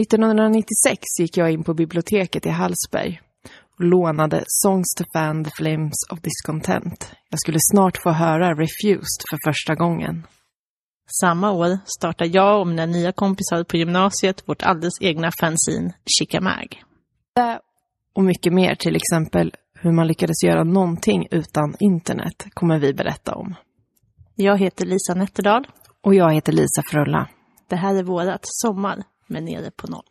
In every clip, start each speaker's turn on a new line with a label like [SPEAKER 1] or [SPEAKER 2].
[SPEAKER 1] 1996 gick jag in på biblioteket i Hallsberg och lånade Songs to fan the flames of discontent. Jag skulle snart få höra Refused för första gången.
[SPEAKER 2] Samma år startade jag och mina nya kompisar på gymnasiet vårt alldeles egna fanzine Chikamag.
[SPEAKER 1] Det och mycket mer, till exempel hur man lyckades göra någonting utan internet, kommer vi berätta om.
[SPEAKER 2] Jag heter Lisa Nätterdal.
[SPEAKER 1] Och jag heter Lisa Frulla.
[SPEAKER 2] Det här är vårat Sommar med Nere på noll.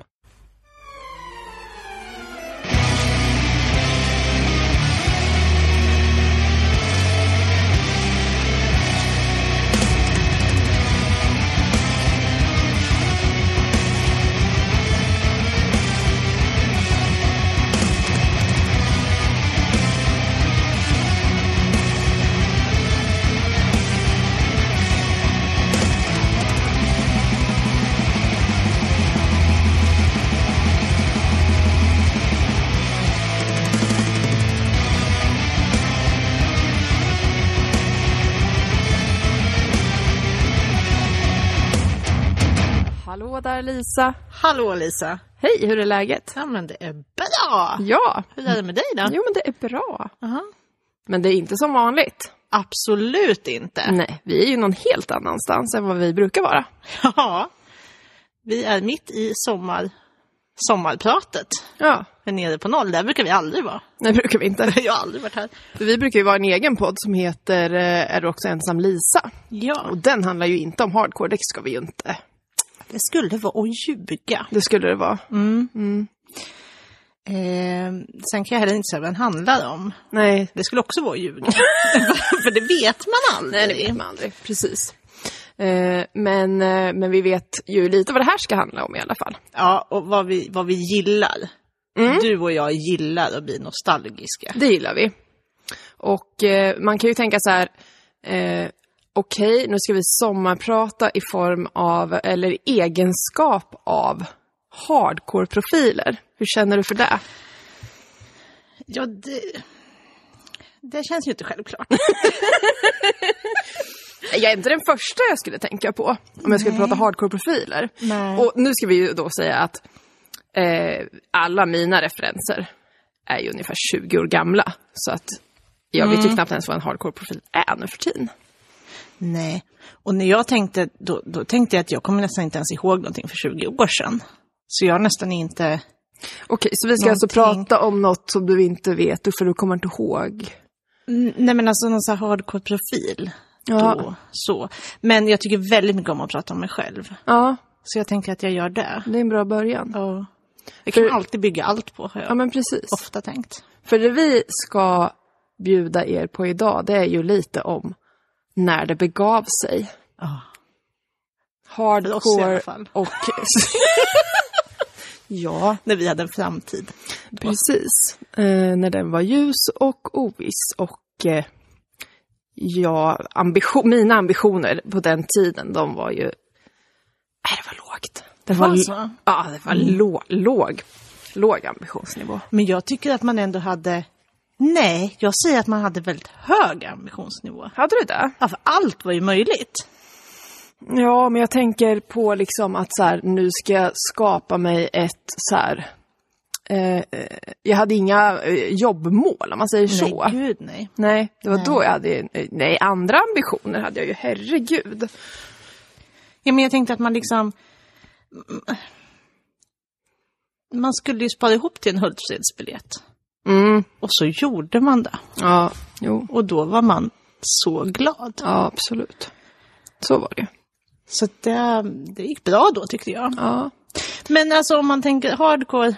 [SPEAKER 1] Hallå där Lisa!
[SPEAKER 2] Hallå Lisa!
[SPEAKER 1] Hej, hur är läget?
[SPEAKER 2] Ja men det är bra!
[SPEAKER 1] Ja,
[SPEAKER 2] Hur är det med dig då?
[SPEAKER 1] jo men det är bra.
[SPEAKER 2] Aha.
[SPEAKER 1] Men det är inte som vanligt.
[SPEAKER 2] Absolut inte!
[SPEAKER 1] Nej, vi är ju någon helt annanstans än vad vi brukar vara.
[SPEAKER 2] Ja. Vi är mitt i sommar, sommarpratet.
[SPEAKER 1] Ja,
[SPEAKER 2] Men nere på noll, där brukar vi aldrig vara.
[SPEAKER 1] det brukar vi inte.
[SPEAKER 2] Jag har aldrig varit här.
[SPEAKER 1] För vi brukar ju vara en egen podd som heter eh, Är du också ensam Lisa?
[SPEAKER 2] Ja,
[SPEAKER 1] Och den handlar ju inte om hardcore, det ska vi ju inte.
[SPEAKER 2] det skulle vara att ljuga.
[SPEAKER 1] Det skulle det vara.
[SPEAKER 2] Eh, sen kan jag heller inte säga vad den handlar om.
[SPEAKER 1] Nej,
[SPEAKER 2] Det skulle också vara att ljuga. För det vet man aldrig.
[SPEAKER 1] Nej, det vet man aldrig. Precis. Eh, men, eh, men vi vet ju lite vad det här ska handla om i alla fall.
[SPEAKER 2] Ja, och vad vi, vad vi gillar. Du och jag gillar att bli nostalgiska.
[SPEAKER 1] Det gillar vi. Och eh, man kan ju tänka så här, eh, okej, nu ska vi sommarprata i form av, eller egenskap av, hardcore-profiler. Hur känner du för det?
[SPEAKER 2] Ja, det, det känns ju inte självklart.
[SPEAKER 1] Jag är inte den första jag skulle tänka på om jag skulle prata hardcore-profiler.
[SPEAKER 2] Nej.
[SPEAKER 1] Och nu ska vi ju då säga att eh, alla mina referenser är ju ungefär 20 år gamla. Så att jag vet ju knappt ens vad en hardcore-profil är nu för tiden.
[SPEAKER 2] Nej, och när jag tänkte, då, då tänkte jag att jag kommer nästan inte ens ihåg någonting för 20 år sedan. Så jag har nästan inte...
[SPEAKER 1] Okej, så vi ska alltså
[SPEAKER 2] Någonting.
[SPEAKER 1] prata om något som du inte vet, för du kommer inte ihåg.
[SPEAKER 2] N- Nej men alltså någon sån här hardcore-profil. Då, så. Men jag tycker väldigt mycket om att prata om mig själv.
[SPEAKER 1] Ja,
[SPEAKER 2] Så jag tänker att jag gör det.
[SPEAKER 1] det är en bra början.
[SPEAKER 2] Ja. Det kan
[SPEAKER 1] För-
[SPEAKER 2] man alltid bygga allt på, har jag
[SPEAKER 1] Ja, men precis.
[SPEAKER 2] ofta tänkt.
[SPEAKER 1] För det vi ska bjuda er på idag, det är ju lite om när det begav sig.
[SPEAKER 2] Ja. För oss i
[SPEAKER 1] Hardcore
[SPEAKER 2] alla fall.
[SPEAKER 1] och... ja,
[SPEAKER 2] När vi hade en framtid.
[SPEAKER 1] precis. Eh, när den var ljus och oviss och eh, ja, ambition, mina ambitioner på den tiden, de var ju... Nej, det var lågt. Det Mm. var,
[SPEAKER 2] Alltså?
[SPEAKER 1] ja, det var lå, låg, låg ambitionsnivå.
[SPEAKER 2] Men jag tycker att man ändå hade... Nej, jag säger att man hade väldigt hög ambitionsnivå.
[SPEAKER 1] Hade du det?
[SPEAKER 2] Ja, för allt var ju möjligt.
[SPEAKER 1] Ja, men jag tänker på liksom att så här, nu ska jag skapa mig ett så här... Eh, eh, jag hade inga eh, jobbmål, om man säger så.
[SPEAKER 2] Nej, gud nej.
[SPEAKER 1] Nej, det var då jag hade... Nej, andra ambitioner hade jag ju. Herregud.
[SPEAKER 2] Ja, men jag tänkte att man liksom... mm, Man skulle ju spara ihop till en Hultsfredsbiljett.
[SPEAKER 1] Mm.
[SPEAKER 2] Och så gjorde man det.
[SPEAKER 1] Ja, jo.
[SPEAKER 2] Och då var man så glad.
[SPEAKER 1] Ja, absolut. Så var det.
[SPEAKER 2] Så att det, det gick bra då tyckte jag.
[SPEAKER 1] Ja.
[SPEAKER 2] Men alltså om man tänker hardcore...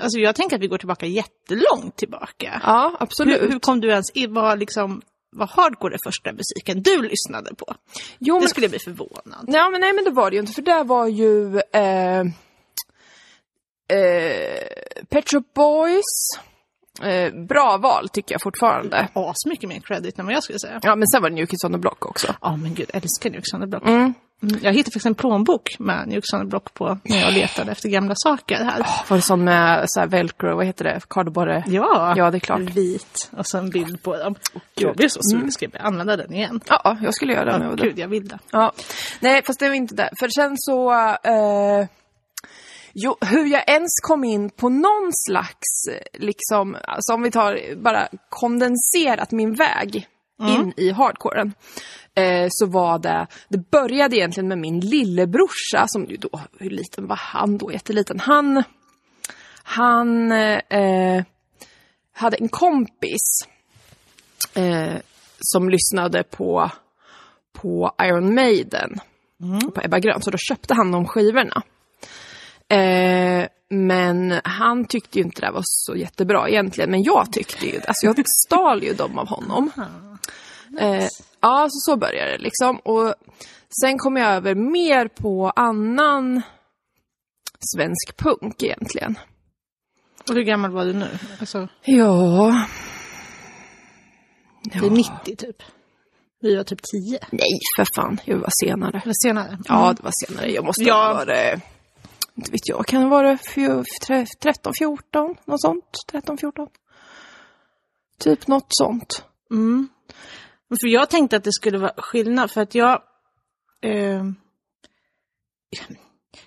[SPEAKER 2] Alltså jag tänker att vi går tillbaka jättelångt tillbaka.
[SPEAKER 1] ja,
[SPEAKER 2] Hur,
[SPEAKER 1] absolut.
[SPEAKER 2] hur kom du ens in? Vad liksom, var hardcore den första musiken du lyssnade på?
[SPEAKER 1] Jo,
[SPEAKER 2] Det
[SPEAKER 1] men,
[SPEAKER 2] skulle jag bli förvånad.
[SPEAKER 1] nej, men, nej, men det var det ju inte. För där var ju... Eh, eh, Pet Shop Boys. Eh, bra val, tycker jag fortfarande.
[SPEAKER 2] Asmycket mer credit än vad jag skulle säga.
[SPEAKER 1] Ja, men sen var det New Kids on the Block också.
[SPEAKER 2] Ja men gud, jag älskar New Xander Block.
[SPEAKER 1] Mm.
[SPEAKER 2] Mm, Jag hittade faktiskt en plånbok med New Xander Block på när jag letade efter gamla saker här.
[SPEAKER 1] Var det sån med så här velcro, vad heter det, kardborre?
[SPEAKER 2] Ja,
[SPEAKER 1] Ja, det är klart.
[SPEAKER 2] vit och så en bild på dem.
[SPEAKER 1] gud. Mm.
[SPEAKER 2] jag blev så sugen, ska jag börja använda den igen?
[SPEAKER 1] Ja, jag skulle göra det. om jag var
[SPEAKER 2] Ja,
[SPEAKER 1] du.
[SPEAKER 2] gud, jag vill det.
[SPEAKER 1] Ja. Nej, fast det var inte det. För sen så... Eh, Jo, hur jag ens kom in på någon slags, eh, liksom, alltså om vi tar bara kondenserat min väg in i hardcoren. Eh, så var det, det började egentligen med min lillebrorsa som ju då, hur liten var han då? Jätteliten. Han, han eh, hade en kompis eh, som lyssnade på, på Iron Maiden och på Ebba Grön, så då köpte han de skivorna. Eh, men han tyckte ju inte det här var så jättebra egentligen, men jag tyckte ju Alltså jag stal ju dem av honom. Eh, ja, så, så började det liksom. Och sen kom jag över mer på annan svensk punk egentligen.
[SPEAKER 2] Och hur gammal var du nu? Alltså,
[SPEAKER 1] Ja...
[SPEAKER 2] det är 90 typ. Vi var typ 10.
[SPEAKER 1] Nej, för fan. Jag var senare.
[SPEAKER 2] Eller senare.
[SPEAKER 1] Mm. Ja, det var senare. Jag måste
[SPEAKER 2] Ja.
[SPEAKER 1] ha varit... Inte vet jag, kan det vara fj- tre- 13, 14? Något sånt? 13, 14? Typ något sånt.
[SPEAKER 2] Mm. Men För jag tänkte att det skulle vara skillnad för att jag... Eh,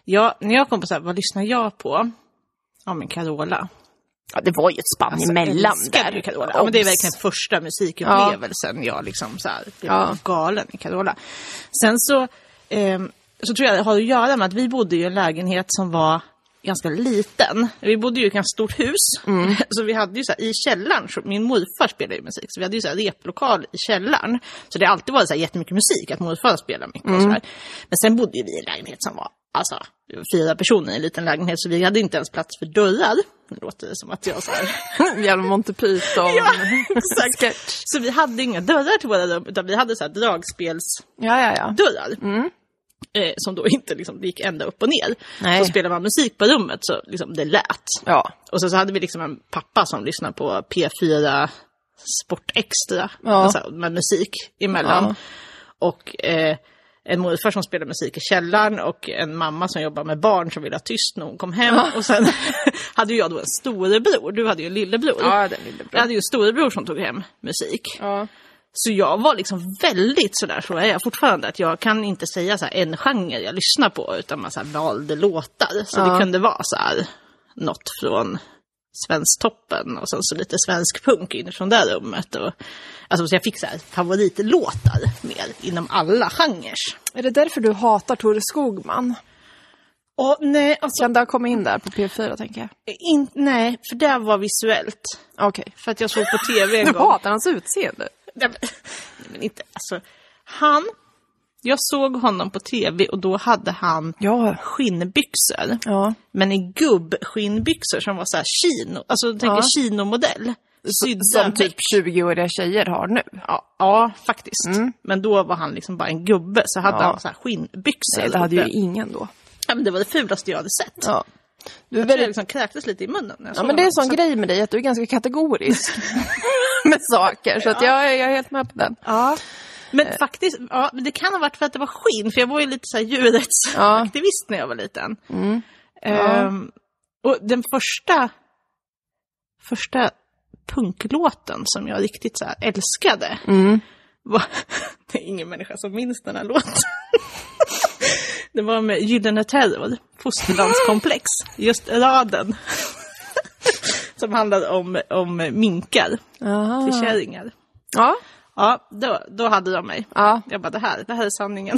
[SPEAKER 2] jag när jag kom på så här, vad lyssnar jag på? Ja men Carola.
[SPEAKER 1] Ja, det var ju ett spann emellan
[SPEAKER 2] Alltså, älskade
[SPEAKER 1] där.
[SPEAKER 2] ju Carola. Ja, men det är verkligen första musikupplevelsen jag liksom så här, blev
[SPEAKER 1] Ja.
[SPEAKER 2] galen i Carola. Sen så, ehm, så tror jag det har att göra med att vi bodde i en lägenhet som var ganska liten. Vi bodde ju i ett ganska stort hus.
[SPEAKER 1] Mm.
[SPEAKER 2] Så vi hade ju så här, i källaren, så min morfar spelade ju musik, så vi hade ju så här, replokal i källaren. Så det har alltid varit så här, jättemycket musik, att morfar spelade mycket
[SPEAKER 1] Mm.
[SPEAKER 2] och så här. Men sen bodde ju vi i en lägenhet som var Alltså, det var fyra personer i en liten lägenhet så vi hade inte ens plats för dörrar. Nu låter det som att jag så här
[SPEAKER 1] Jävla Monty Python.
[SPEAKER 2] Ja, exakt.
[SPEAKER 1] Sketch.
[SPEAKER 2] Så vi hade inga dörrar till våra rum, utan vi hade så här dragspelsdörrar.
[SPEAKER 1] Ja, ja, ja. Mm.
[SPEAKER 2] Eh, som då inte liksom gick ända upp och ner.
[SPEAKER 1] Nej.
[SPEAKER 2] Så spelade man musik på rummet så liksom det lät.
[SPEAKER 1] Ja,
[SPEAKER 2] Och sen så hade vi liksom en pappa som lyssnade på P4 Sport Extra
[SPEAKER 1] Ja.
[SPEAKER 2] alltså, med musik emellan.
[SPEAKER 1] Ja.
[SPEAKER 2] Och eh, en morfar som spelade musik i källaren och en mamma som jobbar med barn som ville ha tyst när hon kom hem. Och sen hade ju jag då en storebror, du hade ju en lillebror.
[SPEAKER 1] ja den lille
[SPEAKER 2] Jag hade ju en storebror som tog hem musik.
[SPEAKER 1] Ja.
[SPEAKER 2] Så jag var liksom väldigt sådär, så är jag fortfarande, att jag kan inte säga så här en genre jag lyssnar på, utan man så här valde låtar. Så det kunde vara så här, något från Svensktoppen och sen så lite svensk punk inifrån det rummet. Och, alltså, så jag fick så här favoritlåtar mer inom alla genrer.
[SPEAKER 1] Är det därför du hatar Tore Skogman?
[SPEAKER 2] Och nej, alltså,
[SPEAKER 1] Kan det ha kommit in där på P4, tänker jag?
[SPEAKER 2] in, nej, för det var visuellt.
[SPEAKER 1] Okej.
[SPEAKER 2] För att jag såg på tv en
[SPEAKER 1] Du
[SPEAKER 2] gång.
[SPEAKER 1] hatar hans utseende?
[SPEAKER 2] Nej men, nej, men inte, alltså. Han, jag såg honom på tv och då hade han
[SPEAKER 1] Ja.
[SPEAKER 2] skinnbyxor.
[SPEAKER 1] Ja.
[SPEAKER 2] Men i gubbskinnbyxor som var så här kino, alltså tänk
[SPEAKER 1] Ja.
[SPEAKER 2] en kinomodell. Sydda
[SPEAKER 1] Som
[SPEAKER 2] med-
[SPEAKER 1] typ 20-åriga tjejer har nu.
[SPEAKER 2] Ja, ja faktiskt. Men då var han liksom bara en gubbe, så hade
[SPEAKER 1] Mm. Ja.
[SPEAKER 2] han så här skinnbyxor.
[SPEAKER 1] Nej, det hade ju
[SPEAKER 2] uppe.
[SPEAKER 1] ingen då.
[SPEAKER 2] ja, men det var det fulaste jag hade sett.
[SPEAKER 1] Ja. Du är
[SPEAKER 2] Jag tror jag
[SPEAKER 1] väldigt...
[SPEAKER 2] liksom kräktes lite i munnen. när jag
[SPEAKER 1] Ja,
[SPEAKER 2] såg
[SPEAKER 1] men det är en
[SPEAKER 2] honom.
[SPEAKER 1] sån
[SPEAKER 2] Så-
[SPEAKER 1] grej med dig, att du är ganska kategorisk med saker. Så att jag, är- jag är helt med på den.
[SPEAKER 2] Ja. Men
[SPEAKER 1] Eh.
[SPEAKER 2] faktiskt, ja, men det kan ha varit för att det var skinn, för jag var ju lite så här
[SPEAKER 1] Ja. Mm.
[SPEAKER 2] djurrättsaktivist när jag var liten.
[SPEAKER 1] Ja.
[SPEAKER 2] Ehm, och den första, första punklåten som jag riktigt så här älskade
[SPEAKER 1] Mm.
[SPEAKER 2] var, det är ingen människa som minns den här låten. Det var med Gyllene Terror, Fosterlandskomplex, just raden. Som handlade om, om minkar till
[SPEAKER 1] Aha.
[SPEAKER 2] kärringar.
[SPEAKER 1] Ja.
[SPEAKER 2] Ja, då, då hade de mig.
[SPEAKER 1] Ja.
[SPEAKER 2] Jag bara, det här, det här är sanningen.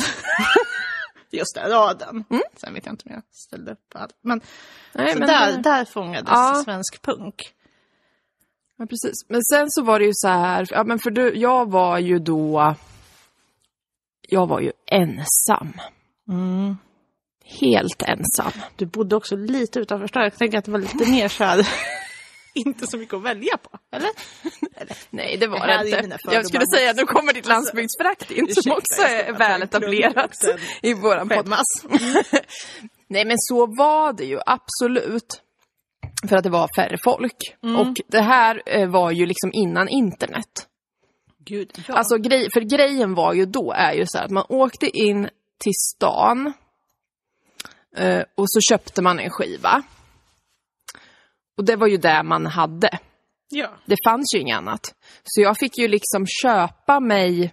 [SPEAKER 2] Just det, raden. Sen vet jag inte om jag ställde upp på allt. Mm. Men,
[SPEAKER 1] Nej,
[SPEAKER 2] så
[SPEAKER 1] men,
[SPEAKER 2] där, där fångades
[SPEAKER 1] Ja.
[SPEAKER 2] svensk punk.
[SPEAKER 1] ja, precis. Men sen så var det ju så här, ja, men för du, jag var ju då, jag var ju ensam. Mm. Helt ensam.
[SPEAKER 2] Du bodde också lite utanför stan. Jag tänker att det var lite mer så här, inte så mycket att välja på. Eller?
[SPEAKER 1] Nej, det var
[SPEAKER 2] Det här
[SPEAKER 1] det
[SPEAKER 2] är ju mina
[SPEAKER 1] inte.
[SPEAKER 2] fördomar.
[SPEAKER 1] Jag skulle säga, nu kommer ditt landsbygdsförakt in som
[SPEAKER 2] ursäkta,
[SPEAKER 1] också
[SPEAKER 2] jag ska
[SPEAKER 1] är
[SPEAKER 2] bara ta en
[SPEAKER 1] väl
[SPEAKER 2] klunk
[SPEAKER 1] etablerat
[SPEAKER 2] och sen
[SPEAKER 1] i våran podd.
[SPEAKER 2] Skämmas.
[SPEAKER 1] Nej men så var det ju absolut. För att det var färre folk. Och det här eh, var ju liksom innan internet.
[SPEAKER 2] Gud, ja.
[SPEAKER 1] Alltså grej, för grejen var ju då är ju så här att man åkte in till stan. Eh, och så köpte man en skiva. Och det var ju det man hade.
[SPEAKER 2] ja.
[SPEAKER 1] Det fanns ju inget annat. Så jag fick ju liksom köpa mig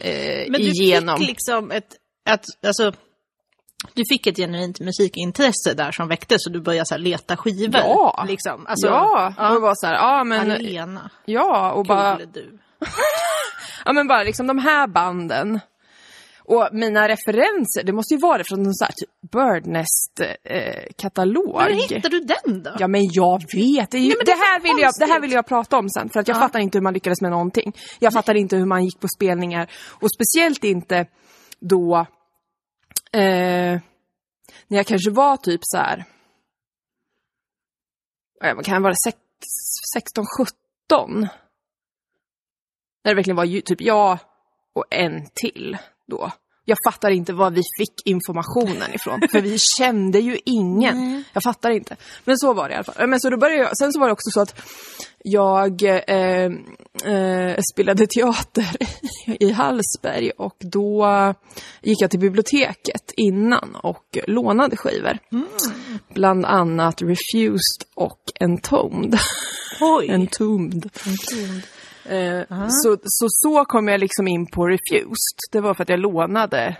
[SPEAKER 1] eh,
[SPEAKER 2] Men du
[SPEAKER 1] igenom.
[SPEAKER 2] fick liksom ett, ett, alltså, Du fick ett genuint musikintresse där som väcktes och du började så här leta skivor.
[SPEAKER 1] Ja.
[SPEAKER 2] liksom. alltså,
[SPEAKER 1] ja, och det var så här, ja men,
[SPEAKER 2] Alena,
[SPEAKER 1] ja, och bara,
[SPEAKER 2] cool du.
[SPEAKER 1] ja men bara liksom de här banden. Och mina referenser, det måste ju vara från någon sån här typ eh, Birdnest-katalog.
[SPEAKER 2] Hur hittade du den då?
[SPEAKER 1] Ja men jag vet, det, är ju,
[SPEAKER 2] Nej,
[SPEAKER 1] det,
[SPEAKER 2] men det är
[SPEAKER 1] här
[SPEAKER 2] så
[SPEAKER 1] vill jag, det här
[SPEAKER 2] konstigt.
[SPEAKER 1] vill jag prata om sen för att jag fattar inte hur man lyckades med någonting. Jag fattar inte hur man gick på spelningar och speciellt inte då eh, när jag kanske var typ så här. eh, Vad kan jag vara, sex- 16, 17? När det verkligen var ju typ jag och en till då. Jag fattar inte var vi fick informationen ifrån, för vi kände ju ingen. Jag fattar inte. Men så var det i alla fall. Men så då började jag, sen så var det också så att jag eh, eh, spelade teater i Hallsberg och då gick jag till biblioteket innan och lånade skivor. Bland annat Refused och Entombed.
[SPEAKER 2] Oj.
[SPEAKER 1] Entombed. Eh,
[SPEAKER 2] Ah.
[SPEAKER 1] så, så så kom jag liksom in på Refused. Det var för att jag lånade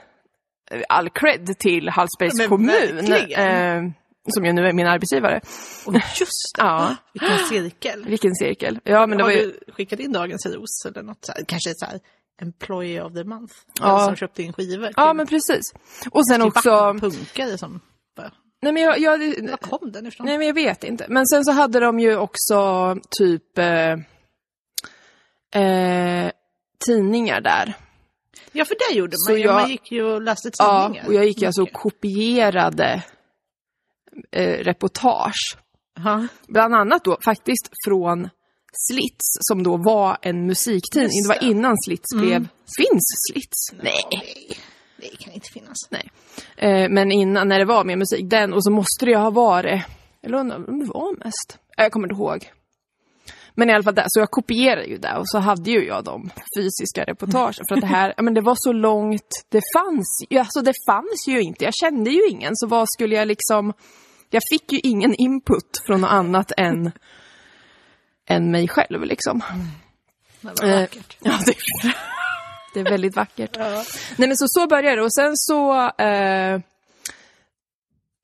[SPEAKER 1] eh, all cred till Hallsbergs
[SPEAKER 2] Men
[SPEAKER 1] kommun.
[SPEAKER 2] verkligen.
[SPEAKER 1] Eh, som ju nu är min arbetsgivare.
[SPEAKER 2] Och just det.
[SPEAKER 1] Ja.
[SPEAKER 2] Vilken cirkel.
[SPEAKER 1] Vilken cirkel. Ja, men det
[SPEAKER 2] Har
[SPEAKER 1] var ju...
[SPEAKER 2] du skickat in dagens ros eller något så här, kanske så här employee of the month?
[SPEAKER 1] Ja.
[SPEAKER 2] Den Som köpte in skivor.
[SPEAKER 1] Ja, men precis. Och sen
[SPEAKER 2] till
[SPEAKER 1] också...
[SPEAKER 2] punkare som... bara,
[SPEAKER 1] Nej, men jag, jag,
[SPEAKER 2] Var kom den ifrån?
[SPEAKER 1] nej, men jag vet inte. Men sen så hade de ju också typ eh, eh, tidningar där.
[SPEAKER 2] Ja, för det gjorde
[SPEAKER 1] Så
[SPEAKER 2] man ju.
[SPEAKER 1] jag-
[SPEAKER 2] Man gick ju och läste
[SPEAKER 1] Ja,
[SPEAKER 2] tidningar.
[SPEAKER 1] och jag gick ju alltså och
[SPEAKER 2] Mycket.
[SPEAKER 1] kopierade eh, reportage.
[SPEAKER 2] Ja.
[SPEAKER 1] Bland annat då faktiskt från Slits, som då var en musiktidning.
[SPEAKER 2] Just
[SPEAKER 1] Det var
[SPEAKER 2] det. Mm.
[SPEAKER 1] innan Slits blev... Finns Slits? Nej.
[SPEAKER 2] Nej, det kan inte finnas.
[SPEAKER 1] Nej. Eh, men innan, när det var mer musik, den, och så måste det ju ha varit, eller undrar om det var mest. Eh, Jag kommer inte ihåg. Men i alla fall där, så jag kopierade ju det och så hade ju jag de fysiska reportagen. För att det här, ja, men det var så långt, det fanns ju, alltså det fanns ju inte. Jag kände ju ingen, så vad skulle jag liksom, jag fick ju ingen input från något annat än, än mig själv liksom.
[SPEAKER 2] Eh, Det var vackert.
[SPEAKER 1] Ja, det, det är väldigt vackert. Nej men så, så började det och sen så eh, eh,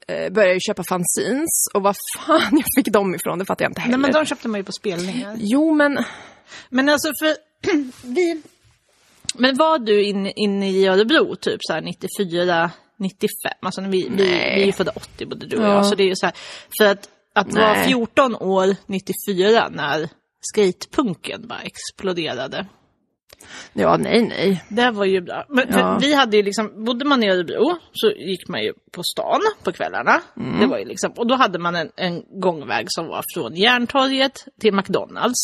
[SPEAKER 1] började jag ju köpa fanzines och vad fan jag fick dem ifrån, det fattar jag inte heller.
[SPEAKER 2] Nej, men de köpte man ju på spelningar.
[SPEAKER 1] Jo men,
[SPEAKER 2] Men alltså för... vi... Men var du inne in i Örebro typ så här 94, 95? Alltså när vi, vi, vi
[SPEAKER 1] Nej.
[SPEAKER 2] är ju födda 80 både du och
[SPEAKER 1] Ja.
[SPEAKER 2] jag. Så det är ju så här, för att, att vara
[SPEAKER 1] Nej.
[SPEAKER 2] 14 år 94 när skatepunken bara exploderade.
[SPEAKER 1] ja nej nej.
[SPEAKER 2] Det var ju bra. Men för
[SPEAKER 1] Ja.
[SPEAKER 2] vi hade ju liksom, bodde man i Örebro så gick man ju på stan på kvällarna.
[SPEAKER 1] Mm.
[SPEAKER 2] Det var ju liksom, och då hade man en, en gångväg som var från Järntorget till McDonalds.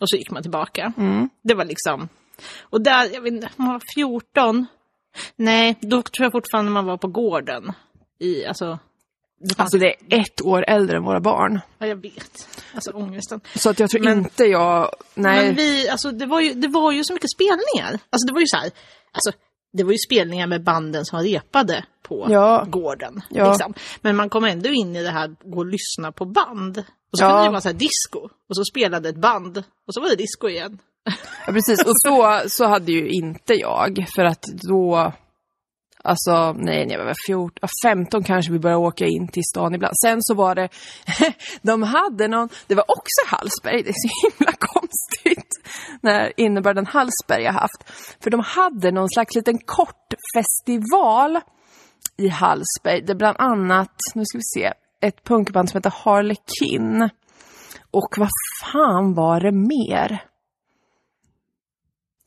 [SPEAKER 2] Och så gick man tillbaka.
[SPEAKER 1] Mm.
[SPEAKER 2] Det var liksom, och där, jag vet inte, man var 14. Nej, då tror jag fortfarande man var på gården. I, alltså, det fanns,
[SPEAKER 1] Alltså det är ett år äldre än våra barn.
[SPEAKER 2] ja, jag vet. Alltså ångesten.
[SPEAKER 1] Så att jag tror
[SPEAKER 2] Men-
[SPEAKER 1] inte jag, nej.
[SPEAKER 2] Men vi, alltså det var, ju, det var ju så mycket spelningar. Alltså det var ju så här, alltså det var ju spelningar med banden som repade på
[SPEAKER 1] Ja.
[SPEAKER 2] gården.
[SPEAKER 1] Ja.
[SPEAKER 2] Liksom. Men man kom ändå in i det här, gå och lyssna på band. Och så
[SPEAKER 1] Ja.
[SPEAKER 2] kunde det vara så här disco, och så spelade ett band, och så var det disco igen.
[SPEAKER 1] Ja, precis, och så, så hade ju inte jag, för att då... Alltså, nej, när jag var 14, ja, 15 kanske vi började åka in till stan ibland. Sen så var det, de hade någon, det var också Hallsberg, det är så himla konstigt, när innebörden Hallsberg jag haft. För de hade någon slags liten kort festival i Hallsberg, där bland annat, nu ska vi se, ett punkband som heter Harlekin. Och vad fan var det mer?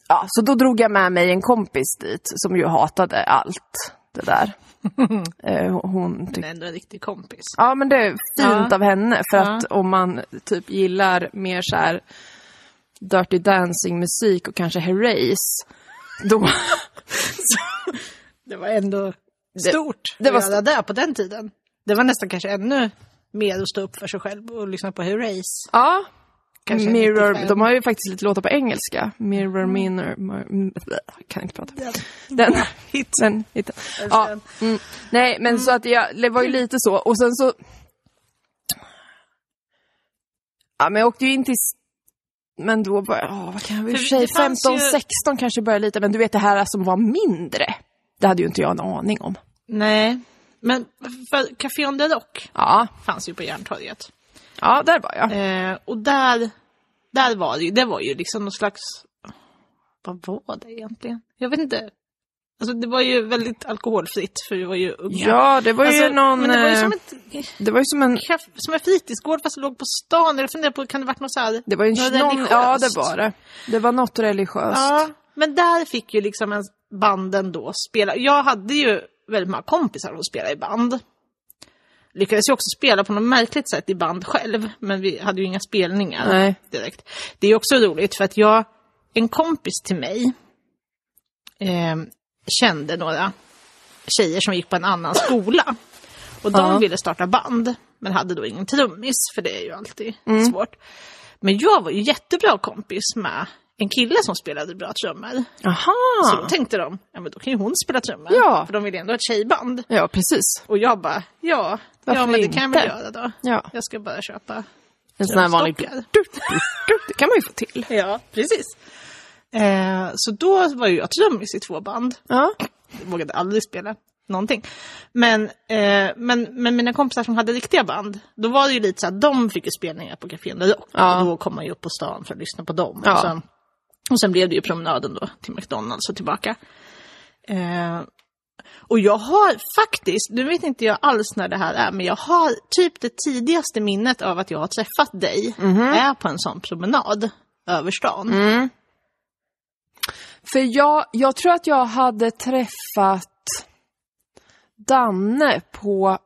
[SPEAKER 1] Ja, så då drog jag med mig en kompis dit som ju hatade allt det där. Eh, Hon tyckte...
[SPEAKER 2] Men ändå en riktig kompis.
[SPEAKER 1] Ja, men det är fint
[SPEAKER 2] Ja.
[SPEAKER 1] av henne för
[SPEAKER 2] Ja.
[SPEAKER 1] att om man typ gillar mer så här Dirty Dancing-musik och kanske Herreys, då...
[SPEAKER 2] Det var ändå stort
[SPEAKER 1] det var
[SPEAKER 2] att göra det på den tiden. Det var nästan kanske ännu mer att stå upp för sig själv och lyssna på Hurrays.
[SPEAKER 1] Ja.
[SPEAKER 2] Kanske
[SPEAKER 1] Mirror,
[SPEAKER 2] 95.
[SPEAKER 1] de har ju faktiskt lite låtar på engelska. Mirror, mirror, mir- mm, kan inte prata. Den,
[SPEAKER 2] Hit.
[SPEAKER 1] den hitten. Ja,
[SPEAKER 2] den.
[SPEAKER 1] mm. Nej, men så att jag, det var ju lite så. Och sen så... Ja, men jag åkte ju in till... s- Men då var jag, åh, vad kan jag, i och
[SPEAKER 2] För
[SPEAKER 1] för sig,
[SPEAKER 2] det fanns
[SPEAKER 1] 15,
[SPEAKER 2] ju-
[SPEAKER 1] 16 kanske började lite. Men du vet det här som var mindre, det hade ju inte jag en aning om.
[SPEAKER 2] Nej. Men för Café on the Dock
[SPEAKER 1] Ja,
[SPEAKER 2] fanns ju på Järntorget.
[SPEAKER 1] ja där var jag.
[SPEAKER 2] Eh, och där, där var det ju, det var ju liksom någon slags... Vad var det egentligen? Jag vet inte. Alltså det var ju väldigt alkoholfritt för vi var ju unga.
[SPEAKER 1] Ja, det var ju
[SPEAKER 2] Alltså,
[SPEAKER 1] någon...
[SPEAKER 2] Men det var ju
[SPEAKER 1] eh,
[SPEAKER 2] som, ett,
[SPEAKER 1] det var ju som en...
[SPEAKER 2] kaf- som en fritidsgård fast det låg på stan. Jag funderar på, kan det varit något så här...
[SPEAKER 1] Det var ju
[SPEAKER 2] något
[SPEAKER 1] någon,
[SPEAKER 2] religiöst?
[SPEAKER 1] ja, det var det. Det var något religiöst.
[SPEAKER 2] Ja, men där fick ju liksom en banden då spela. Jag hade ju väldigt många kompisar som spelade i band. Lyckades ju också spela på något märkligt sätt i band själv, men vi hade ju inga spelningar
[SPEAKER 1] Nej.
[SPEAKER 2] direkt. Det är också roligt för att jag, en kompis till mig, eh, kände några tjejer som gick på en annan skola. Och de
[SPEAKER 1] Ja.
[SPEAKER 2] ville starta band, men hade då ingen trummis, för det är ju alltid
[SPEAKER 1] Mm.
[SPEAKER 2] svårt. Men jag var ju jättebra kompis med en kille som spelade bra trummor. Så då
[SPEAKER 1] Aha!
[SPEAKER 2] tänkte de, ja men då kan ju hon spela trummor.
[SPEAKER 1] Ja.
[SPEAKER 2] För de ville ändå ha ett tjejband.
[SPEAKER 1] Ja, precis.
[SPEAKER 2] Och jag bara, ja,
[SPEAKER 1] Varför
[SPEAKER 2] ja men det kan jag väl
[SPEAKER 1] inte?
[SPEAKER 2] göra då.
[SPEAKER 1] Ja,
[SPEAKER 2] Jag ska bara köpa
[SPEAKER 1] en sån här vanlig...
[SPEAKER 2] trumstockar.
[SPEAKER 1] Det kan man ju få till.
[SPEAKER 2] Ja, precis. Eh, så då var ju jag trummis i två band.
[SPEAKER 1] Ja.
[SPEAKER 2] Jag vågade aldrig spela någonting. Men, eh, men, men mina kompisar som hade riktiga band, då var det ju lite så att de fick ju spelningar på Café Under Rock.
[SPEAKER 1] Ja.
[SPEAKER 2] Och då kom man ju upp på stan för att lyssna på dem.
[SPEAKER 1] Ja.
[SPEAKER 2] Och, sen, och sen blev det ju promenaden då till McDonalds och tillbaka. Eh, och jag har faktiskt, nu vet inte jag alls när det här är, men jag har typ det tidigaste minnet av att jag har träffat dig är på en sån promenad över stan.
[SPEAKER 1] För jag, jag tror att jag hade träffat Danne på...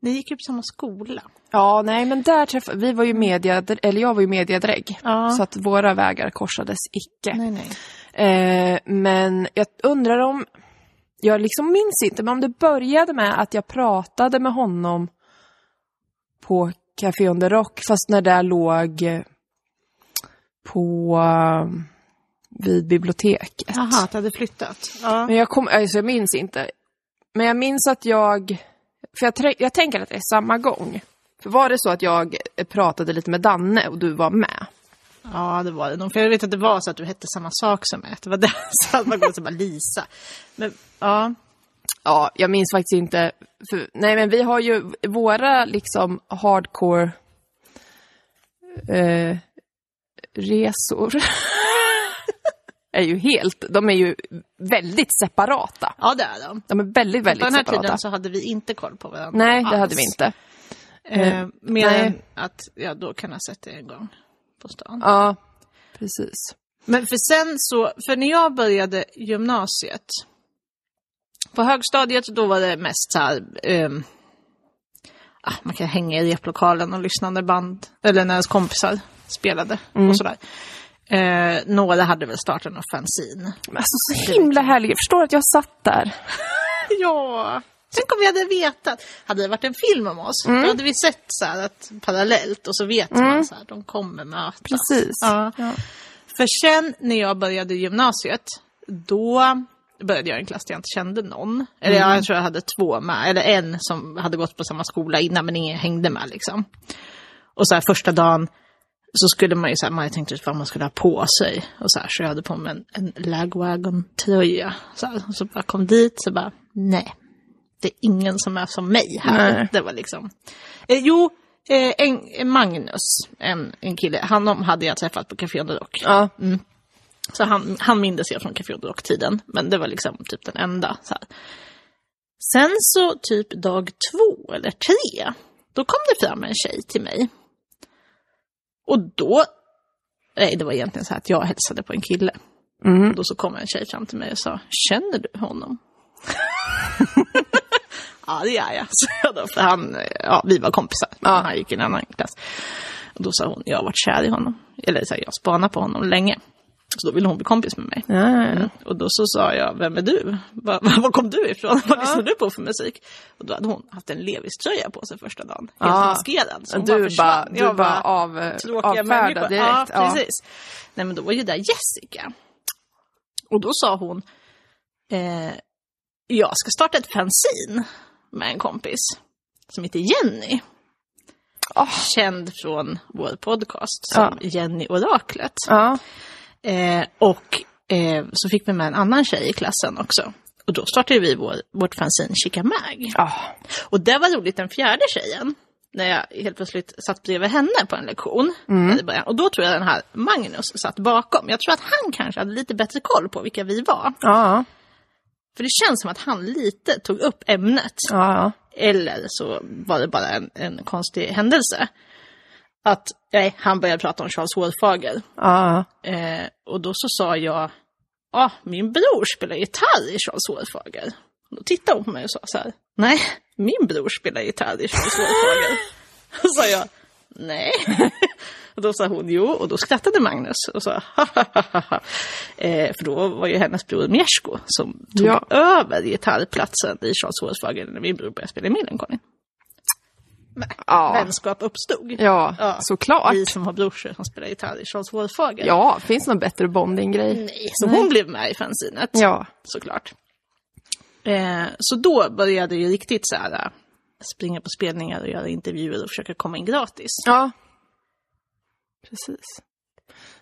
[SPEAKER 2] Ni gick ju på samma skola.
[SPEAKER 1] Ja, nej, men där träffade... Vi var ju media... Eller jag var ju mediadrägg.
[SPEAKER 2] Ja.
[SPEAKER 1] Så att våra vägar korsades icke.
[SPEAKER 2] Nej, nej.
[SPEAKER 1] Eh, men jag undrar om, jag liksom minns inte, men om det började med att jag pratade med honom på Café on the Rock, fast när det låg eh, på, eh, vid biblioteket.
[SPEAKER 2] Jaha, att det hade flyttat. Ja.
[SPEAKER 1] Men jag, kom, alltså jag minns inte. Men jag minns att jag, för jag, trä- jag tänker att det är samma gång. För var det så att jag eh, pratade lite med Danne och du var med?
[SPEAKER 2] Ja, det var det nog. För jag vet att det var så att du hette samma sak som mig. Att Det var det. Så att man går som bara Lisa. Men ja,
[SPEAKER 1] Ja, jag minns faktiskt inte. För, nej, men vi har ju våra liksom hardcore eh, resor. är ju helt, de är ju väldigt separata.
[SPEAKER 2] ja det är de.
[SPEAKER 1] De är väldigt,
[SPEAKER 2] På
[SPEAKER 1] väldigt
[SPEAKER 2] den här
[SPEAKER 1] separata.
[SPEAKER 2] tiden så hade vi inte koll på varandra
[SPEAKER 1] Nej, det
[SPEAKER 2] alls.
[SPEAKER 1] hade vi inte.
[SPEAKER 2] Eh, mer
[SPEAKER 1] nej.
[SPEAKER 2] än att jag då kan ha sett det en gång på stan.
[SPEAKER 1] Ja, precis.
[SPEAKER 2] Men för sen så, för när jag började gymnasiet, på högstadiet då var det mest så här, ehm, ah, man kan hänga i replokalen och lyssna när band, eller när ens kompisar spelade och sådär. Eh, några hade väl startat någon fanzine.
[SPEAKER 1] Men alltså så himla härligt. Jag förstår att jag satt där.
[SPEAKER 2] Ja, tänk om vi hade vetat. Hade det varit en film om oss, då hade vi sett så här att parallellt och så vet man så här, de kommer mötas.
[SPEAKER 1] Precis.
[SPEAKER 2] Ja. För sen när jag började gymnasiet, då började jag i en klass där jag inte kände någon. Eller ja, jag tror jag hade två med, eller en som hade gått på samma skola innan men ingen hängde med liksom. Och så här första dagen så skulle man ju så här, man hade tänkt ut vad man skulle ha på sig. Och så här, så jag hade på mig en, en lagwagon-tröja. Så, här, och så bara kom dit, så bara, nej. Det är ingen som är som mig här.
[SPEAKER 1] Nej.
[SPEAKER 2] Det var liksom... Eh, jo, eh, en, en Magnus, en, en kille, han om hade jag träffat på Café Under Rock.
[SPEAKER 1] Ja,
[SPEAKER 2] Så han, han mindes jag från Café Under Rock-tiden, men det var liksom typ den enda. Så här. Sen så typ dag två eller tre, då kom det fram en tjej till mig. Och då, nej det var egentligen så här att jag hälsade på en kille. Och då så kom en tjej fram till mig och sa, känner du honom? ja det gör jag, så jag då, för han, ja vi var kompisar, han gick i en annan klass. Och då sa hon, jag har varit kär i honom, eller så här, jag spanar på honom länge. Så då ville hon bli kompis med mig.
[SPEAKER 1] ja, ja, ja.
[SPEAKER 2] Mm. Och då så sa jag, vem är du? Var, var kom du ifrån? Vad lyssnar du på för musik? Och då hade hon haft en Levis-tröja på sig första dagen. Helt
[SPEAKER 1] Ja.
[SPEAKER 2] maskerad. Så hon bara
[SPEAKER 1] Du bara,
[SPEAKER 2] försvann.
[SPEAKER 1] du
[SPEAKER 2] Jag
[SPEAKER 1] bara av, eh,
[SPEAKER 2] tråkiga
[SPEAKER 1] avfärdade
[SPEAKER 2] människor.
[SPEAKER 1] direkt.
[SPEAKER 2] Ja, precis. Nej men då var ju där Jessica. Och då sa hon, eh, jag ska starta ett fanzine med en kompis som heter Jenny.
[SPEAKER 1] Ah.
[SPEAKER 2] Känd från vår podcast som Jenny Oraklet.
[SPEAKER 1] Ja.
[SPEAKER 2] Eh, och eh, så fick vi med en annan tjej i klassen också. Och då startade vi vår, vårt fanzine Chica Mag.
[SPEAKER 1] Ja.
[SPEAKER 2] Och det var roligt, den fjärde tjejen, när jag helt plötsligt satt bredvid henne på en lektion. i början. Och då tror jag den här Magnus satt bakom. Jag tror att han kanske hade lite bättre koll på vilka vi var.
[SPEAKER 1] Ja,
[SPEAKER 2] För det känns som att han lite tog upp ämnet.
[SPEAKER 1] ja,
[SPEAKER 2] Eller så var det bara en, en konstig händelse. Att, nej, han började prata om Charles Hårfager.
[SPEAKER 1] ja.
[SPEAKER 2] Eh, och då så sa jag, ja, ah, min bror spelar gitarr i Charles Hårfager. Då tittade hon på mig och sa så här, nej, min bror spelar gitarr i Charles Hårfager. och sa jag, nej. och då sa hon jo, och då skrattade Magnus och sa ha eh, För då var ju hennes bror Miesko som tog
[SPEAKER 1] Ja.
[SPEAKER 2] över gitarrplatsen i Charles Hårfager när min bror började spela i Millencolin.
[SPEAKER 1] ja.
[SPEAKER 2] Vänskap uppstod.
[SPEAKER 1] ja.
[SPEAKER 2] Ja.
[SPEAKER 1] såklart.
[SPEAKER 2] Vi som har brorsor som spelar gitarr i Charles Hårfager.
[SPEAKER 1] Ja, finns någon bättre bonding-grej?
[SPEAKER 2] Nej, så
[SPEAKER 1] Nej.
[SPEAKER 2] hon blev med i fanzinet.
[SPEAKER 1] Ja.
[SPEAKER 2] såklart. Eh, så då började jag ju riktigt så här, eh, springa på spelningar och göra intervjuer och försöka komma in gratis.
[SPEAKER 1] Ja. Precis.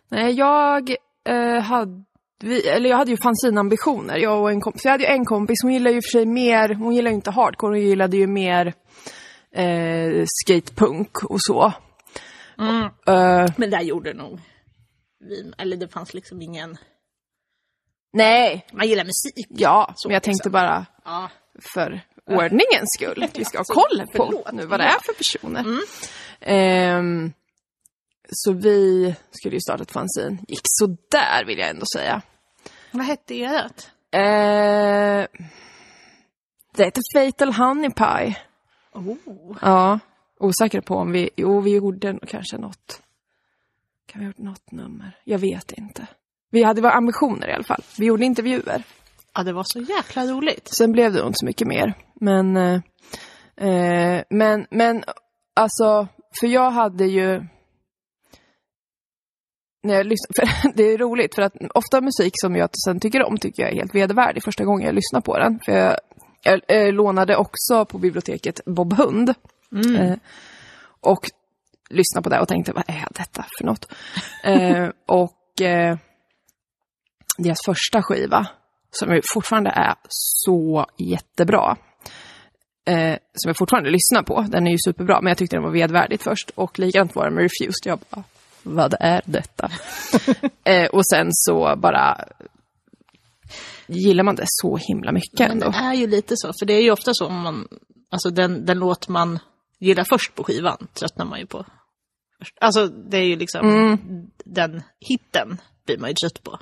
[SPEAKER 1] Nej, jag eh, hade... Vi, eller jag hade ju fanzinambitioner, jag och en kompis. Jag hade ju en kompis, hon gillar ju för sig mer, hon gillar ju inte hardcore, hon gillade ju mer eh, skatepunk och så. Eh,
[SPEAKER 2] Men där gjorde nog vi, eller det fanns liksom ingen,
[SPEAKER 1] nej,
[SPEAKER 2] man gillar musik.
[SPEAKER 1] ja,
[SPEAKER 2] Så
[SPEAKER 1] men jag tänkte
[SPEAKER 2] liksom.
[SPEAKER 1] bara
[SPEAKER 2] Ja.
[SPEAKER 1] för ordningens skull. Att vi ska ha koll på
[SPEAKER 2] Förlåt. Mm.
[SPEAKER 1] nu vad det är för personer. Ehm, så vi skulle ju starta ett fanzine. Gick sådär vill jag ändå säga.
[SPEAKER 2] Vad hette ert?
[SPEAKER 1] Ehm, det heter Fatal Honey Pie.
[SPEAKER 2] Oh.
[SPEAKER 1] Ja, osäker på om vi... Jo, vi gjorde nog kanske något. Kan vi ha gjort något nummer? Jag vet inte. Vi hade våra ambitioner i alla fall. Vi gjorde intervjuer.
[SPEAKER 2] Ja, det var så jäkla roligt.
[SPEAKER 1] Sen blev det nog inte så mycket mer. Men, eh, eh, men, men alltså, för jag hade ju... När jag lyssnar, för det är roligt, för att ofta musik som jag sen tycker om tycker jag är helt vedervärdig första gången jag lyssnar på den. För jag, jag, eh, lånade också på biblioteket Bob Hund.
[SPEAKER 2] Mm.
[SPEAKER 1] Eh, och lyssnade på det och tänkte, vad är detta för något? eh, och eh, deras första skiva, som ju fortfarande är så jättebra. Eh, som jag fortfarande lyssnar på. Den är ju superbra, men jag tyckte den var vedvärdigt först. Och likadant var det med Refused. Jag bara, vad är detta? eh, och sen så bara gillar man det så himla mycket
[SPEAKER 2] Men det
[SPEAKER 1] ändå.
[SPEAKER 2] är ju lite så, för det är ju ofta så om man, alltså den, den låt man gillar först på skivan tröttnar man ju på. först. Alltså det är ju liksom den hitten blir man ju trött på.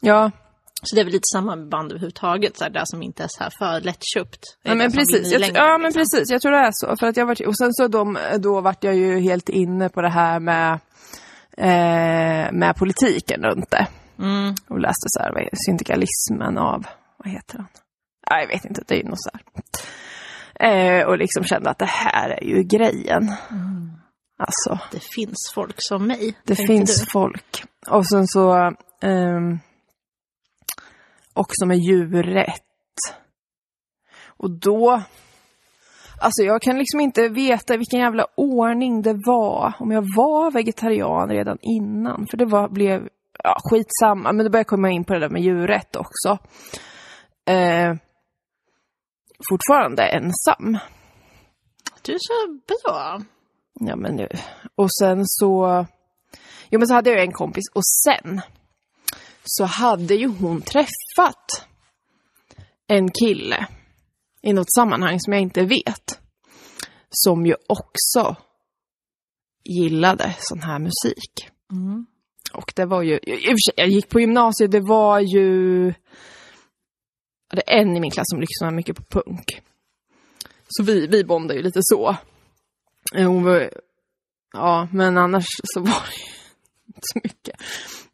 [SPEAKER 1] Ja,
[SPEAKER 2] Så det är väl lite samma med band överhuvudtaget, så här, det som inte är så här för lättköpt. Det är
[SPEAKER 1] Ja men,
[SPEAKER 2] det som
[SPEAKER 1] precis.
[SPEAKER 2] vinner
[SPEAKER 1] Jag,
[SPEAKER 2] längden,
[SPEAKER 1] ja men
[SPEAKER 2] Alltså, liksom.
[SPEAKER 1] precis, jag tror det är så. För att jag varit, och sen så de, då vart jag ju helt inne på det här med, eh, med politiken runt det.
[SPEAKER 2] Mm.
[SPEAKER 1] Och läste så här, vad är- syndikalismen av, vad heter han? Nej, jag vet inte, det är ju något så här. Eh, och liksom kände att det här är ju grejen. Alltså,
[SPEAKER 2] Det finns folk som mig.
[SPEAKER 1] det
[SPEAKER 2] tänkte
[SPEAKER 1] finns
[SPEAKER 2] du.
[SPEAKER 1] folk. Och sen så, ehm, också med djurrätt. Och då, alltså jag kan liksom inte veta i vilken jävla ordning det var. Om jag var vegetarian redan innan. För det var, blev, ja skitsamma. Men då började jag komma in på det där med djurrätt också. Eh, fortfarande ensam.
[SPEAKER 2] Du är så bra.
[SPEAKER 1] Ja, men nu. Och sen så... Jo, men så hade jag ju en kompis och sen så hade ju hon träffat en kille i något sammanhang som jag inte vet. Som ju också gillade sån här musik.
[SPEAKER 2] Mm.
[SPEAKER 1] Och det var ju, i och för sig, jag gick på gymnasiet, det var ju, Ja, det är en i min klass som lyssnar mycket på punk. Så vi, vi bondade ju lite så. Eh, Hon var, ja, men annars så var det ju inte så mycket.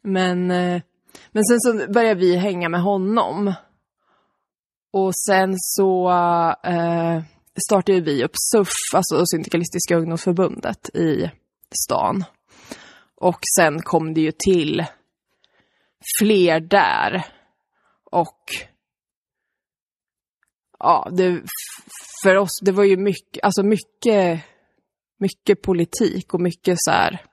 [SPEAKER 1] Men, eh, men sen så började vi hänga med honom. Och sen så eh, startade vi upp SUF, alltså Syndikalistiska ungdomsförbundet i stan. Och sen kom det ju till fler där. Och ja, det, för oss, det var ju mycket, alltså mycket, mycket politik och mycket så här,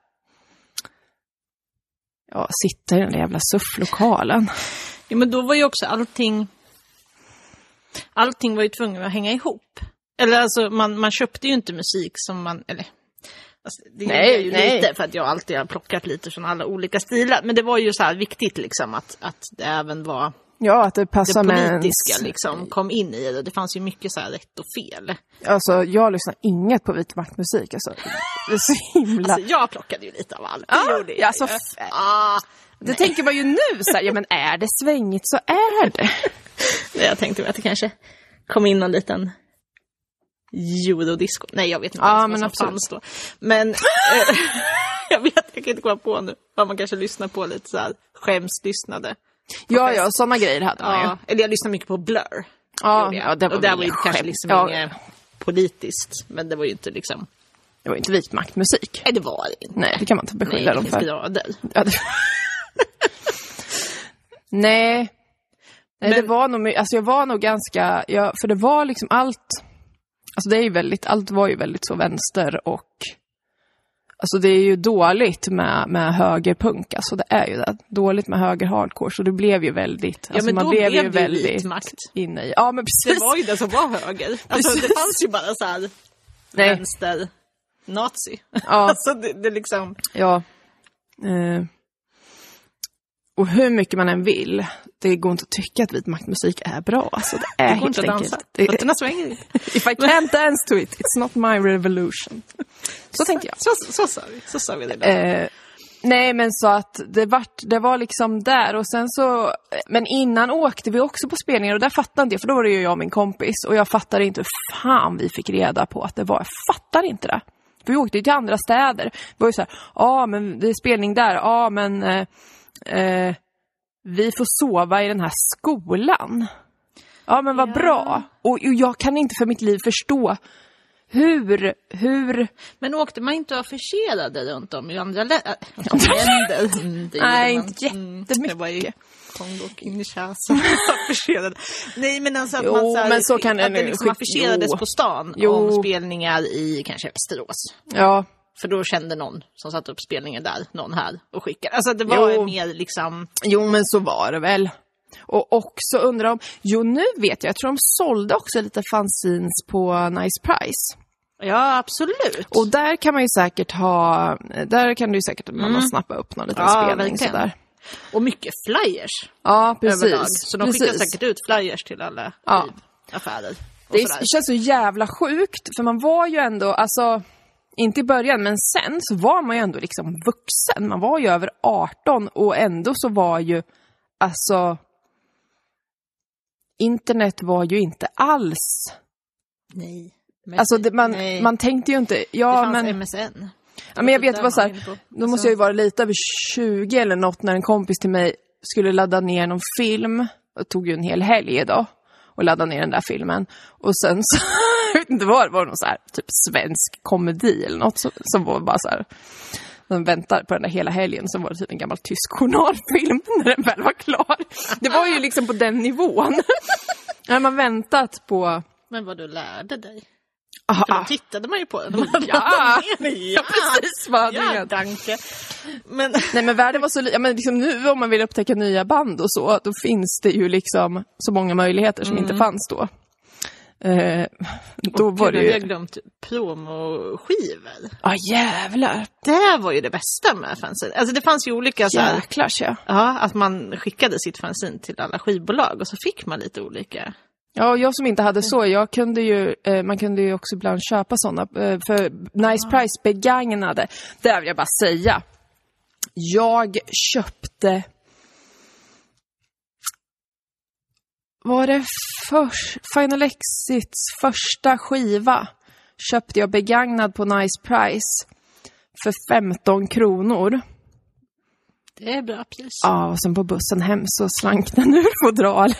[SPEAKER 1] ja, sitta i den där jävla sufflokalen.
[SPEAKER 2] Ja, men då var ju också allting allting var ju tvungen att hänga ihop. Eller alltså, man, man köpte ju inte musik som man... Eller, alltså, det gjorde
[SPEAKER 1] Nej,
[SPEAKER 2] jag ju
[SPEAKER 1] nej.
[SPEAKER 2] lite, för att jag alltid har plockat lite från alla olika stilar. Men det var ju så här viktigt liksom att, att det även var
[SPEAKER 1] Ja, att det
[SPEAKER 2] det
[SPEAKER 1] passar med ens...
[SPEAKER 2] politiska liksom kom in i det. Det fanns ju mycket så här rätt och fel.
[SPEAKER 1] Alltså, jag lyssnar inget på vit maktmusik. Alltså. Det är så himla...
[SPEAKER 2] Alltså, jag plockade ju lite av allt.
[SPEAKER 1] Ah,
[SPEAKER 2] det gjorde jag.
[SPEAKER 1] alltså,
[SPEAKER 2] ju.
[SPEAKER 1] f-
[SPEAKER 2] ah,
[SPEAKER 1] Alltså, det tänker man ju nu så här, ja men är det svängigt så är det.
[SPEAKER 2] nej, jag tänkte mig att det kanske kom in någon liten eurodisco. Nej, jag vet inte
[SPEAKER 1] Ja,
[SPEAKER 2] ens vad
[SPEAKER 1] men
[SPEAKER 2] som
[SPEAKER 1] absolut.
[SPEAKER 2] fanns då. Men eh, jag vet, jag kan inte komma på nu vad man kanske lyssnar på lite så här skämslyssnade.
[SPEAKER 1] Ja, ja, sådana grejer hade man ju.
[SPEAKER 2] Ja, eller jag lyssnar mycket på Blur.
[SPEAKER 1] Ja,
[SPEAKER 2] gjorde jag.
[SPEAKER 1] ja, det var
[SPEAKER 2] och där
[SPEAKER 1] väl
[SPEAKER 2] var ju kanske
[SPEAKER 1] skämt.
[SPEAKER 2] liksom
[SPEAKER 1] Ja.
[SPEAKER 2] inget politiskt, men det var ju inte liksom...
[SPEAKER 1] Det var ju inte vit maktmusik.
[SPEAKER 2] Nej, det var det inte.
[SPEAKER 1] Nej, det kan man inte
[SPEAKER 2] Nej,
[SPEAKER 1] beskylla
[SPEAKER 2] det
[SPEAKER 1] dem
[SPEAKER 2] finns
[SPEAKER 1] för.
[SPEAKER 2] grader.
[SPEAKER 1] Ja, det... Nej. Nej, det
[SPEAKER 2] Men-
[SPEAKER 1] var nog, my- alltså jag var nog ganska, jag, för det var liksom allt, alltså det är ju väldigt, allt var ju väldigt så vänster och, alltså det är ju dåligt med, med högerpunk, alltså det är ju det, dåligt med höger hardcore, så det blev ju väldigt, alltså
[SPEAKER 2] men
[SPEAKER 1] man
[SPEAKER 2] då
[SPEAKER 1] blev
[SPEAKER 2] blev
[SPEAKER 1] ju
[SPEAKER 2] det ju vit
[SPEAKER 1] väldigt
[SPEAKER 2] makt.
[SPEAKER 1] inne i, ja men
[SPEAKER 2] Det
[SPEAKER 1] precis.
[SPEAKER 2] var ju det som var höger. Alltså, det
[SPEAKER 1] Precis.
[SPEAKER 2] fanns ju bara så här
[SPEAKER 1] Nej,
[SPEAKER 2] vänster nazi.
[SPEAKER 1] ja,
[SPEAKER 2] Alltså det, det liksom...
[SPEAKER 1] ja. Eh. Och hur mycket man än vill, det går inte att tycka att vit maktmusik är bra. Alltså det är
[SPEAKER 2] Det går
[SPEAKER 1] helt
[SPEAKER 2] inte att dansa.
[SPEAKER 1] enkelt. Det,
[SPEAKER 2] Fötterna svänger inte.
[SPEAKER 1] If I can't dance to it, it's not my revolution. Så tänkte jag.
[SPEAKER 2] Så, så, sa vi. Så sa vi det. där.
[SPEAKER 1] Eh, nej, men så att det, vart, det var liksom där och sen så... Men innan åkte vi också på spelningar och där fattade inte jag, för då var det ju jag och min kompis och jag fattade inte hur fan vi fick reda på att det var. Jag fattar inte det. För vi åkte ju till andra städer. Det var ju så här, ja ah, men det är spelning där, ja ah, men... Eh, eh, vi får sova i den här skolan. Ja men vad
[SPEAKER 2] Ja.
[SPEAKER 1] bra. Och, och jag kan inte för mitt liv förstå hur, hur...
[SPEAKER 2] Men åkte man inte afficherade runt om i andra lä- äh, länder? Mm, det gjorde
[SPEAKER 1] Nej,
[SPEAKER 2] man.
[SPEAKER 1] inte
[SPEAKER 2] Mm,
[SPEAKER 1] jättemycket.
[SPEAKER 2] Det var ju Kongo och Kinshasa afficherade. Nej, men alltså att
[SPEAKER 1] Jo,
[SPEAKER 2] man så här,
[SPEAKER 1] men så kan det
[SPEAKER 2] att det
[SPEAKER 1] nu-
[SPEAKER 2] liksom
[SPEAKER 1] skit-
[SPEAKER 2] afficherades
[SPEAKER 1] jo.
[SPEAKER 2] på stan
[SPEAKER 1] Jo.
[SPEAKER 2] om spelningar i kanske Västerås.
[SPEAKER 1] Ja,
[SPEAKER 2] För då kände någon som satte upp spelningen där, någon här och skickade. Alltså det var
[SPEAKER 1] Jo.
[SPEAKER 2] mer liksom...
[SPEAKER 1] Jo, men så var det väl. Och också undrar om... Jo, nu vet jag. Jag tror de sålde också lite fanzines på Nice Price.
[SPEAKER 2] Ja, absolut.
[SPEAKER 1] Och där kan man ju säkert ha... Där kan du ju säkert man snappa upp någon liten
[SPEAKER 2] Mm. Ja,
[SPEAKER 1] spelning
[SPEAKER 2] verkligen.
[SPEAKER 1] sådär.
[SPEAKER 2] Och mycket flyers
[SPEAKER 1] Ja, precis.
[SPEAKER 2] överlag. Så de skickar
[SPEAKER 1] precis.
[SPEAKER 2] säkert ut flyers till alla
[SPEAKER 1] Ja.
[SPEAKER 2] affärer. Och
[SPEAKER 1] Det är,
[SPEAKER 2] sådär.
[SPEAKER 1] det känns så jävla sjukt, för man var ju ändå, alltså, inte i början, men sen så var man ju ändå liksom vuxen. Man var ju över 18 och ändå så var ju, alltså, internet var ju inte alls
[SPEAKER 2] Nej. Men-
[SPEAKER 1] Alltså det, man,
[SPEAKER 2] Nej.
[SPEAKER 1] man tänkte ju inte,
[SPEAKER 2] det
[SPEAKER 1] ja
[SPEAKER 2] fanns
[SPEAKER 1] men,
[SPEAKER 2] MSN.
[SPEAKER 1] ja, men jag
[SPEAKER 2] det
[SPEAKER 1] vet
[SPEAKER 2] där
[SPEAKER 1] vad så
[SPEAKER 2] man
[SPEAKER 1] här,
[SPEAKER 2] var inne på.
[SPEAKER 1] då måste jag ju vara lite över 20 eller något när en kompis till mig skulle ladda ner någon film, och tog ju en hel helg då och ladda ner den där filmen. Och sen så, jag vet inte vad det var, någon så här, typ svensk komedi eller något som, som var bara så här, de väntar på den där hela helgen, så var det typ en gammal tysk journalfilm när den väl var klar. Det var ju liksom på den nivån. När man väntat på...
[SPEAKER 2] Men vad du lärde dig.
[SPEAKER 1] Ah,
[SPEAKER 2] För då tittade man ju på den.
[SPEAKER 1] Ja.
[SPEAKER 2] ja,
[SPEAKER 1] precis vad hade
[SPEAKER 2] ja
[SPEAKER 1] hänt?
[SPEAKER 2] danke. Men
[SPEAKER 1] Nej men världen var så li- ja, men liksom nu om man vill upptäcka nya band och så, då finns det ju liksom så många möjligheter som
[SPEAKER 2] Mm.
[SPEAKER 1] inte fanns då. Eh, då var
[SPEAKER 2] gud,
[SPEAKER 1] det
[SPEAKER 2] hade jag
[SPEAKER 1] ju...
[SPEAKER 2] glömt promoskivor.
[SPEAKER 1] Ja ah, jävlar,
[SPEAKER 2] Det var ju det bästa med fanzine. Alltså det fanns ju olika så här,
[SPEAKER 1] jäklar ja.
[SPEAKER 2] ja, att man skickade sitt fanzine till alla skivbolag och så fick man lite olika.
[SPEAKER 1] Ja, och jag som inte hade så, jag kunde ju, eh, man kunde ju också ibland köpa sådana, eh, för Nice Price begagnade, där vill jag bara säga. Jag köpte... Var det förs- Final Exits första skiva? Köpte jag begagnad på Nice Price för 15 kronor.
[SPEAKER 2] Det är bra pris.
[SPEAKER 1] Ja, och sen på bussen hem så slank den ur fodralet.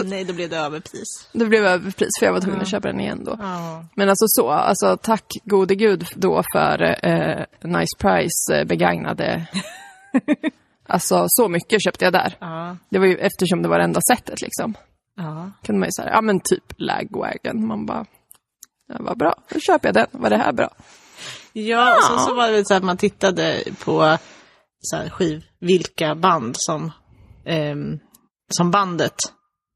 [SPEAKER 2] Och Nej, då blev det överpris.
[SPEAKER 1] Det blev överpris för jag var tvungen att köpa den igen då.
[SPEAKER 2] Ja.
[SPEAKER 1] Men alltså så, alltså tack gode gud då för eh, Nice Price eh, begagnade. alltså så mycket köpte jag där.
[SPEAKER 2] Ja.
[SPEAKER 1] Det var ju eftersom det var det enda sättet liksom.
[SPEAKER 2] ja.
[SPEAKER 1] Kunde man ju säga, ja men typ lagwagon. Man bara, ja, vad bra, då köper jag den. Var det här bra?
[SPEAKER 2] Ja, och sen så var det så att man tittade på så här, skiv, vilka band som, ehm, som bandet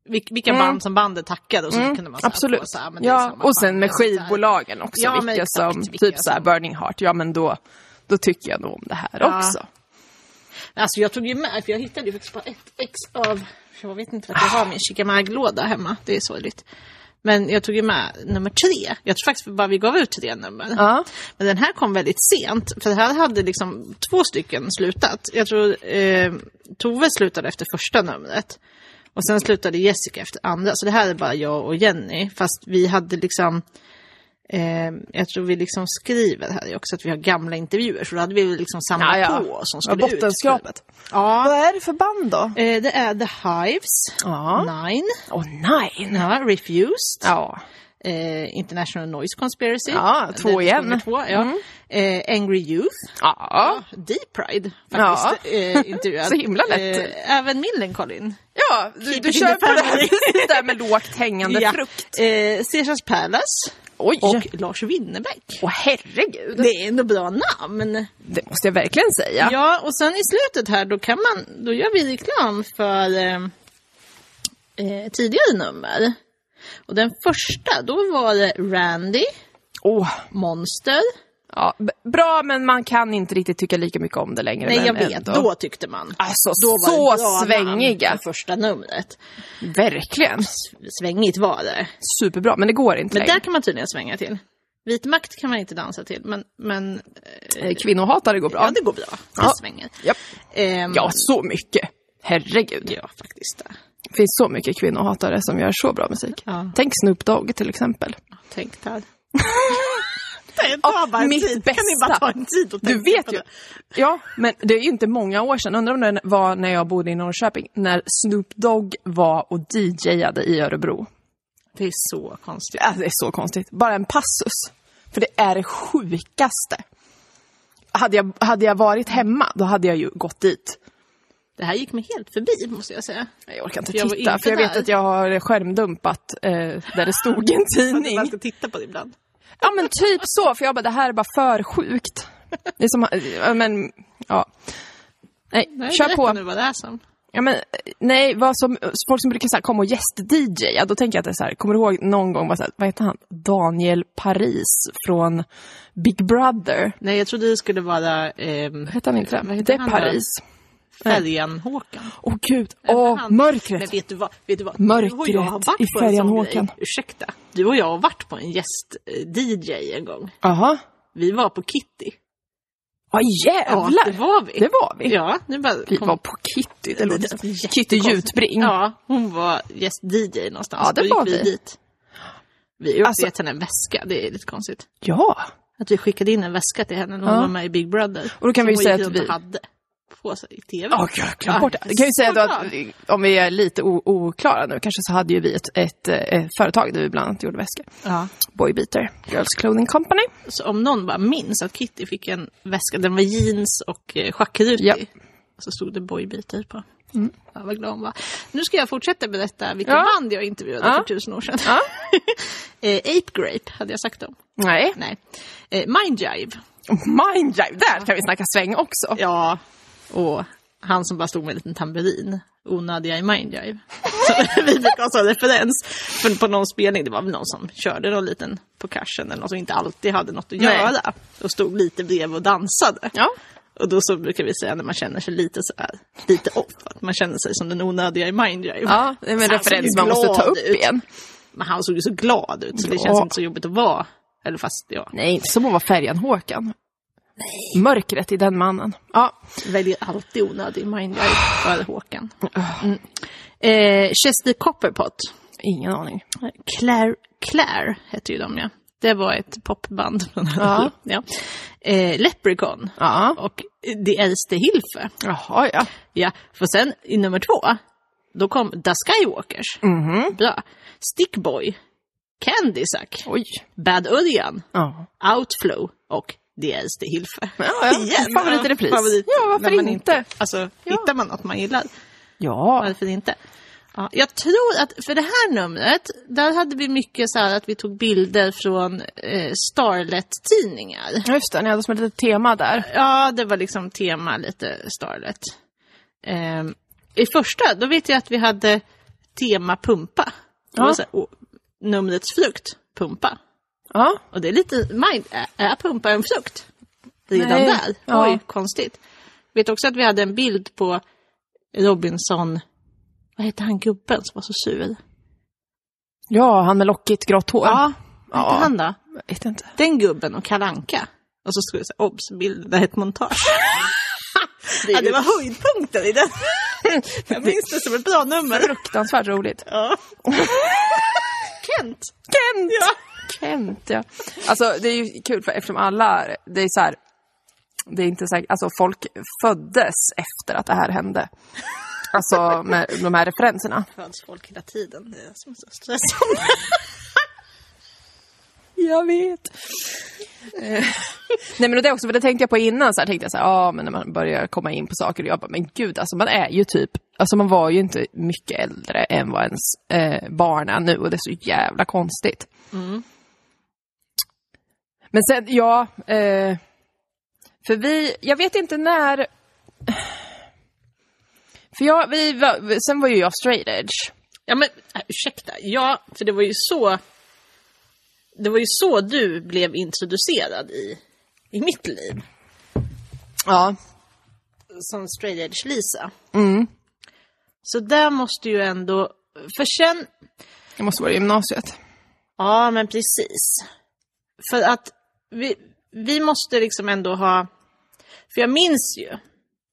[SPEAKER 2] vil- vilka band som bandet tackade och så kunde man så här
[SPEAKER 1] Absolut.
[SPEAKER 2] få så här, men det är
[SPEAKER 1] ja,
[SPEAKER 2] samma
[SPEAKER 1] och sen
[SPEAKER 2] band,
[SPEAKER 1] med
[SPEAKER 2] alltså, så här.
[SPEAKER 1] skivbolagen också.
[SPEAKER 2] Ja, men
[SPEAKER 1] vilka
[SPEAKER 2] exakt,
[SPEAKER 1] som,
[SPEAKER 2] vilka
[SPEAKER 1] typ så här
[SPEAKER 2] som-
[SPEAKER 1] Burning Heart, ja men då, då tycker jag nog om det här
[SPEAKER 2] Ja.
[SPEAKER 1] också.
[SPEAKER 2] Alltså jag tog ju med, för jag hittade ju faktiskt bara ett ex av... Jag vet inte att jag har min Chickamag-låda hemma, det är sorgligt. Men jag tog ju med nummer tre. Jag tror faktiskt bara vi gav ut tre nummer.
[SPEAKER 1] Ja.
[SPEAKER 2] Men den här kom väldigt sent, för här hade liksom två stycken slutat. Jag tror eh, Tove slutade efter första numret. Och sen slutade Jessica efter andra. Så det här är bara jag och Jenny. Fast vi hade liksom... Eh, jag tror vi liksom skriver här också att vi har gamla intervjuer. Så då hade vi väl liksom
[SPEAKER 1] Ja,
[SPEAKER 2] samlat
[SPEAKER 1] ja.
[SPEAKER 2] på som
[SPEAKER 1] Ja,
[SPEAKER 2] skulle ut.
[SPEAKER 1] bottenskrapet.
[SPEAKER 2] Ja,
[SPEAKER 1] Vad är det för band då?
[SPEAKER 2] eh, det är The Hives,
[SPEAKER 1] Ja.
[SPEAKER 2] Nine,
[SPEAKER 1] Åh nej!
[SPEAKER 2] ja, Refused,
[SPEAKER 1] Ja.
[SPEAKER 2] eh, International Noise Conspiracy.
[SPEAKER 1] Ja, två
[SPEAKER 2] Det är
[SPEAKER 1] igen. Mm.
[SPEAKER 2] nummer Två, ja. eh, Angry Youth,
[SPEAKER 1] Ja.
[SPEAKER 2] Deep Pride faktiskt eh, intervjuad.
[SPEAKER 1] Så himla lätt.
[SPEAKER 2] Eh, även Millencolin.
[SPEAKER 1] Ja, du,
[SPEAKER 2] Keep
[SPEAKER 1] du
[SPEAKER 2] it in
[SPEAKER 1] kör
[SPEAKER 2] the
[SPEAKER 1] på det här
[SPEAKER 2] family.
[SPEAKER 1] precis där med lågt hängande frukt.
[SPEAKER 2] Eh, Caesars Palace
[SPEAKER 1] Oj!
[SPEAKER 2] och
[SPEAKER 1] Och,
[SPEAKER 2] Lars Winnerbäck.
[SPEAKER 1] herregud! Det,
[SPEAKER 2] Det är ändå bra namn.
[SPEAKER 1] måste jag verkligen säga.
[SPEAKER 2] Ja. och sen i slutet här då kan man, då gör vi reklam för eh, eh, tidigare nummer. Och den första, då var det Randy,
[SPEAKER 1] Åh.
[SPEAKER 2] Monster.
[SPEAKER 1] Ja, b- bra, men man kan inte riktigt tycka lika mycket om det längre.
[SPEAKER 2] Nej,
[SPEAKER 1] men
[SPEAKER 2] jag vet,
[SPEAKER 1] ändå.
[SPEAKER 2] då tyckte man.
[SPEAKER 1] Alltså,
[SPEAKER 2] Då var
[SPEAKER 1] så
[SPEAKER 2] det bra
[SPEAKER 1] svängiga.
[SPEAKER 2] namn för första numret.
[SPEAKER 1] Verkligen.
[SPEAKER 2] Svängigt var det.
[SPEAKER 1] Superbra, men det går inte
[SPEAKER 2] Men
[SPEAKER 1] längre.
[SPEAKER 2] där kan man tydligen svänga till. Vit makt kan man inte dansa till, men, men
[SPEAKER 1] Eh, Kvinnohatare går bra.
[SPEAKER 2] ja, det går bra. Det
[SPEAKER 1] Ja.
[SPEAKER 2] svänger.
[SPEAKER 1] Japp.
[SPEAKER 2] Ehm,
[SPEAKER 1] Ja, så mycket. Herregud.
[SPEAKER 2] ja, faktiskt.
[SPEAKER 1] Det finns så mycket kvinnohatare som gör så bra musik.
[SPEAKER 2] Ja.
[SPEAKER 1] Tänk Snoop Dogg till exempel.
[SPEAKER 2] Tänk där. Ta bara en
[SPEAKER 1] mitt
[SPEAKER 2] tid. Kan ni bara
[SPEAKER 1] bästa.
[SPEAKER 2] ta en tid och tänka
[SPEAKER 1] Du vet
[SPEAKER 2] på
[SPEAKER 1] ju.
[SPEAKER 2] det?
[SPEAKER 1] Ja, men det är ju inte många år sedan. Undrar om det var när jag bodde i Norrköping. När Snoop Dogg var och DJade i Örebro.
[SPEAKER 2] Det är så konstigt.
[SPEAKER 1] Alltså, det är så konstigt. Bara en passus. För det är det sjukaste. Hade jag, hade jag varit hemma, då hade jag ju gått dit.
[SPEAKER 2] Det här gick mig helt förbi, måste jag säga.
[SPEAKER 1] Jag orkar inte
[SPEAKER 2] Jag var
[SPEAKER 1] titta,
[SPEAKER 2] inte
[SPEAKER 1] för jag vet
[SPEAKER 2] där.
[SPEAKER 1] att jag har skärmdumpat eh, där det stod en tidning.
[SPEAKER 2] Man ska titta på det ibland.
[SPEAKER 1] Ja men typ så, för jag bara det här är bara för sjukt. Det är som, ja, men, ja. Nej,
[SPEAKER 2] Nej,
[SPEAKER 1] kör
[SPEAKER 2] berätta
[SPEAKER 1] på.
[SPEAKER 2] nu vad det är som.
[SPEAKER 1] Ja, men, nej, vad som, folk som brukar så här, komma och gäst-DJ, ja, då tänker jag att det är så här, kommer du ihåg någon gång, vad, så här, vad heter han? Daniel Paris från Big Brother.
[SPEAKER 2] Nej, jag trodde det skulle vara ehm,
[SPEAKER 1] Hette han inte
[SPEAKER 2] Vad
[SPEAKER 1] det?
[SPEAKER 2] heter
[SPEAKER 1] Det är
[SPEAKER 2] han då?
[SPEAKER 1] Paris.
[SPEAKER 2] Färjan-Håkan.
[SPEAKER 1] Åh gud, åh,
[SPEAKER 2] Han- Men
[SPEAKER 1] mörkret.
[SPEAKER 2] vet du vad? Vet du vad?
[SPEAKER 1] Mörkret
[SPEAKER 2] du och jag har varit
[SPEAKER 1] i
[SPEAKER 2] på en sån
[SPEAKER 1] Färjan-Håkan.
[SPEAKER 2] grej. Ursäkta. Du och jag har varit på en gäst-DJ en gång.
[SPEAKER 1] Jaha.
[SPEAKER 2] Vi var på Kitty.
[SPEAKER 1] Ja jävlar!
[SPEAKER 2] det var vi.
[SPEAKER 1] Det var vi.
[SPEAKER 2] Ja, nu bara
[SPEAKER 1] Vi
[SPEAKER 2] kom-
[SPEAKER 1] var på Kitty, det låter som
[SPEAKER 2] jättekonstigt.
[SPEAKER 1] Kitty Jutbring.
[SPEAKER 2] Ja, hon var gäst-DJ någonstans.
[SPEAKER 1] Ja, det
[SPEAKER 2] Då gick
[SPEAKER 1] var
[SPEAKER 2] vi.
[SPEAKER 1] vi.
[SPEAKER 2] dit. Vi har
[SPEAKER 1] Alltså-
[SPEAKER 2] alltså... gett henne en väska, det är lite konstigt.
[SPEAKER 1] ja.
[SPEAKER 2] Att vi skickade in en väska till henne när hon
[SPEAKER 1] Ja.
[SPEAKER 2] var med i Big Brother.
[SPEAKER 1] Och då kan
[SPEAKER 2] som
[SPEAKER 1] vi
[SPEAKER 2] hon
[SPEAKER 1] säga
[SPEAKER 2] gick
[SPEAKER 1] att
[SPEAKER 2] runt och
[SPEAKER 1] vi-
[SPEAKER 2] hade på sig i TV.
[SPEAKER 1] Ja, jag har glömt bort det. Jag kan ju
[SPEAKER 2] så
[SPEAKER 1] säga då
[SPEAKER 2] bra.
[SPEAKER 1] att vi- om vi är lite o- oklara nu kanske så hade ju vi ett, ett, eh, företag där vi bland annat gjorde väskor.
[SPEAKER 2] Ja.
[SPEAKER 1] Boybeater Girls Clothing Company.
[SPEAKER 2] Så om någon bara minns att Kitty fick en väska, den var jeans och eh, schackrutig.
[SPEAKER 1] Ja. Mm.
[SPEAKER 2] Och så stod det boybitar på. Ja, vad glad hon var. Nu ska jag fortsätta berätta vilka
[SPEAKER 1] Ja.
[SPEAKER 2] band jag intervjuade
[SPEAKER 1] Ja.
[SPEAKER 2] för tusen år sedan. eh, Ape Grape hade jag sagt om.
[SPEAKER 1] Nej,
[SPEAKER 2] Nej. Eh, Mind Jive.
[SPEAKER 1] Mindjive, där kan vi snacka sväng också.
[SPEAKER 2] Ja. Och han som bara stod med en liten tamburin. Onödiga i Mind Jive. Så vi brukar ha sån referens. För på någon spelning, det var väl någon som körde någon liten på cashen eller någon som inte alltid hade något att
[SPEAKER 1] Nej.
[SPEAKER 2] göra. Och stod lite bredvid och dansade.
[SPEAKER 1] Ja.
[SPEAKER 2] Och då så brukar vi säga när man känner sig lite så här, lite off, att man känner sig som den onödiga i Mind Jive.
[SPEAKER 1] Ja, Alltså, det är en
[SPEAKER 2] Så han
[SPEAKER 1] referens
[SPEAKER 2] såg
[SPEAKER 1] man
[SPEAKER 2] ju
[SPEAKER 1] måste ta
[SPEAKER 2] glad
[SPEAKER 1] upp
[SPEAKER 2] ut.
[SPEAKER 1] igen.
[SPEAKER 2] Men han såg ju så glad ut, så det
[SPEAKER 1] Ja.
[SPEAKER 2] känns inte så jobbigt att vara. Eller fast, ja,
[SPEAKER 1] Nej, inte som att vara färjan Håkan. Mörkret i den mannen. Ja,
[SPEAKER 2] väljer alltid onödig Mind Jive före Håkan. Mm. Eh, Chester Copperpot,
[SPEAKER 1] ingen aning.
[SPEAKER 2] Claire, Claire hette ju de ja. Det var ett popband.
[SPEAKER 1] Ja.
[SPEAKER 2] ja. Eh, Leprechaun
[SPEAKER 1] Ja,
[SPEAKER 2] och The Äldste Hilfe.
[SPEAKER 1] jaha ja.
[SPEAKER 2] Ja, för sen i nummer två, då kom The Skywalkers. Bra. Stickboy, Candysack,
[SPEAKER 1] Oj.
[SPEAKER 2] Bad Örjan,
[SPEAKER 1] Ja.
[SPEAKER 2] Outflow och Det äldste Hilfe.
[SPEAKER 1] Ja, ja. Favorit i repris.
[SPEAKER 2] Favorit.
[SPEAKER 1] Ja, varför
[SPEAKER 2] När man
[SPEAKER 1] inte?
[SPEAKER 2] Alltså, hittar man något man gillar,
[SPEAKER 1] Ja,
[SPEAKER 2] varför inte? Ja, jag tror att för det här numret, där hade vi mycket så här att vi tog bilder från eh, Starlet-tidningar.
[SPEAKER 1] just det, ni hade som ett litet tema där.
[SPEAKER 2] Ja, det var liksom tema lite Starlet. Ehm, I första, då vet jag att vi hade tema pumpa.
[SPEAKER 1] Ja.
[SPEAKER 2] Det var så här, och numrets frukt, pumpa.
[SPEAKER 1] Ja,
[SPEAKER 2] Och det är lite mind, är, är pumpa en frukt? Redan
[SPEAKER 1] Nej.
[SPEAKER 2] där?
[SPEAKER 1] Ja.
[SPEAKER 2] Oj, konstigt. Vet också att vi hade en bild på Robinson, vad hette han gubben som var så sur?
[SPEAKER 1] ja han med lockigt grått hår.
[SPEAKER 2] Ja, vad hette
[SPEAKER 1] Ja.
[SPEAKER 2] han då?
[SPEAKER 1] Jag vet inte.
[SPEAKER 2] Den gubben och Kalanka. Och så skulle det säga obs, bilden är ett montage.
[SPEAKER 1] Det
[SPEAKER 2] Ja,
[SPEAKER 1] är
[SPEAKER 2] det
[SPEAKER 1] ju
[SPEAKER 2] var höjdpunkten i den. Jag minns det som ett bra nummer.
[SPEAKER 1] fruktansvärt roligt.
[SPEAKER 2] Ja. Kent!
[SPEAKER 1] Kent!
[SPEAKER 2] Ja.
[SPEAKER 1] Kent, ja. Alltså det är ju kul för eftersom alla, det är så här, det är inte säkert, alltså folk föddes efter att det här hände. Alltså med de här referenserna.
[SPEAKER 2] Föds folk hela tiden. Det är som så stressande.
[SPEAKER 1] Jag vet. Eh, Nej men och det också, för det tänkte jag på innan, så här, tänkte jag så här, ja men när man börjar komma in på saker, och jag bara, men gud alltså man är ju typ, alltså man var ju inte mycket äldre än vad ens eh, barn är nu och det är så jävla konstigt. Mm. Men sen, ja, eh, för vi, jag vet inte när, för jag, vi, var- sen var ju jag straight edge.
[SPEAKER 2] Ja men äh, ursäkta, ja för det var ju så Det var ju så du blev introducerad i, i mitt liv
[SPEAKER 1] Ja.
[SPEAKER 2] som straight edge Lisa. Så där måste ju ändå, för sen,
[SPEAKER 1] Jag måste vara i gymnasiet.
[SPEAKER 2] ja men precis. För att vi, vi måste liksom ändå ha, för jag minns ju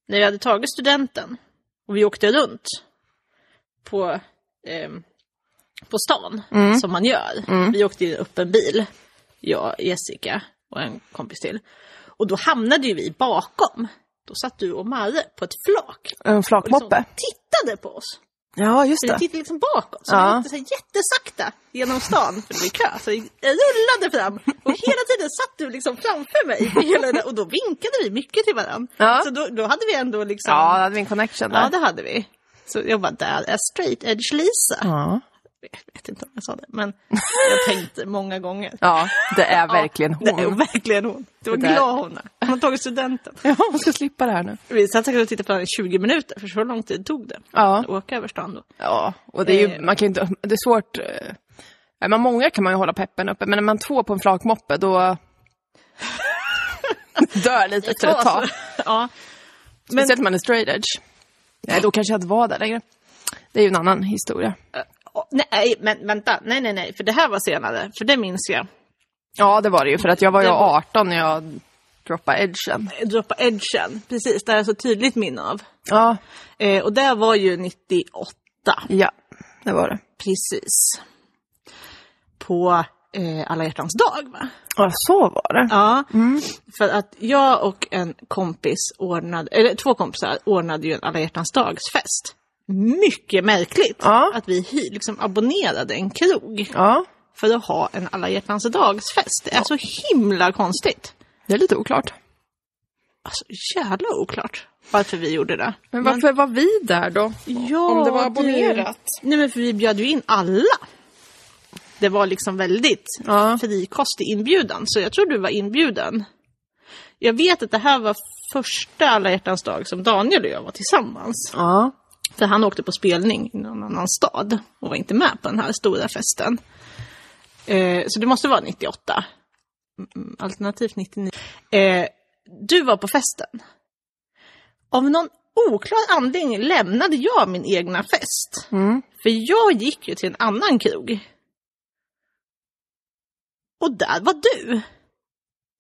[SPEAKER 2] när jag hade tagit studenten och vi åkte runt på, ehm, på stan, som man gör. Vi åkte ju upp en bil, jag, Jessica och en kompis till. Och då hamnade ju vi bakom. Då satt du och Marre på ett flak
[SPEAKER 1] En
[SPEAKER 2] och liksom
[SPEAKER 1] flakmoppe.
[SPEAKER 2] tittade på oss.
[SPEAKER 1] Ja, just
[SPEAKER 2] Så vi tittade liksom bakåt, så
[SPEAKER 1] Ja.
[SPEAKER 2] vi åkte så här jättesakta genom stan, för det blev kö. Så vi rullade fram och hela tiden satt du liksom framför mig. i Hela den där, och då vinkade vi mycket till varandra.
[SPEAKER 1] Ja.
[SPEAKER 2] Så då, då hade vi ändå liksom...
[SPEAKER 1] Ja, då hade vi en connection där.
[SPEAKER 2] ja, det hade vi. Så jag bara, där är straight edge Lisa.
[SPEAKER 1] Ja.
[SPEAKER 2] Jag vet inte om jag sa det, men jag tänkte många gånger.
[SPEAKER 1] ja, det är verkligen
[SPEAKER 2] Ja, Det är
[SPEAKER 1] hon.
[SPEAKER 2] verkligen hon. Det var
[SPEAKER 1] Det där-
[SPEAKER 2] glad hon är. Hon har tagit studenten.
[SPEAKER 1] Ja, hon ska slippa det här nu.
[SPEAKER 2] Vi satt säkert och tittade på henne i 20 minuter, för så lång tid tog det.
[SPEAKER 1] Ja.
[SPEAKER 2] Att åka över stan då.
[SPEAKER 1] Ja, och det är ju,
[SPEAKER 2] Eh.
[SPEAKER 1] man kan ju inte, det är svårt. eh, Är man många kan man ju hålla peppen uppe, men är man två på en flakmoppe då dör lite efter ett tag.
[SPEAKER 2] Alltså, Ja.
[SPEAKER 1] Speciellt om man är straight edge. Nej, då kanske jag inte var där längre. Det är ju en annan historia.
[SPEAKER 2] Åh, nej, men vänta. Nej, nej, nej. För det här var senare. För det minns jag.
[SPEAKER 1] Ja, det var det ju, för att jag var ju
[SPEAKER 2] Det var-
[SPEAKER 1] 18 när jag droppade edgen.
[SPEAKER 2] Droppa edgen. Precis, det har jag så tydligt minne av.
[SPEAKER 1] Ja,
[SPEAKER 2] Eh, och det var ju 98.
[SPEAKER 1] ja, det var det.
[SPEAKER 2] Precis. På eh, alla hjärtans dag, va?
[SPEAKER 1] Ja, så var det.
[SPEAKER 2] Ja.
[SPEAKER 1] Mm.
[SPEAKER 2] För att jag och en kompis ordnade, eller två kompisar ordnade ju en alla hjärtans dagsfest. Mycket märkligt
[SPEAKER 1] Ja.
[SPEAKER 2] att vi hy- liksom abonnerade en krog
[SPEAKER 1] Ja,
[SPEAKER 2] för att ha en alla hjärtans dagsfest. Det är så himla konstigt.
[SPEAKER 1] det är lite oklart.
[SPEAKER 2] Alltså jävla oklart varför vi gjorde det.
[SPEAKER 1] Men varför var vi där då?
[SPEAKER 2] ja,
[SPEAKER 1] om det var
[SPEAKER 2] du-
[SPEAKER 1] abonnerat?
[SPEAKER 2] Nej men för vi bjöd ju in alla. Det var liksom väldigt
[SPEAKER 1] Ja.
[SPEAKER 2] frikostig inbjudan, så jag tror du var inbjuden. Jag vet att det här var första alla hjärtans dag som Daniel och jag var tillsammans.
[SPEAKER 1] Ja.
[SPEAKER 2] För han åkte på spelning i någon annan stad och var inte med på den här stora festen. Eh, så det måste vara 98. Mm, Alternativt 99. Eh, du var på festen. Av någon oklar anledning lämnade jag min egna fest. För jag gick ju till en annan krog. Och där var du.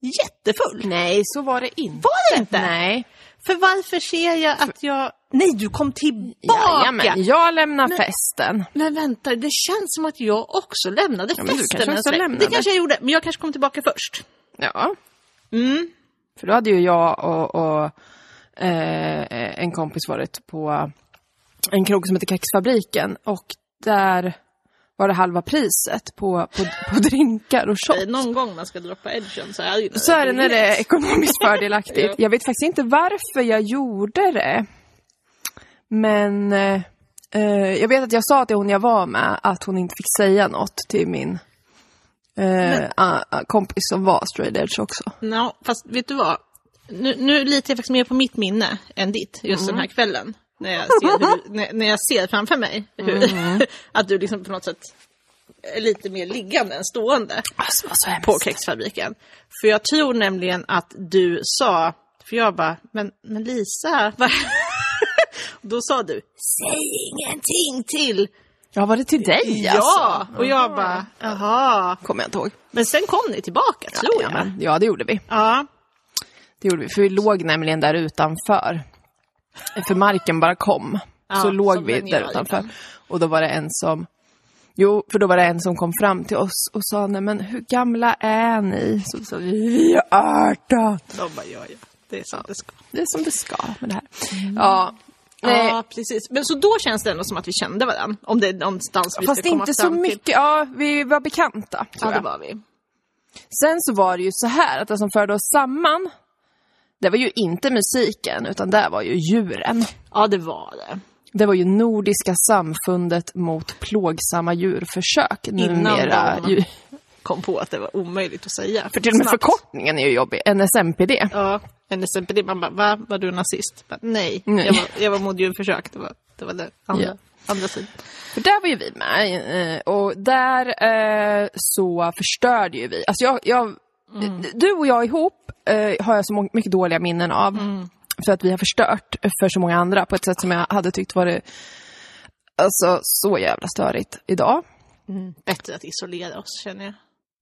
[SPEAKER 2] Jättefull.
[SPEAKER 1] Nej, så var det inte.
[SPEAKER 2] Var det inte?
[SPEAKER 1] Nej.
[SPEAKER 2] För varför ser jag att jag... Nej, du kom tillbaka!
[SPEAKER 1] Jajamän, jag lämnar festen.
[SPEAKER 2] Men vänta, det känns som att jag också lämnade
[SPEAKER 1] Ja, men du
[SPEAKER 2] festen.
[SPEAKER 1] kanske
[SPEAKER 2] en
[SPEAKER 1] också
[SPEAKER 2] sväng.
[SPEAKER 1] lämnade.
[SPEAKER 2] Det kanske jag gjorde, men jag kanske kom tillbaka först.
[SPEAKER 1] Ja.
[SPEAKER 2] Mm.
[SPEAKER 1] För då hade ju jag och, och eh, en kompis varit på en krog som heter Kexfabriken och där var det halva priset på, på, på drinkar och
[SPEAKER 2] Eh,
[SPEAKER 1] shots.
[SPEAKER 2] Någon gång man ska droppa edgen så är det ju
[SPEAKER 1] Så är det när det är ekonomiskt fördelaktigt.
[SPEAKER 2] Ja.
[SPEAKER 1] Jag vet faktiskt inte varför jag gjorde det. Men eh, eh, jag vet att jag sa till hon jag var med att hon inte fick säga något till min eh, a- a- kompis som var straight edge också. Mm.
[SPEAKER 2] Nå, fast vet du vad? Nu, nu litar jag faktiskt mer på mitt minne än ditt, just den här kvällen. När jag ser, hur, när, när jag ser framför mig hur,
[SPEAKER 1] Mm.
[SPEAKER 2] att du liksom på något sätt är lite mer liggande än stående
[SPEAKER 1] Alltså, vad så hemskt.
[SPEAKER 2] på kexfabriken. För jag tror nämligen att du sa, för jag bara, men, men Lisa, vad... Då sa du, säg ingenting till!
[SPEAKER 1] Ja, var det till dig alltså?
[SPEAKER 2] Ja! Och jag bara, jaha.
[SPEAKER 1] Kommer jag inte ihåg.
[SPEAKER 2] Men sen kom ni tillbaka, tror jag.
[SPEAKER 1] Jajamän. Ja, det gjorde vi.
[SPEAKER 2] Ja.
[SPEAKER 1] Det gjorde vi, för vi låg nämligen där utanför. För marken bara kom.
[SPEAKER 2] Ja,
[SPEAKER 1] så låg
[SPEAKER 2] som
[SPEAKER 1] vi
[SPEAKER 2] den gör
[SPEAKER 1] där utanför.
[SPEAKER 2] ibland.
[SPEAKER 1] Och då var det en som... Jo, för då var det en som kom fram till oss och sa, nej men hur gamla är ni? Så sa vi, vi är 18.
[SPEAKER 2] De bara, ja, ja. Det är sant, det ska.
[SPEAKER 1] Det är som det ska med det här. Ja, nej,
[SPEAKER 2] Mm. Ja, precis. Men så då känns det ändå som att vi kände varandra. Om det är någonstans vi
[SPEAKER 1] fast
[SPEAKER 2] ska komma
[SPEAKER 1] inte så
[SPEAKER 2] fram
[SPEAKER 1] mycket.
[SPEAKER 2] Till.
[SPEAKER 1] Ja, vi var bekanta.
[SPEAKER 2] Ja,
[SPEAKER 1] Tror
[SPEAKER 2] det
[SPEAKER 1] jag.
[SPEAKER 2] var vi.
[SPEAKER 1] Sen så var det ju så här att det som förde oss samman, det var ju inte musiken, utan det var ju djuren.
[SPEAKER 2] Ja, det var det.
[SPEAKER 1] Det var ju Nordiska samfundet mot plågsamma djurförsök.
[SPEAKER 2] Innan
[SPEAKER 1] Numera,
[SPEAKER 2] de-
[SPEAKER 1] ju,
[SPEAKER 2] Kom på att det var omöjligt att säga.
[SPEAKER 1] för till och med
[SPEAKER 2] Snabbt.
[SPEAKER 1] förkortningen är ju jobbig, NSMPD.
[SPEAKER 2] Ja, NSMPD. Man bara, va? Var du nazist? Bara, Nej,
[SPEAKER 1] Nej.
[SPEAKER 2] jag var, jag var mot djurförsök. Det var det, var det andra,
[SPEAKER 1] Ja.
[SPEAKER 2] andra sidan.
[SPEAKER 1] För där var ju vi med eh, och där eh, så förstörde ju vi. Alltså jag, jag, Du och jag ihop eh, har jag så må- mycket dåliga minnen av. För att vi har förstört för så många andra på ett sätt som jag hade tyckt var det, alltså, så jävla störigt idag.
[SPEAKER 2] Mm. Bättre att isolera oss, känner jag.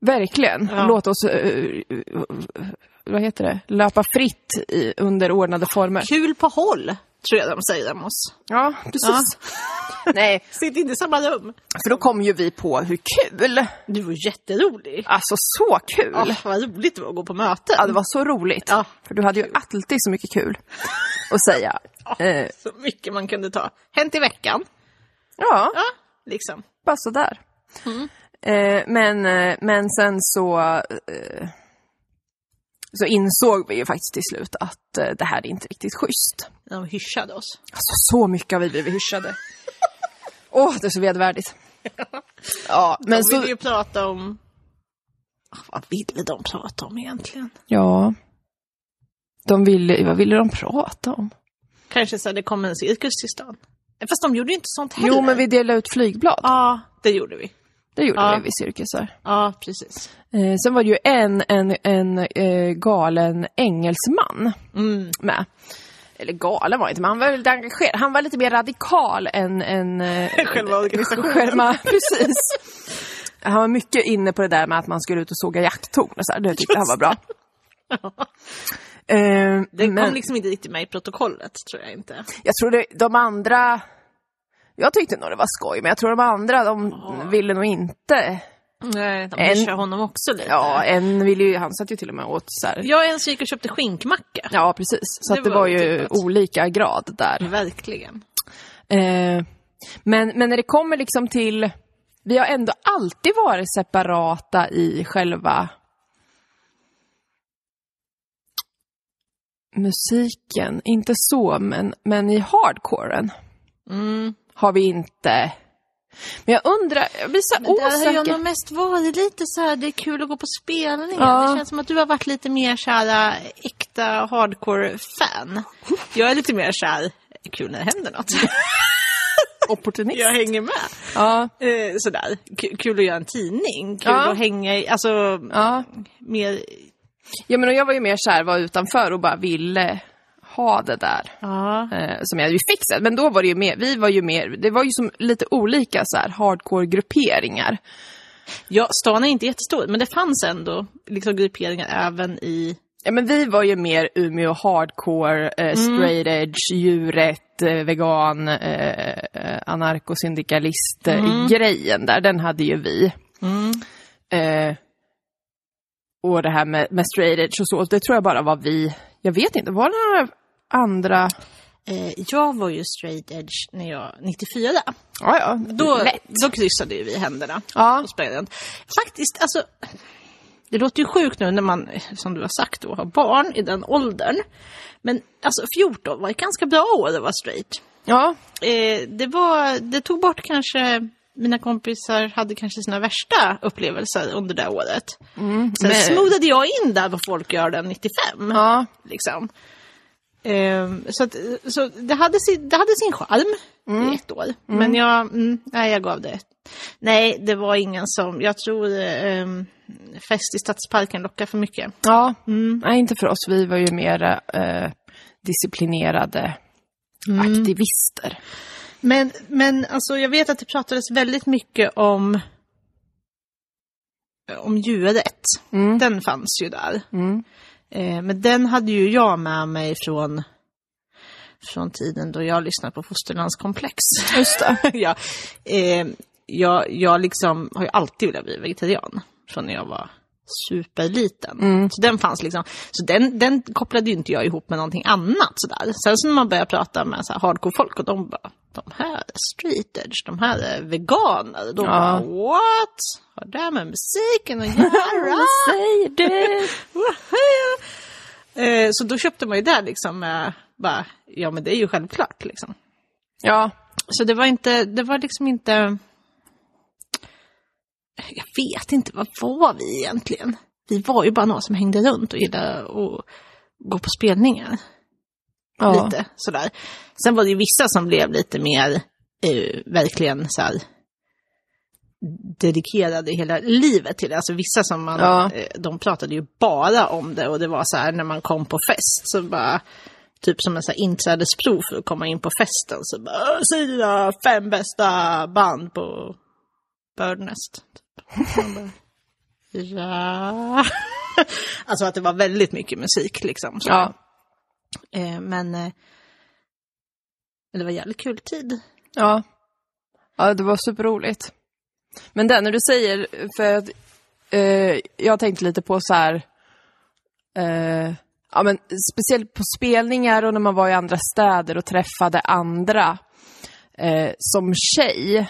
[SPEAKER 1] Verkligen.
[SPEAKER 2] Ja.
[SPEAKER 1] Låt oss, eh, eh, eh, vad heter det, löpa fritt i, under ordnade former.
[SPEAKER 2] Kul på håll, tror jag de säger om oss.
[SPEAKER 1] Ja, precis. Nej,
[SPEAKER 2] Sitt inte i samma rum.
[SPEAKER 1] för då kom ju vi på hur kul,
[SPEAKER 2] Du var jätterolig.
[SPEAKER 1] alltså så kul.
[SPEAKER 2] Ja, vad roligt det var att gå på möten.
[SPEAKER 1] Ja, det var så roligt.
[SPEAKER 2] Ja.
[SPEAKER 1] För du hade ju alltid så mycket kul att säga. Eh,
[SPEAKER 2] Så mycket man kunde ta. Hänt i veckan.
[SPEAKER 1] ja,
[SPEAKER 2] Ja, liksom.
[SPEAKER 1] bara sådär. Eh, men, eh, men sen så, eh, så insåg vi ju faktiskt till slut att eh, det här är inte riktigt schysst.
[SPEAKER 2] De hyschade oss.
[SPEAKER 1] Alltså så mycket har vi blivit hyschade. Åh, det är så vedervärdigt. Ja, men
[SPEAKER 2] de ville
[SPEAKER 1] så...
[SPEAKER 2] ju prata om... Ah, Vad ville de prata om egentligen?
[SPEAKER 1] Ja. De ville, vad ville de prata om?
[SPEAKER 2] Kanske så här, det kom en cirkus till stan. Fast de gjorde ju inte sånt heller.
[SPEAKER 1] Jo, men vi delade ut flygblad.
[SPEAKER 2] Ja, det gjorde vi.
[SPEAKER 1] Det gjorde
[SPEAKER 2] Ja.
[SPEAKER 1] vi vid cirkusar.
[SPEAKER 2] Ja, precis.
[SPEAKER 1] Eh, sen var det ju en, en, en eh, galen engelsman
[SPEAKER 2] Mm,
[SPEAKER 1] med. Eller galen var han inte, men han var väldigt engagerad. Han var lite mer radikal än... än eh,
[SPEAKER 2] Själva organisationen.
[SPEAKER 1] Själva, precis. Han var mycket inne på det där med att man skulle ut och såga jakttorn och så här. Det tyckte han var bra. Eh,
[SPEAKER 2] Det
[SPEAKER 1] men
[SPEAKER 2] kom liksom inte riktigt med i protokollet, tror jag inte.
[SPEAKER 1] jag tror det, de andra... Jag tyckte nog det var skoj, men jag tror de andra, de ville nog inte...
[SPEAKER 2] Nej, de
[SPEAKER 1] En-
[SPEAKER 2] hyschade honom också lite.
[SPEAKER 1] Ja, en ville ju... Han satt ju till och med åt så här...
[SPEAKER 2] Jag och en som gick och köpte skinkmacka.
[SPEAKER 1] Ja, precis. Så det,
[SPEAKER 2] Det
[SPEAKER 1] att det
[SPEAKER 2] var
[SPEAKER 1] var, ju
[SPEAKER 2] otippat.
[SPEAKER 1] olika grad där.
[SPEAKER 2] Verkligen.
[SPEAKER 1] Eh, men, men när det kommer liksom till... Vi har ändå alltid varit separata i själva musiken. Inte så, men, men i hardcoren
[SPEAKER 2] Mm.
[SPEAKER 1] har vi inte... Men jag undrar, jag blir så här
[SPEAKER 2] Där har jag
[SPEAKER 1] osäker.
[SPEAKER 2] nog mest varit lite så här, det är kul att gå på spelningar.
[SPEAKER 1] Ja.
[SPEAKER 2] Det känns som att du har varit lite mer så här äh, äkta hardcore-fan. Jag är lite mer så här, kul när det händer något.
[SPEAKER 1] Opportunist.
[SPEAKER 2] jag hänger med.
[SPEAKER 1] Ja,
[SPEAKER 2] Eh, sådär. K- kul att göra en tidning. Kul
[SPEAKER 1] Ja.
[SPEAKER 2] att hänga i, alltså
[SPEAKER 1] ja.
[SPEAKER 2] mer...
[SPEAKER 1] ja, men och jag var ju mer så här, var utanför och bara ville ha det där.
[SPEAKER 2] Ja.
[SPEAKER 1] eh, som jag ju fick sen. Men då var det ju mer, vi var ju mer, det var ju som lite olika så här hardcore-grupperingar.
[SPEAKER 2] ja, stan är inte jättestor, men det fanns ändå liksom grupperingar även i...
[SPEAKER 1] Ja men vi var ju mer Umeå hardcore, eh, straight edge, djurrätt, eh, vegan, eh, eh, anarkosyndikalist eh, grejen där, den hade ju vi. Eh, och det här med, med straight edge och så, det tror jag bara var vi, jag vet inte, var det några andra?
[SPEAKER 2] Eh, jag var ju straight edge när jag, 94.
[SPEAKER 1] Ja, ja,
[SPEAKER 2] Då,
[SPEAKER 1] lätt.
[SPEAKER 2] då kryssade ju vi händerna.
[SPEAKER 1] Ja.
[SPEAKER 2] på spelaren. Faktiskt, alltså. Det låter ju sjukt nu när man, som du har sagt, då, har barn i den åldern. Men alltså 14 var ett ganska bra år att vara straight.
[SPEAKER 1] ja,
[SPEAKER 2] Eh, det, var, det tog bort kanske, mina kompisar hade kanske sina värsta upplevelser under det året. Sen
[SPEAKER 1] Mm, men-
[SPEAKER 2] smoothade jag in där på Folkölen 95.
[SPEAKER 1] ja.
[SPEAKER 2] Liksom. Ehm, så att, så det, hade sin, det hade sin charm
[SPEAKER 1] Mm.
[SPEAKER 2] i ett år. Men jag, mm, nej, jag gav det ett. Nej, det var ingen som... Jag tror ehm, fest i Stadsparken lockar för mycket.
[SPEAKER 1] Ja, nej inte för oss. Vi var ju mer eh, disciplinerade aktivister.
[SPEAKER 2] Men, men alltså, jag vet att det pratades väldigt mycket om, eh, om djurrätt. Den fanns ju där. Eh, men den hade ju jag med mig från, från tiden då jag lyssnade på Fosterlandskomplex. Just det. ja, eh, jag, jag liksom har ju alltid velat bli vegetarian från när jag var superliten. Så den fanns liksom. Så den, den kopplade ju inte jag ihop med någonting annat sådär. Sen så när man började prata med så här hardcore-folk och de bara, de här är street edge, de här är veganer. De bara, what? Har det här med musiken att göra?
[SPEAKER 1] säger du?
[SPEAKER 2] Woho! Eh, Så då köpte man ju det liksom. eh, Bara, ja men det är ju självklart liksom.
[SPEAKER 1] ja,
[SPEAKER 2] Så det var inte, det var liksom inte... Jag vet inte, vad var vi egentligen? Vi var ju bara några som hängde runt och gillade att gå på spelningar.
[SPEAKER 1] ja.
[SPEAKER 2] Lite sådär. Sen var det ju vissa som blev lite mer, eh, verkligen så här dedikerade hela livet till det. Alltså vissa som man,
[SPEAKER 1] Ja.
[SPEAKER 2] eh, de pratade ju bara om det och det var så här när man kom på fest så bara, typ som en så här inträdesprov för att komma in på festen så bara, "Äh, säg dina fem bästa band på Birdnest. Typ. Man bara, Ja. Alltså att det var väldigt mycket musik liksom. Så.
[SPEAKER 1] Ja.
[SPEAKER 2] Eh, men eh, men det var jävligt kul tid.
[SPEAKER 1] Ja. Ja, det var superroligt. Men det när du säger, för att eh, jag tänkte lite på så här, eh, ja men speciellt på spelningar och när man var i andra städer och träffade andra eh, som tjej.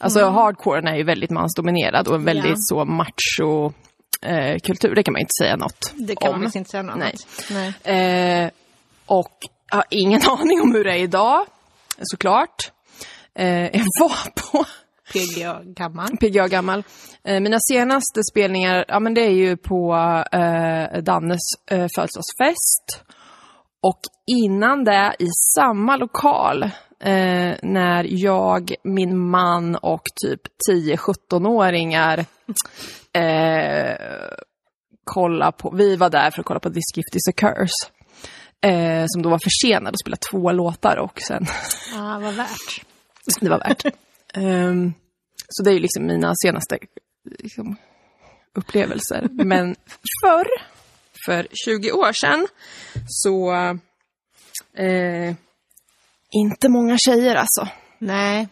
[SPEAKER 1] Alltså hardcoren är ju väldigt mansdominerad och en väldigt
[SPEAKER 2] Mm. Ja.
[SPEAKER 1] så macho eh, kultur, det kan man ju inte säga något
[SPEAKER 2] Det kan
[SPEAKER 1] om.
[SPEAKER 2] man visst inte säga något
[SPEAKER 1] Nej.
[SPEAKER 2] annat. Nej.
[SPEAKER 1] Eh, och jag har ingen aning om hur det är idag, såklart. Eh, jag var på
[SPEAKER 2] PGA gammal.
[SPEAKER 1] PGA Gammal. Eh, mina senaste spelningar, ja men det är ju på eh, Dannes eh, födelsedagsfest. Och innan det, i samma lokal, eh, när jag, min man och typ 10-17-åringar eh, kolla på, vi var där för att kolla på This Gift Is A Curse. Eh, som då var försenad och spelade två låtar och sen
[SPEAKER 2] Ja, vad värt.
[SPEAKER 1] det var värt. Ehm, så det är ju liksom mina senaste liksom, upplevelser. Men förr, för 20 år sedan, så... Eh, inte många tjejer alltså.
[SPEAKER 2] Nej.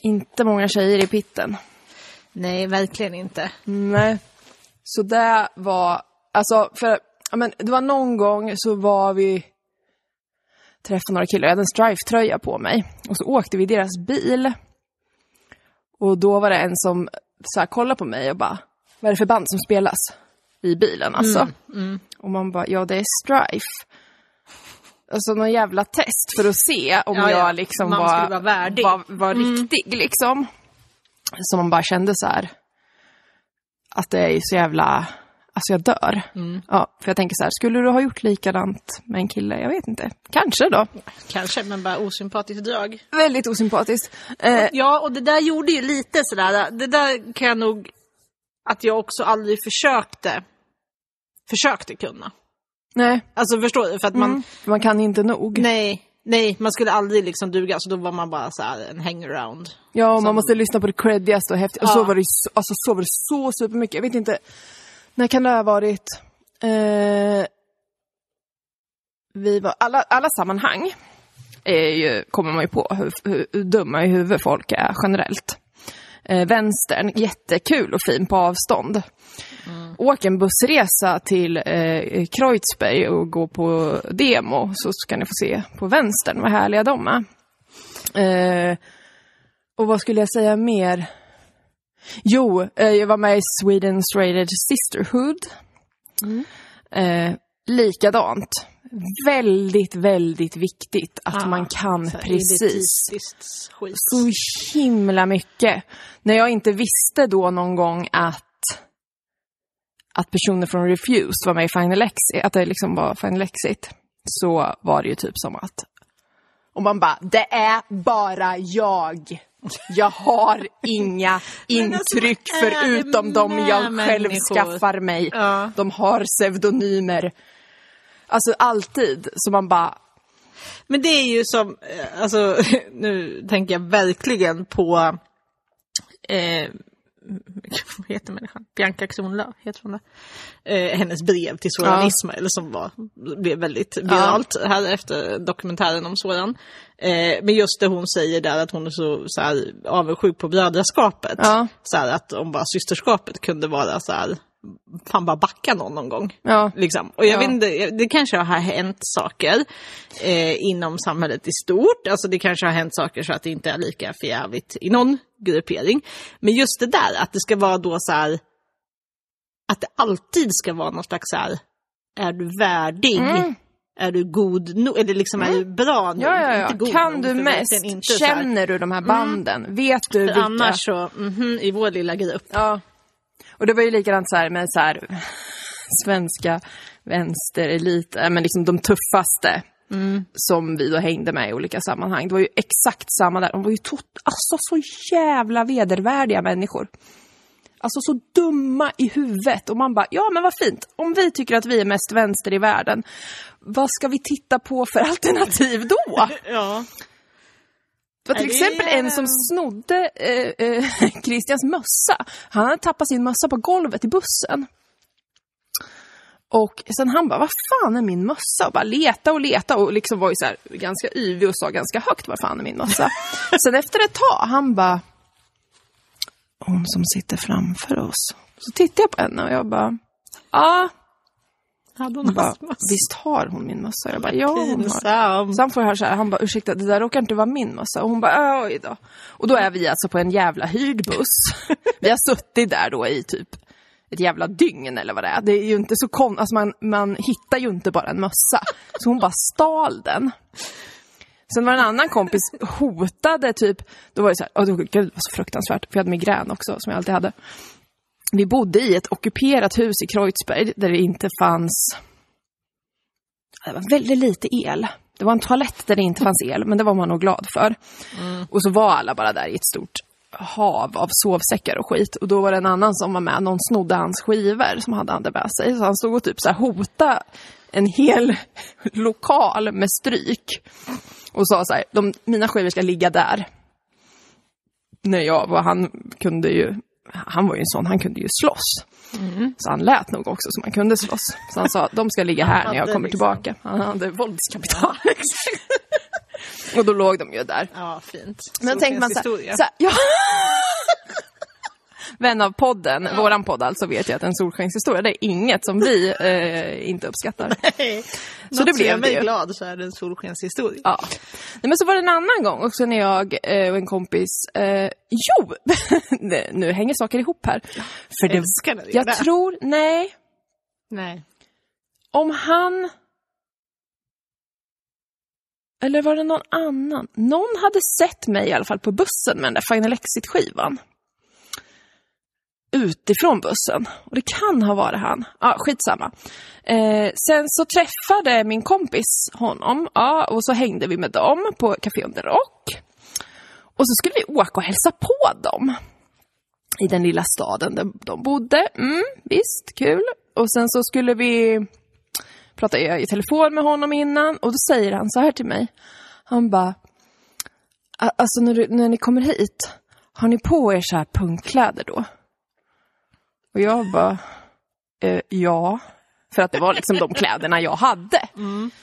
[SPEAKER 1] Inte många tjejer i pitten.
[SPEAKER 2] Nej, verkligen inte.
[SPEAKER 1] Nej. Så det var, alltså, för, ja, men, det var någon gång så var vi, träffade några killar, jag hade en Strife-tröja på mig. Och så åkte vi i deras bil. Och då var det en som så här, kollade på mig och bara, vad är det för band som spelas i bilen alltså?
[SPEAKER 2] Mm,
[SPEAKER 1] Och man bara, ja det är Strife. Alltså någon jävla test för att se om
[SPEAKER 2] Ja, ja.
[SPEAKER 1] jag liksom
[SPEAKER 2] Man
[SPEAKER 1] var,
[SPEAKER 2] skulle vara värdig. Mm.
[SPEAKER 1] var, var riktig liksom. Så man bara kände så här, att det är ju så jävla, alltså jag dör.
[SPEAKER 2] Mm.
[SPEAKER 1] Ja, för jag tänker så här, skulle du ha gjort likadant med en kille? Jag vet inte. Kanske då.
[SPEAKER 2] Kanske, men bara osympatiskt drag.
[SPEAKER 1] Väldigt osympatiskt. Eh,
[SPEAKER 2] Ja, och det där gjorde ju lite sådär, det där kan jag nog, att jag också aldrig försökte, försökte kunna.
[SPEAKER 1] nej,
[SPEAKER 2] Alltså förstår du? För att man,
[SPEAKER 1] man kan inte nog.
[SPEAKER 2] nej, nej, man skulle aldrig liksom duga, så då var man bara så här en hangaround.
[SPEAKER 1] Ja, och man måste lyssna på det creddigaste och häftigaste. Och så
[SPEAKER 2] Ja.
[SPEAKER 1] var det ju så, alltså, så, var det så supermycket. Jag vet inte, när kan det ha varit? Eh, vi var, alla, alla sammanhang är ju, kommer man ju på hur, hur, hur dumma i huvudet folk är generellt. Eh, vänstern, jättekul och fin på avstånd.
[SPEAKER 2] Mm.
[SPEAKER 1] Åk en bussresa till eh, Kreuzberg och gå på demo så ska ni få se på vänstern vad härliga de är. Eh, och vad skulle jag säga mer? Jo, eh, jag var med i Sweden Straight Edge Sisterhood.
[SPEAKER 2] Mm.
[SPEAKER 1] Eh, likadant. Väldigt, väldigt viktigt att
[SPEAKER 2] Ah,
[SPEAKER 1] man kan
[SPEAKER 2] Så här
[SPEAKER 1] precis
[SPEAKER 2] elitistiskt Skit.
[SPEAKER 1] så himla mycket. När jag inte visste då någon gång att, att personer från Refused var med i Final Exit, att det liksom var Final Exit. så var det ju typ som att... Och man bara, det är bara jag. Jag har inga intryck
[SPEAKER 2] alltså, vad är det
[SPEAKER 1] förutom de
[SPEAKER 2] med
[SPEAKER 1] jag själv
[SPEAKER 2] människor?
[SPEAKER 1] skaffar mig.
[SPEAKER 2] Ja.
[SPEAKER 1] De har pseudonymer. Alltså alltid. Så man bara,
[SPEAKER 2] Men det är ju som, eh, alltså nu tänker jag verkligen på, eh, vad heter människan? Bianca Kronlöf, heter hon det? Eh, hennes brev till Soran
[SPEAKER 1] Ja.
[SPEAKER 2] Ismail som var, blev väldigt viralt här efter dokumentären om Soran. Eh, men just det hon säger där att hon är så, så här, avundsjuk på brödraskapet.
[SPEAKER 1] Ja.
[SPEAKER 2] Så här, att om bara systerskapet kunde vara så här, fan bara backa någon någon gång.
[SPEAKER 1] ja.
[SPEAKER 2] Liksom. Och jag
[SPEAKER 1] Ja.
[SPEAKER 2] vet inte, det kanske har hänt saker eh, inom samhället i stort. Alltså det kanske har hänt saker så att det inte är lika förjävligt i någon gruppering. Men just det där att det ska vara då så här, att det alltid ska vara någon slags så här, är du värdig? Är du god nog? Eller liksom, är du bra nog?
[SPEAKER 1] Mm. Ja, ja, ja.
[SPEAKER 2] Inte god
[SPEAKER 1] Kan
[SPEAKER 2] nog,
[SPEAKER 1] du
[SPEAKER 2] för
[SPEAKER 1] mest?
[SPEAKER 2] verkligen Inte, så här. Mm.
[SPEAKER 1] Känner du de här banden? Vet du
[SPEAKER 2] För
[SPEAKER 1] vilka?
[SPEAKER 2] annars så, mhm, i vår lilla grupp.
[SPEAKER 1] Ja. Och det var ju likadant så här med så här, svenska vänsterelit, äh, men liksom de tuffaste
[SPEAKER 2] Mm.
[SPEAKER 1] som vi då hängde med i olika sammanhang. Det var ju exakt samma där. De var ju tot, alltså så jävla vedervärdiga människor. Alltså så dumma i huvudet. Och man bara, ja men vad fint. Om vi tycker att vi är mest vänster i världen, vad ska vi titta på för alternativ då?
[SPEAKER 2] Ja.
[SPEAKER 1] Det var till
[SPEAKER 2] Ja, det är-
[SPEAKER 1] exempel en som snodde eh, eh, Christians mössa. Han hade tappat sin mössa på golvet i bussen. Och sen han bara, vad fan är min mössa? Och bara leta och leta och liksom var ju så här ganska yvig och sa ganska högt, vad fan är min mössa? sen efter ett tag, han bara, hon som sitter framför oss. Så tittade jag på henne och jag bara, ja,
[SPEAKER 2] Hade
[SPEAKER 1] Hon
[SPEAKER 2] hon
[SPEAKER 1] bara, oh
[SPEAKER 2] astma?
[SPEAKER 1] visst har hon min mössa? Jag bara, ja hon har.
[SPEAKER 2] Pinsam.
[SPEAKER 1] Så han får höra så här, han bara ursäkta det där råkar inte vara min mössa. Och hon bara "Ah, oj då. Och då är vi alltså på en jävla hyrd buss. Vi har suttit där då i typ ett jävla dygn eller vad det är. Det är ju inte så kon alltså man, man hittar ju inte bara en mössa. Så hon bara stal den. Sen var det en annan kompis hotade typ, då var det så här, åh gud det var så fruktansvärt, för jag hade migrän också som jag alltid hade. Vi bodde i ett ockuperat hus i Kreuzberg där det inte fanns det var väldigt lite el. Det var en toalett där det inte fanns el, men det var man nog glad för. Och så var alla bara där i ett stort hav av sovsäckar och skit. Och då var det en annan som var med, någon snodde hans skivor som hade han det med sig. Så han stod och typ så här hota en hel lokal med stryk. Och sa så här, De, mina skivor ska ligga där. När jag var, han kunde ju, han var ju en sån, han kunde ju slåss. Så han lät nog också som han kunde slåss. Så han sa, de ska ligga här när jag
[SPEAKER 2] hade
[SPEAKER 1] kommer
[SPEAKER 2] liksom-
[SPEAKER 1] tillbaka. Han hade våldskapital. och då låg de ju där.
[SPEAKER 2] Ja, fint.
[SPEAKER 1] Men
[SPEAKER 2] Så
[SPEAKER 1] tänker man
[SPEAKER 2] finns
[SPEAKER 1] så här,
[SPEAKER 2] historia.
[SPEAKER 1] så här, ja. Vän av podden, våran podd alltså, vet jag att en solskenshistoria, det är inget som vi eh, inte uppskattar.
[SPEAKER 2] Hej.
[SPEAKER 1] Så det
[SPEAKER 2] Något som
[SPEAKER 1] blev
[SPEAKER 2] gör mig
[SPEAKER 1] det ju.
[SPEAKER 2] glad så är det en solskenshistoria.
[SPEAKER 1] Ja. Nej, men så var det en annan gång också när jag eh, och en kompis... Eh, jo! Nej, nu hänger saker ihop här. För det,
[SPEAKER 2] Älskar när det gör
[SPEAKER 1] jag
[SPEAKER 2] det.
[SPEAKER 1] tror... Nej.
[SPEAKER 2] Nej.
[SPEAKER 1] om han... Eller var det någon annan? Någon hade sett mig i alla fall på bussen med den där Final Exit-skivan. Utifrån bussen. Och det kan ha varit han. Ja, skitsamma. Eh, sen så träffade min kompis honom. Ja, och så hängde vi med dem på Café Under Rock. Och så skulle vi åka och hälsa på dem i den lilla staden där de bodde. Mm, visst, kul. Och sen så skulle vi prata i, i telefon med honom innan och då säger han så här till mig. Han bara, "A- alltså när, du, när ni kommer hit, har ni på er så här punkkläder då? Och jag bara, eh, ja. För att det var liksom de kläderna jag hade.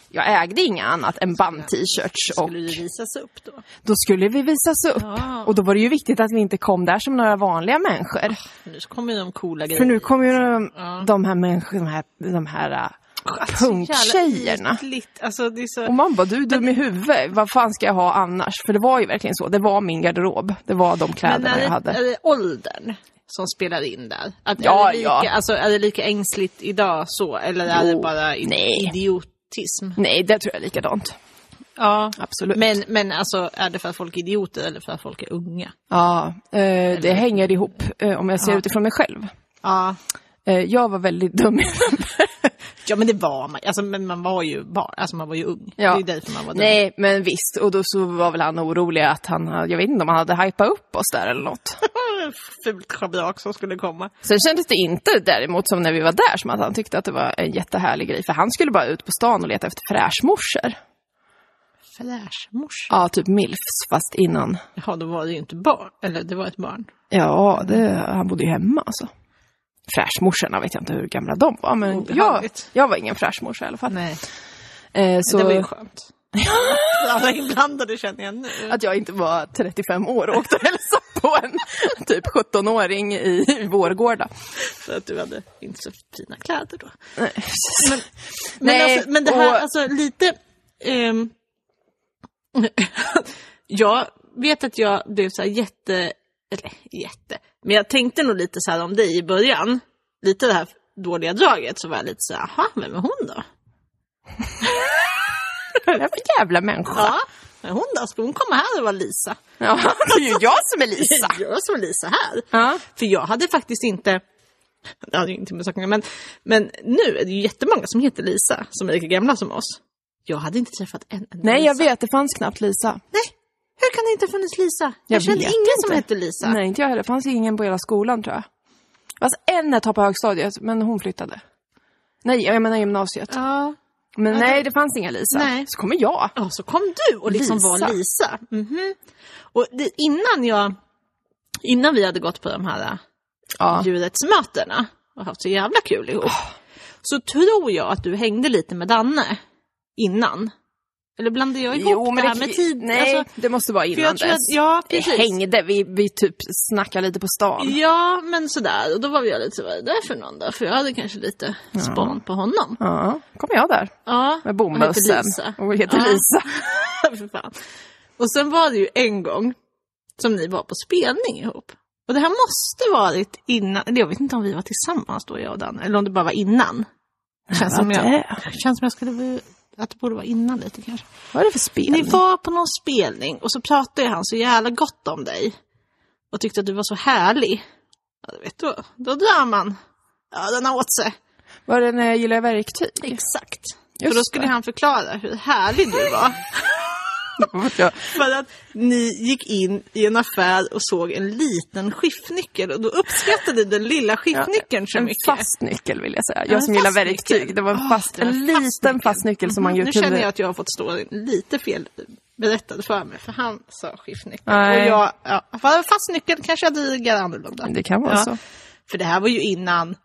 [SPEAKER 1] Jag ägde inga annat än band-t-shirts och
[SPEAKER 2] Skulle ju visas upp då.
[SPEAKER 1] då skulle vi visas upp.
[SPEAKER 2] Ja.
[SPEAKER 1] Och då var det ju viktigt att vi inte kom där som några vanliga människor.
[SPEAKER 2] För nu så kommer ju de coola
[SPEAKER 1] För
[SPEAKER 2] grejerna.
[SPEAKER 1] nu kommer ju de, de här människorna, de här, de här äh,
[SPEAKER 2] Alltså,
[SPEAKER 1] punktjejerna.
[SPEAKER 2] Ytligt. Alltså det är
[SPEAKER 1] Och
[SPEAKER 2] så...
[SPEAKER 1] man bara, du är dum i huvudet, vad fan ska jag ha annars? För det var ju verkligen så, det var min garderob, det var de
[SPEAKER 2] Men
[SPEAKER 1] kläderna
[SPEAKER 2] är
[SPEAKER 1] jag
[SPEAKER 2] det,
[SPEAKER 1] hade.
[SPEAKER 2] är det åldern som spelar in där? Att
[SPEAKER 1] Ja,
[SPEAKER 2] är, det lika,
[SPEAKER 1] ja.
[SPEAKER 2] alltså, är det lika ängsligt idag så? Eller är
[SPEAKER 1] Jo,
[SPEAKER 2] det bara i-
[SPEAKER 1] nej.
[SPEAKER 2] idiotism?
[SPEAKER 1] Nej, det tror jag är likadant.
[SPEAKER 2] Ja.
[SPEAKER 1] Absolut.
[SPEAKER 2] Men, men alltså, är det för att folk är idioter eller för att folk är unga?
[SPEAKER 1] Ja, eh, det hänger ihop eh, om jag ser utifrån mig själv.
[SPEAKER 2] Ja.
[SPEAKER 1] Eh, jag var väldigt dum i huvudet.
[SPEAKER 2] Ja men det var man alltså, men man var ju barn, alltså man var ju ung.
[SPEAKER 1] Ja.
[SPEAKER 2] Det är ju därför man var dum.
[SPEAKER 1] Nej, men visst. Och då så var väl han orolig att han, jag vet inte om han hade hypat upp oss där eller något.
[SPEAKER 2] Fult schabrak som skulle komma.
[SPEAKER 1] Sen kändes det inte däremot som när vi var där som att han tyckte att det var en jättehärlig grej. För han skulle bara ut på stan och leta efter fräschmorsor.
[SPEAKER 2] Flashmorsa.
[SPEAKER 1] Ja, typ milfs, fast innan.
[SPEAKER 2] Jaha, då var det ju inte barn. Eller det var ett barn.
[SPEAKER 1] Ja, det, han bodde ju hemma alltså. Fräschmorsorna vet jag inte hur gamla de var, men jag,
[SPEAKER 2] Obehagligt.
[SPEAKER 1] jag var ingen fräschmorsa i alla fall.
[SPEAKER 2] Nej.
[SPEAKER 1] Eh, så
[SPEAKER 2] Det var ju skönt. Alla inblandade känner jag nu.
[SPEAKER 1] att jag inte var 35 år och åkte och hälsade på en typ 17-åring i Vårgårda.
[SPEAKER 2] För att du hade inte så fina kläder då.
[SPEAKER 1] Nej,
[SPEAKER 2] Men, men,
[SPEAKER 1] Nej,
[SPEAKER 2] alltså, men det här,
[SPEAKER 1] och-
[SPEAKER 2] alltså lite... ehm, jag vet att jag blev så här jätte... Eller jätte... Men jag tänkte nog lite så här om dig i början. Lite det här dåliga draget så var jag lite så här, jaha, vem är hon då?
[SPEAKER 1] Vad är det för jävla människa?
[SPEAKER 2] Ja, men hon då? Ska hon komma här och vara Lisa?
[SPEAKER 1] Ja, det är ju jag som är Lisa.
[SPEAKER 2] Jag som är Lisa här.
[SPEAKER 1] Ja.
[SPEAKER 2] För jag hade faktiskt inte... Det hade ju inte med saken men, men nu är det ju jättemånga som heter Lisa, som är lika gamla som oss. Jag hade inte träffat en enda
[SPEAKER 1] Nej,
[SPEAKER 2] Lisa.
[SPEAKER 1] jag vet. Det fanns knappt Lisa.
[SPEAKER 2] Nej, hur kan det inte ha funnits Lisa? Jag,
[SPEAKER 1] Jag
[SPEAKER 2] kände
[SPEAKER 1] vet
[SPEAKER 2] ingen som
[SPEAKER 1] inte.
[SPEAKER 2] hette Lisa.
[SPEAKER 1] Nej, inte jag heller. Det fanns ingen på hela skolan, tror jag. Fast en ett tag på högstadiet, men hon flyttade. Nej, jag menar gymnasiet.
[SPEAKER 2] Ja.
[SPEAKER 1] Men nej, det fanns inga Lisa.
[SPEAKER 2] Nej.
[SPEAKER 1] Så kommer jag.
[SPEAKER 2] ja, så kom du och liksom
[SPEAKER 1] Lisa.
[SPEAKER 2] var Lisa. Mhm. Och det, innan jag... Innan vi hade gått på de här
[SPEAKER 1] Ja.
[SPEAKER 2] djurrättsmötena och haft så jävla kul ihop. Så tror jag att du hängde lite med Danne innan. Eller blandade jag ihop det här med tid?
[SPEAKER 1] Nej,
[SPEAKER 2] Alltså,
[SPEAKER 1] det måste vara
[SPEAKER 2] för
[SPEAKER 1] innan
[SPEAKER 2] jag tror att,
[SPEAKER 1] dess.
[SPEAKER 2] ja,
[SPEAKER 1] Vi
[SPEAKER 2] precis.
[SPEAKER 1] hängde, vi, vi typ snackade lite på stan.
[SPEAKER 2] Ja, men sådär. Och då var jag lite så, vad är det där för någon då? För jag hade kanske lite span på honom.
[SPEAKER 1] Ja, kom jag där
[SPEAKER 2] Ja,
[SPEAKER 1] med
[SPEAKER 2] hon heter
[SPEAKER 1] bomullsen.
[SPEAKER 2] Lisa.
[SPEAKER 1] Och heter
[SPEAKER 2] Ja.
[SPEAKER 1] Lisa.
[SPEAKER 2] för fan. Och sen var det ju en gång som ni var på spelning ihop. Och det här måste varit innan, eller jag vet inte om vi var tillsammans då jag och Dan, eller om det bara var innan. Känns som
[SPEAKER 1] vad
[SPEAKER 2] jag,
[SPEAKER 1] det
[SPEAKER 2] känns som jag skulle, vilja- att det borde vara innan lite kanske.
[SPEAKER 1] Vad är det för spel?
[SPEAKER 2] Ni var på någon spelning och så pratade han så jävla gott om dig. Och tyckte att du var så härlig. Ja, du vet då, då drar man. Ja, den har åt sig.
[SPEAKER 1] Var det när jag gillar verktyg?
[SPEAKER 2] Exakt.
[SPEAKER 1] Just
[SPEAKER 2] och då skulle
[SPEAKER 1] det.
[SPEAKER 2] han förklara hur härlig du var.
[SPEAKER 1] Ja.
[SPEAKER 2] För att ni gick in i en affär och såg en liten skiftnyckel och då uppskattade du den lilla skiftnyckeln så
[SPEAKER 1] en
[SPEAKER 2] mycket.
[SPEAKER 1] fast nyckel vill jag säga.
[SPEAKER 2] en
[SPEAKER 1] Jag som gillar
[SPEAKER 2] fast
[SPEAKER 1] verktyg.
[SPEAKER 2] nyckel.
[SPEAKER 1] Det var
[SPEAKER 2] Ah,
[SPEAKER 1] en, fast,
[SPEAKER 2] det var
[SPEAKER 1] en
[SPEAKER 2] en fast Mm,
[SPEAKER 1] liten fast nyckel som man ju
[SPEAKER 2] nu
[SPEAKER 1] kunde...
[SPEAKER 2] känner jag att jag har fått stå lite fel berättad för mig för han sa skiftnyckel.
[SPEAKER 1] Nej.
[SPEAKER 2] Och jag, ja, för fast nyckel kanske jag diggar annorlunda.
[SPEAKER 1] Det kan vara
[SPEAKER 2] Ja.
[SPEAKER 1] så.
[SPEAKER 2] För det här var ju innan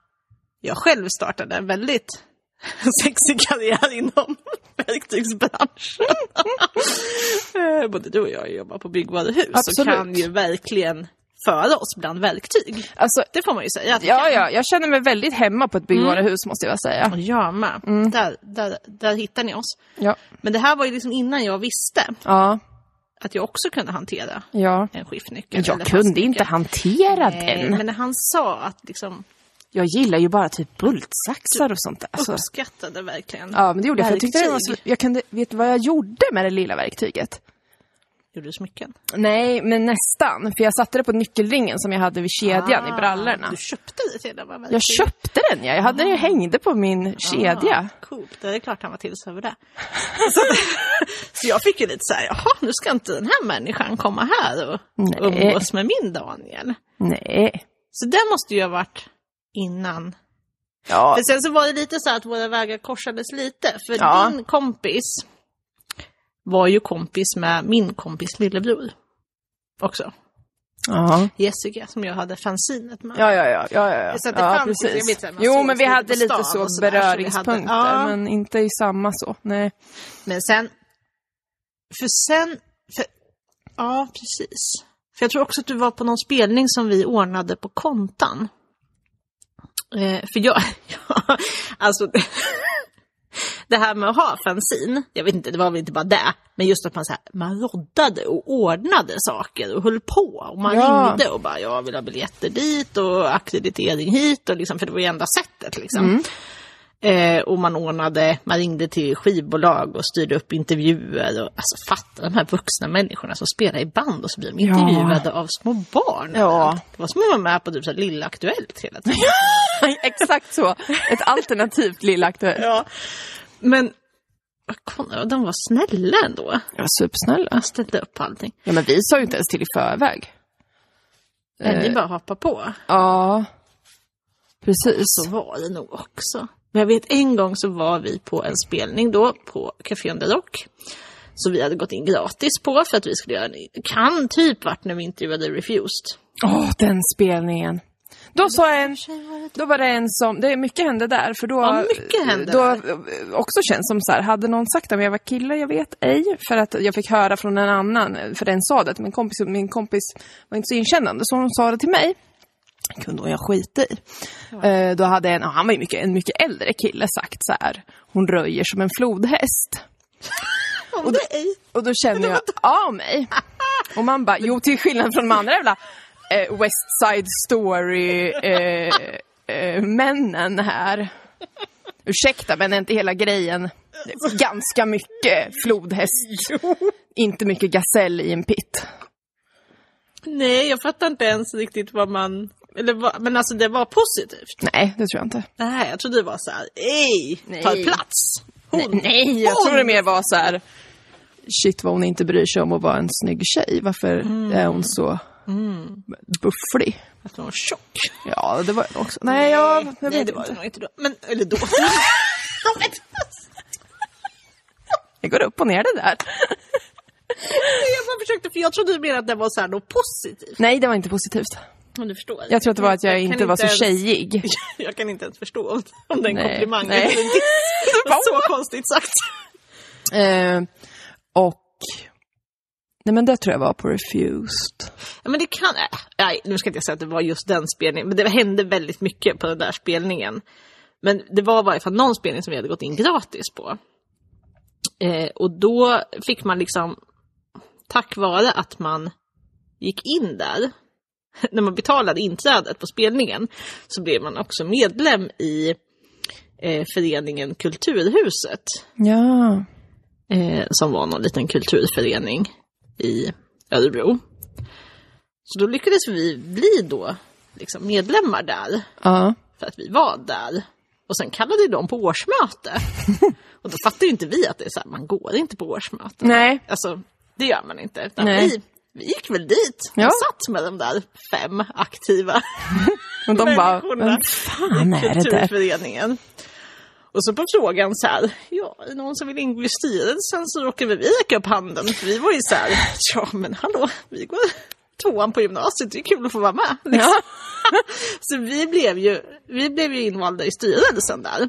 [SPEAKER 2] jag själv startade en väldigt sexig karriär inom verktygsbranschen. Eh, Både du och jag jobbar på byggvaruhus och
[SPEAKER 1] Absolut.
[SPEAKER 2] kan ju verkligen föra oss bland verktyg.
[SPEAKER 1] Alltså,
[SPEAKER 2] Det får man ju säga. att vi
[SPEAKER 1] ja,
[SPEAKER 2] kan.
[SPEAKER 1] ja, jag känner mig väldigt hemma på ett
[SPEAKER 2] Mm.
[SPEAKER 1] byggvaruhus måste jag säga.
[SPEAKER 2] Och jag med.
[SPEAKER 1] Mm.
[SPEAKER 2] Där, där, där hittar ni oss.
[SPEAKER 1] Ja,
[SPEAKER 2] Men det här var ju liksom innan jag visste
[SPEAKER 1] ja,
[SPEAKER 2] att jag också kunde hantera
[SPEAKER 1] ja.
[SPEAKER 2] en skiftnyckel. eller
[SPEAKER 1] Jag kunde
[SPEAKER 2] fastnyckel.
[SPEAKER 1] inte hantera
[SPEAKER 2] Nej,
[SPEAKER 1] den.
[SPEAKER 2] Men när han sa att liksom
[SPEAKER 1] Jag gillar ju bara typ bultsaxar och sånt där. Alltså.
[SPEAKER 2] uppskattade verkligen
[SPEAKER 1] Ja, men det gjorde jag. För jag tyckte det var så...
[SPEAKER 2] verktyg.
[SPEAKER 1] Jag kunde... Vet du vad jag gjorde med det lilla verktyget?
[SPEAKER 2] Gjorde du smycken?
[SPEAKER 1] Nej, men nästan. För jag satte det på nyckelringen som jag hade vid kedjan
[SPEAKER 2] Ah,
[SPEAKER 1] i brallorna.
[SPEAKER 2] Du köpte det till den va? Verkligen.
[SPEAKER 1] Jag köpte den ja. Jag hade den ju hängde på min kedja.
[SPEAKER 2] Ah, coolt, det är klart han var till sig över det. Så, så jag fick ju lite såhär, jaha nu ska inte den här människan komma här och
[SPEAKER 1] Nej.
[SPEAKER 2] umgås med min Daniel.
[SPEAKER 1] Nej.
[SPEAKER 2] Så det måste ju ha varit innan.
[SPEAKER 1] Ja,
[SPEAKER 2] För sen så var det lite så här att våra vägar korsades lite. För
[SPEAKER 1] Ja.
[SPEAKER 2] din kompis var ju kompis med min kompis lillebror. Också.
[SPEAKER 1] ja.
[SPEAKER 2] Jessica som jag hade fanzinet med.
[SPEAKER 1] Ja, ja, ja. ja, ja.
[SPEAKER 2] Så att det
[SPEAKER 1] ja
[SPEAKER 2] fanns liksom, jag vet inte, man
[SPEAKER 1] jo,
[SPEAKER 2] sågs
[SPEAKER 1] men vi
[SPEAKER 2] lite
[SPEAKER 1] hade
[SPEAKER 2] på
[SPEAKER 1] lite
[SPEAKER 2] stan
[SPEAKER 1] så
[SPEAKER 2] och sådär, så vi hade-
[SPEAKER 1] beröringspunkter,
[SPEAKER 2] ja.
[SPEAKER 1] men inte i samma så. Nej.
[SPEAKER 2] Men sen... För sen... För, ja, precis. För jag tror också att du var på någon spelning som vi ordnade på kontan. Eh, för jag... Ja, alltså... Det här med att ha fanzin, jag vet inte, det var väl inte bara det, men just att man, så här, man roddade och ordnade saker och höll på. Och man
[SPEAKER 1] Ja.
[SPEAKER 2] ringde och bara, jag vill ha biljetter dit och akkreditering hit, och liksom, för det var ju enda sättet. Liksom. Eh, och man ordnade, man ringde till skivbolag och styrde upp intervjuer. Och, alltså fatta de här vuxna människorna som spelar i band och så blir de
[SPEAKER 1] Ja.
[SPEAKER 2] intervjuade av små barn.
[SPEAKER 1] Ja.
[SPEAKER 2] Det var som att vara med på typ så här Lilla Aktuellt hela tiden.
[SPEAKER 1] Exakt så. Ett alternativt Lilla Aktuellt.
[SPEAKER 2] ja. Men vad kon- de var snälla ändå.
[SPEAKER 1] De var supersnälla.
[SPEAKER 2] De ställde upp på allting.
[SPEAKER 1] Ja, men vi sa ju inte ens till i förväg. Eh.
[SPEAKER 2] Men Eh, det är bara att hoppa på.
[SPEAKER 1] Ja, precis.
[SPEAKER 2] Så var det nog också. Men jag vet en gång så var vi på en spelning då på Café Under Rock. Så vi hade gått in gratis på för att vi skulle göra en, kan typ vart när vi intervjuade Refused.
[SPEAKER 1] Åh, den spelningen. Då sa en... Då var det en som, det är mycket hände där för då...
[SPEAKER 2] Ja, mycket hände
[SPEAKER 1] då Också känns som så här, hade någon sagt att jag var kille, jag vet ej. För att jag fick höra från en annan, för den sa det till min kompis, och min kompis var inte så inkännande så hon sa det till mig. Kunde hon jag skita i. Eh, Då hade en, och han var ju mycket, en mycket äldre kille sagt så här, hon röjer som en flodhäst.
[SPEAKER 2] Och nej!
[SPEAKER 1] Och då känner jag av mig. Och man bara, jo till skillnad från de andra jävla eh, West Side Story eh, eh, männen här. Ursäkta men är inte hela grejen ganska mycket flodhäst? Inte mycket gasell i en pit.
[SPEAKER 2] Nej, jag fattar inte ens riktigt vad man... Eller vad, men alltså det var positivt.
[SPEAKER 1] Nej, det tror jag inte.
[SPEAKER 2] Nej, jag trodde det var så här, ej, ta
[SPEAKER 1] Nej.
[SPEAKER 2] plats.
[SPEAKER 1] Nej, nej jag
[SPEAKER 2] hon-
[SPEAKER 1] tror det mer var så här, shit vad hon inte bryr sig om att vara en snygg tjej. Varför
[SPEAKER 2] Mm.
[SPEAKER 1] är hon så bufflig?
[SPEAKER 2] Att hon var tjock.
[SPEAKER 1] Ja, det var jag också. Nej, jag, jag
[SPEAKER 2] Nej,
[SPEAKER 1] vet
[SPEAKER 2] det var
[SPEAKER 1] inte.
[SPEAKER 2] det nog inte då. Men, eller då.
[SPEAKER 1] Det går upp och ner det där.
[SPEAKER 2] jag bara försökte, för jag trodde mer att det var så här något positivt.
[SPEAKER 1] Nej, det var inte positivt.
[SPEAKER 2] Om du förstår.
[SPEAKER 1] Jag tror att det var att jag,
[SPEAKER 2] kan
[SPEAKER 1] inte var så
[SPEAKER 2] ens-
[SPEAKER 1] tjejig.
[SPEAKER 2] Jag kan inte ens förstå om, om det är en
[SPEAKER 1] Nej,
[SPEAKER 2] komplimang
[SPEAKER 1] nej.
[SPEAKER 2] eller en diss. Det var så konstigt sagt.
[SPEAKER 1] Eh, och... Nej, men det tror jag var på Refused.
[SPEAKER 2] Ja, men det kan... äh, Nej, nu ska jag inte säga att det var just den spelningen, men det hände väldigt mycket på den där spelningen. Men det var i varje fall någon spelning som vi hade gått in gratis på. Eh, och då fick man liksom, tack vare att man gick in där, när man betalade inträdet på spelningen, så blev man också medlem i eh, föreningen Kulturhuset.
[SPEAKER 1] Ja.
[SPEAKER 2] eh, som var någon liten kulturförening i Örebro. Så då lyckades vi bli då liksom medlemmar där,
[SPEAKER 1] Ja.
[SPEAKER 2] för att vi var där. Och sen kallade de på årsmöte. Och då fattar ju inte vi att det är så här, man går inte på årsmöte.
[SPEAKER 1] Nej.
[SPEAKER 2] Alltså, det gör man inte. Utan
[SPEAKER 1] Nej.
[SPEAKER 2] vi, vi gick väl dit och
[SPEAKER 1] Ja.
[SPEAKER 2] satt med de där fem aktiva
[SPEAKER 1] Och de bara,
[SPEAKER 2] människorna
[SPEAKER 1] vem fan
[SPEAKER 2] i
[SPEAKER 1] är det där?
[SPEAKER 2] kulturföreningen. Och så på frågan så här, ja, är det någon som vill ingå i styrelsen så råkar väl vi räcka upp handen. För vi var ju så här, ja men hallå, vi går tvåan på gymnasiet, det är kul att få vara med. Liksom.
[SPEAKER 1] Ja.
[SPEAKER 2] Så vi blev, ju, vi blev ju invalda i styrelsen där.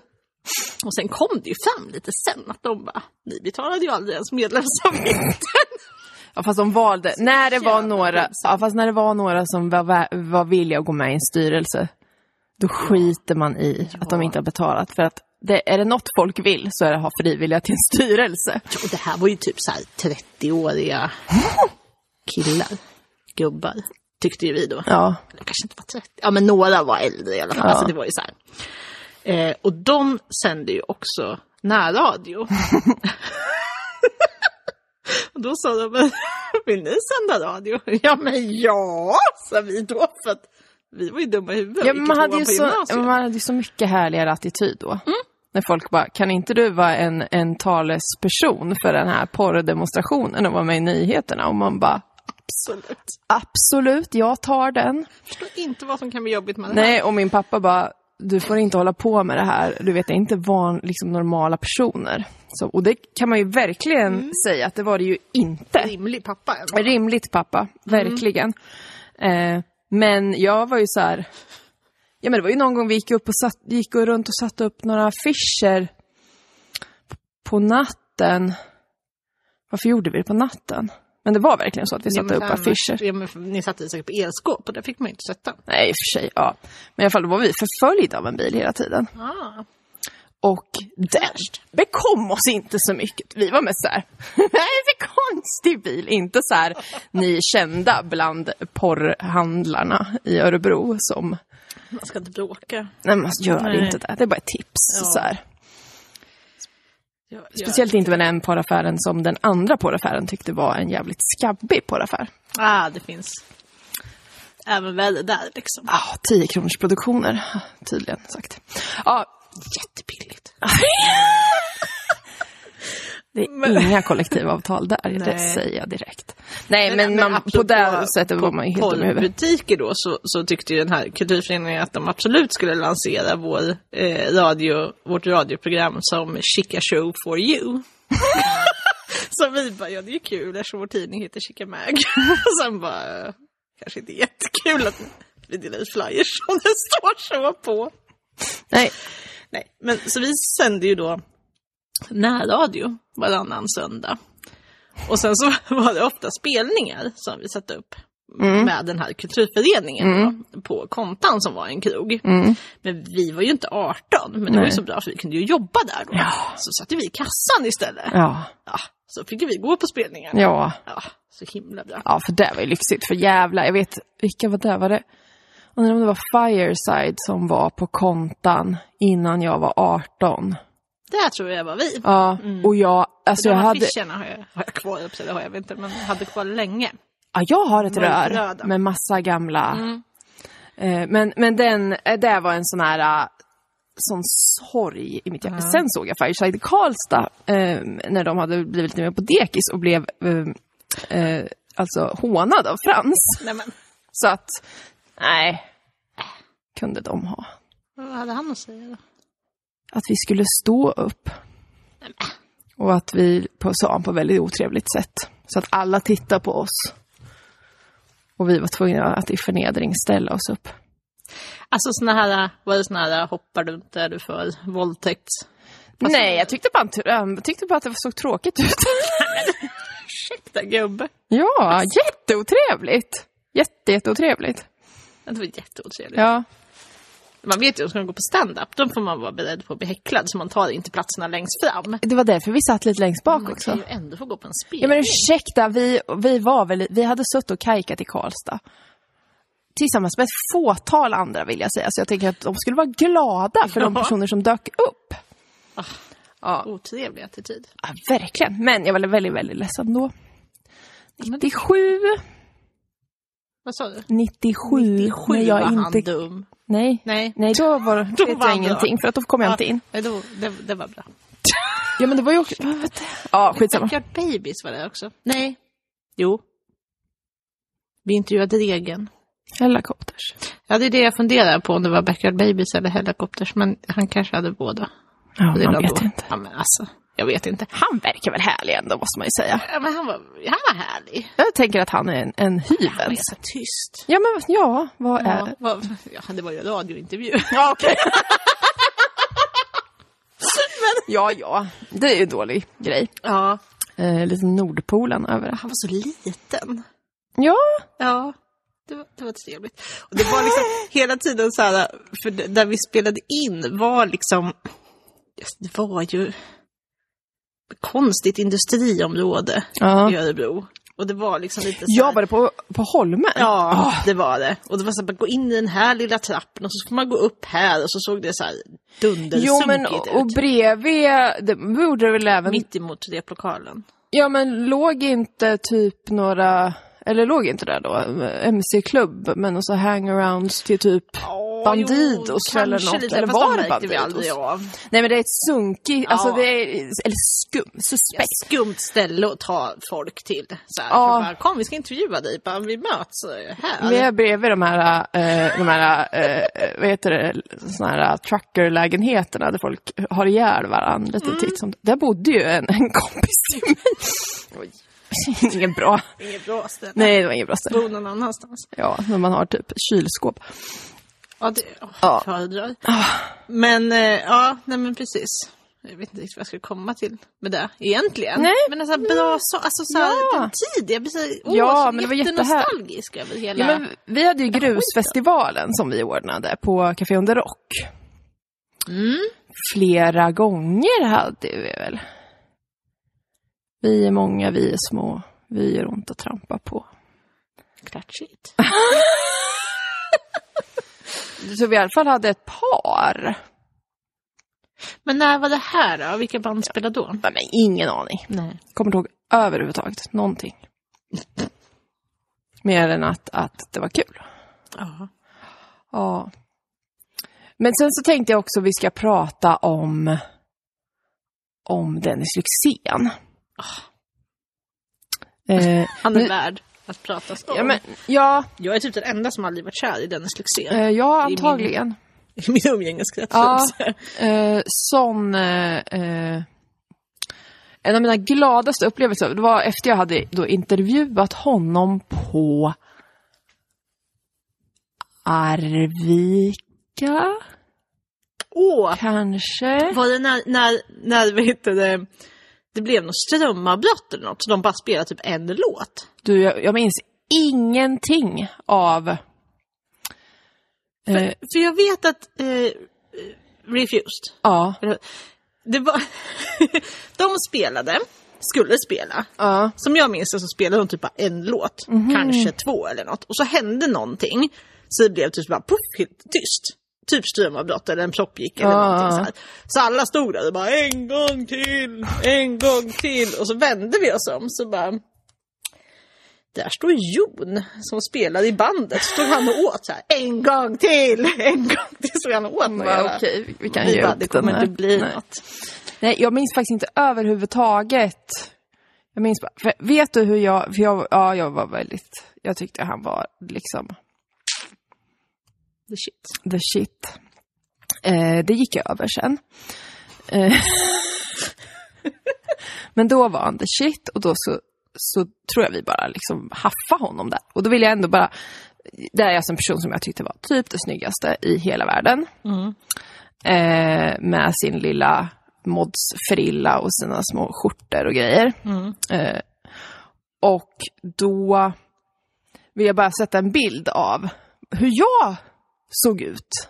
[SPEAKER 2] Och sen kom det ju fram lite sen att de bara, ni betalade ju aldrig ens medlemsavgiften.
[SPEAKER 1] ja, fast de valde. När det var
[SPEAKER 2] jävla
[SPEAKER 1] några, ja, fast när det var några som var, vä- var villiga att gå med i en styrelse, då skiter man i att de inte har betalat. För att det, är det något folk vill så är det att ha frivilliga till en styrelse.
[SPEAKER 2] Och det här var ju typ så här 30-åriga killar, gubbar, tyckte ju vi då.
[SPEAKER 1] Ja.
[SPEAKER 2] Eller kanske inte var 30, ja men några var äldre i alla fall.
[SPEAKER 1] Ja.
[SPEAKER 2] Alltså det var ju så här. Eh, och de sände ju också närradio. och då sa de, "Men vill ni sända radio? Ja men ja, sa vi då. För att vi var ju dumma i huvudet.
[SPEAKER 1] Ja,
[SPEAKER 2] Vi
[SPEAKER 1] men man,
[SPEAKER 2] gick
[SPEAKER 1] hade
[SPEAKER 2] tvåan
[SPEAKER 1] ju
[SPEAKER 2] på
[SPEAKER 1] så,
[SPEAKER 2] gymnasiet. Mm.
[SPEAKER 1] man hade ju så mycket härligare attityd då. När folk bara, kan inte du vara en, en talesperson för den här porrdemonstrationen och vara med i nyheterna? Och man bara,
[SPEAKER 2] Absolut.
[SPEAKER 1] absolut, jag tar den.
[SPEAKER 2] Förstår inte vad som kan bli jobbigt med det här.
[SPEAKER 1] Nej, och min pappa bara, du får inte hålla på med det här. Du vet, det är inte van, liksom, normala personer. Så, och det kan man ju verkligen
[SPEAKER 2] Mm.
[SPEAKER 1] säga att det var det ju inte.
[SPEAKER 2] Rimlig pappa. ändå.
[SPEAKER 1] Rimligt pappa, verkligen. Eh, men jag var ju så här... Ja, men det var ju någon gång vi gick, upp och satt, gick och runt och satte upp några affischer på natten. Varför gjorde vi det på natten? Men det var verkligen så att vi
[SPEAKER 2] Ja,
[SPEAKER 1] satte
[SPEAKER 2] men
[SPEAKER 1] upp
[SPEAKER 2] annars-
[SPEAKER 1] affischer.
[SPEAKER 2] Ja, men för- ni satte ju säkert på elskåp och där fick man ju inte sätta.
[SPEAKER 1] Nej, i och för sig. Ja. Men i alla fall, då var vi förföljda av en bil hela tiden.
[SPEAKER 2] Ah.
[SPEAKER 1] Och den bekom oss inte så mycket. Vi var mest så här, nej, det är konstig bil. Inte så här, ni är kända bland porrhandlarna i Örebro som
[SPEAKER 2] Man ska inte bråka.
[SPEAKER 1] Nej, men alltså, gör
[SPEAKER 2] Nej.
[SPEAKER 1] inte det. Det är bara ett tips.
[SPEAKER 2] Ja.
[SPEAKER 1] Så här.
[SPEAKER 2] Ja,
[SPEAKER 1] Speciellt inte med den porraffären som den andra porraffären tyckte var en jävligt skabbig porraffär.
[SPEAKER 2] Ah, det finns. Även väder där liksom.
[SPEAKER 1] Ja, 10 kronors produktioner tydligen sagt. Ja,
[SPEAKER 2] Jättebilligt.
[SPEAKER 1] det är inga kollektivavtal där, det
[SPEAKER 2] Nej.
[SPEAKER 1] säger jag direkt. Nej, men,
[SPEAKER 2] Men- men
[SPEAKER 1] man, på
[SPEAKER 2] apropå-
[SPEAKER 1] det sättet var man ju helt dum i huvudet.
[SPEAKER 2] porrbutiker då så, så tyckte ju den här kulturföreningen att de absolut skulle lansera vår, eh, radio, vårt radioprogram som Chica Show for you. så vi bara, ja det är ju kul eftersom vår tidning heter Chica Mag. Och sen bara, eh, kanske inte jättekul att vi delar ut flyers som det står så på.
[SPEAKER 1] Nej,
[SPEAKER 2] Nej, men så vi sände ju då närradio varannan söndag. Och sen så var det ofta spelningar som vi satte upp
[SPEAKER 1] Mm.
[SPEAKER 2] med den här kulturföreningen då, på Kontan som var en krog. Men vi var ju inte 18, men det var ju
[SPEAKER 1] Mm. Nej.
[SPEAKER 2] så bra för vi kunde ju jobba där då. Så satte vi i kassan istället. Ja.
[SPEAKER 1] ja,
[SPEAKER 2] så fick vi gå på spelningarna.
[SPEAKER 1] ja.
[SPEAKER 2] Ja, så himla bra.
[SPEAKER 1] Ja, för det var ju lyxigt. För jävla, jag vet, vilka var det? Var det? Undrar om det var Fireside som var på kontan innan jag var 18.
[SPEAKER 2] Där tror jag var vi.
[SPEAKER 1] Ja, och jag, alltså
[SPEAKER 2] De
[SPEAKER 1] jag hade,
[SPEAKER 2] affischerna har jag, har jag kvar, upp, eller har jag inte, men jag hade kvar länge.
[SPEAKER 1] ja, jag har ett rör
[SPEAKER 2] Mörkröda.
[SPEAKER 1] med massa gamla. Eh, men, men den, eh, det var en sån här, eh, sån sorg i mitt hjärta. Sen såg jag Fireside i Karlstad eh, när de hade blivit lite mer på dekis och blev eh, eh, alltså hånad av Frans.
[SPEAKER 2] Nej, men,
[SPEAKER 1] Så att, nej, kunde de ha.
[SPEAKER 2] vad hade han att säga då?
[SPEAKER 1] att vi skulle stå upp. Och att vi på, sa han på väldigt otrevligt sätt. Så att alla tittade på oss. Och vi var tvungna att i förnedring ställa oss upp.
[SPEAKER 2] Alltså såna här, var det såna här hoppar du inte, är du för våldtäkt?
[SPEAKER 1] Nej, jag tyckte bara, att- jag tyckte bara att det såg tråkigt ut.
[SPEAKER 2] Ursäkta gubbe.
[SPEAKER 1] ja, jätteotrevligt! Jätte, jätteotrevligt.
[SPEAKER 2] Det var jätteotrevligt.
[SPEAKER 1] Ja.
[SPEAKER 2] Man vet ju om man ska gå på stand-up, då får man vara beredd på att bli häcklad så man tar inte platserna längst fram.
[SPEAKER 1] Det var därför vi satt lite längst bak
[SPEAKER 2] Man
[SPEAKER 1] också.
[SPEAKER 2] kan ju ändå få gå på en spel.
[SPEAKER 1] Ja men ursäkta, vi, vi, var väl, vi hade suttit och kajkat i Karlstad. Tillsammans med ett fåtal andra vill jag säga, så jag tänker att de skulle vara glada för de
[SPEAKER 2] Ja.
[SPEAKER 1] personer som dök upp. Ja,
[SPEAKER 2] Ah, Otrevlig attityd.
[SPEAKER 1] ja, verkligen. Men jag var väldigt, väldigt ledsen då. 97,
[SPEAKER 2] Vad sa du?
[SPEAKER 1] 97, när
[SPEAKER 2] Sju var
[SPEAKER 1] Mm, jag
[SPEAKER 2] han
[SPEAKER 1] inte...
[SPEAKER 2] dum.
[SPEAKER 1] Nej.
[SPEAKER 2] Nej.
[SPEAKER 1] Nej, då var det vet
[SPEAKER 2] var
[SPEAKER 1] jag
[SPEAKER 2] han
[SPEAKER 1] ingenting, för att då kom jag inte in.
[SPEAKER 2] Nej, då, det, det var bra.
[SPEAKER 1] Ja, men det var ju också... Ja, skitsamma.
[SPEAKER 2] Backyard Babies var det också. Nej. Jo. Vi intervjuade Regen.
[SPEAKER 1] Helikopters.
[SPEAKER 2] Ja, det är det jag funderar på, om det var Backyard Babies eller Helicopters, men han kanske hade båda.
[SPEAKER 1] Ja,
[SPEAKER 2] redan
[SPEAKER 1] man vet
[SPEAKER 2] då.
[SPEAKER 1] inte.
[SPEAKER 2] Ja, men alltså, jag vet inte.
[SPEAKER 1] Han verkar väl härlig ändå, måste man ju säga.
[SPEAKER 2] Ja, men han, var, han var härlig.
[SPEAKER 1] Jag tänker att han är en, en
[SPEAKER 2] Han var
[SPEAKER 1] hyvens.
[SPEAKER 2] så tyst.
[SPEAKER 1] Ja, men ja, vad är...
[SPEAKER 2] Ja, vad, ja, det var ju en radiointervju.
[SPEAKER 1] Äh. Ja, okej. Ja, ja, det är ju en dålig grej.
[SPEAKER 2] Ja,
[SPEAKER 1] Eh, lite Nordpolen över det.
[SPEAKER 2] han var så liten.
[SPEAKER 1] Ja,
[SPEAKER 2] Ja, det var, det var trevligt. Och det var liksom hela tiden så här, för det- där vi spelade in var liksom, just, det var ju ett konstigt industriområde
[SPEAKER 1] Ja.
[SPEAKER 2] i Örebro. Och det var liksom lite så här,
[SPEAKER 1] jag var det på, på Holmen.
[SPEAKER 2] Ja, det var det. Och det var så att man gå in i den här lilla trappen och så får man gå upp här och så såg det så här
[SPEAKER 1] Jo, men
[SPEAKER 2] dundersunkigt
[SPEAKER 1] och
[SPEAKER 2] ut.
[SPEAKER 1] bredvid, det borde det väl även...
[SPEAKER 2] Mitt emot replokalen.
[SPEAKER 1] Ja, men låg inte typ några... Eller låg inte där då, MC-klubb, men och så hangarounds till typ Bandidos eller något, eller var det
[SPEAKER 2] Vi aldrig
[SPEAKER 1] Bandidos?
[SPEAKER 2] av.
[SPEAKER 1] Nej men det är ett sunkigt, alltså
[SPEAKER 2] Ja.
[SPEAKER 1] det är, eller skum, suspekt.
[SPEAKER 2] Ett skumt ställe att ta folk till. Så här,
[SPEAKER 1] Ja.
[SPEAKER 2] för bara, Kom, vi ska intervjua dig. Bara, vi möts eh, här.
[SPEAKER 1] Vi är bredvid de här, eh, de här eh, vad heter det, såna här truckerlägenheterna där folk har ihjäl varandra lite titt som Där bodde ju en, en kompis till mig. Oj. Inget bra. Mm.
[SPEAKER 2] Inget bra ställe.
[SPEAKER 1] Nej, det var inget bra ställe.
[SPEAKER 2] Bo någon annanstans.
[SPEAKER 1] Ja, när man har typ kylskåp.
[SPEAKER 2] Ja, det oh,
[SPEAKER 1] Ja. Ah.
[SPEAKER 2] föredrar. Men eh, ja, nej men precis. Jag vet inte riktigt vad jag skulle komma till med det egentligen.
[SPEAKER 1] Nej.
[SPEAKER 2] Men en sån här bra så, alltså så här,
[SPEAKER 1] Ja.
[SPEAKER 2] den tid. Jag blir så, åh,
[SPEAKER 1] Ja,
[SPEAKER 2] så
[SPEAKER 1] men det var
[SPEAKER 2] jättenostalgisk över hela...
[SPEAKER 1] Ja, men vi hade ju grusfestivalen som vi ordnade på Café Under Rock. Mm. Flera gånger hade vi väl. Vi är många, vi är små, vi gör ont att trampa på.
[SPEAKER 2] Klatschigt.
[SPEAKER 1] Så vi i alla fall hade ett par.
[SPEAKER 2] Men när var det här då? Vilka band spelade då?
[SPEAKER 1] Nej, men ingen aning.
[SPEAKER 2] Nej.
[SPEAKER 1] Kommer inte ihåg överhuvudtaget någonting. Mer än att, att det var kul.
[SPEAKER 2] Ja.
[SPEAKER 1] Ja. Men sen så tänkte jag också vi ska prata om, om Dennis Lyxzén. Ah. Eh,
[SPEAKER 2] Han är
[SPEAKER 1] Men-
[SPEAKER 2] värd att prata om.
[SPEAKER 1] ja, men, ja,
[SPEAKER 2] Jag är typ den enda som aldrig varit kär i Dennis Lyxzén.
[SPEAKER 1] eh, ja, antagligen.
[SPEAKER 2] I min umgängeskrets.
[SPEAKER 1] Ja. Eh, sån... Eh, eh, en av mina gladaste upplevelser, det var efter jag hade då intervjuat honom på Arvika,
[SPEAKER 2] Åh!
[SPEAKER 1] kanske?
[SPEAKER 2] Var det när, när, när vad heter det, det blev något strömavbrott eller något, så de bara spelade typ en låt?
[SPEAKER 1] Du, jag, jag minns ingenting av... Eh,
[SPEAKER 2] För jag vet att eh, Refused,
[SPEAKER 1] ja,
[SPEAKER 2] eller- det var... de spelade, skulle spela.
[SPEAKER 1] ja,
[SPEAKER 2] Som jag minns det så spelade de typ bara en låt,
[SPEAKER 1] Mhm.
[SPEAKER 2] kanske två eller något. Och så hände någonting, så det blev typ bara poff, helt tyst. Typ strömavbrott eller en plopp gick eller
[SPEAKER 1] Ja,
[SPEAKER 2] någonting
[SPEAKER 1] ja.
[SPEAKER 2] så här. Så alla stod där och bara en gång till, en gång till. Och så vände vi oss om så bara där står Jon som spelade i bandet. Så stod han och åt så här, en gång till, en gång till. Stod han och åt. Och jag
[SPEAKER 1] ja
[SPEAKER 2] bara,
[SPEAKER 1] okej, vi- vi kan
[SPEAKER 2] vi
[SPEAKER 1] ge
[SPEAKER 2] bara,
[SPEAKER 1] upp
[SPEAKER 2] det kommer
[SPEAKER 1] den här.
[SPEAKER 2] inte bli
[SPEAKER 1] Nej.
[SPEAKER 2] något.
[SPEAKER 1] Nej, jag minns faktiskt inte överhuvudtaget. Jag minns bara, för vet du hur jag, för jag, ja, jag var väldigt, jag tyckte han var liksom
[SPEAKER 2] The shit.
[SPEAKER 1] the shit. Eh, det gick över sen. Eh, men då var han the shit och då så, så tror jag vi bara liksom haffa honom där. Och då vill jag ändå bara, det är alltså en person som jag tyckte var typ det snyggaste i hela världen. Eh, med sin lilla modsfrilla och sina små skjortor och grejer. Eh, och då vill jag bara sätta en bild av hur jag såg ut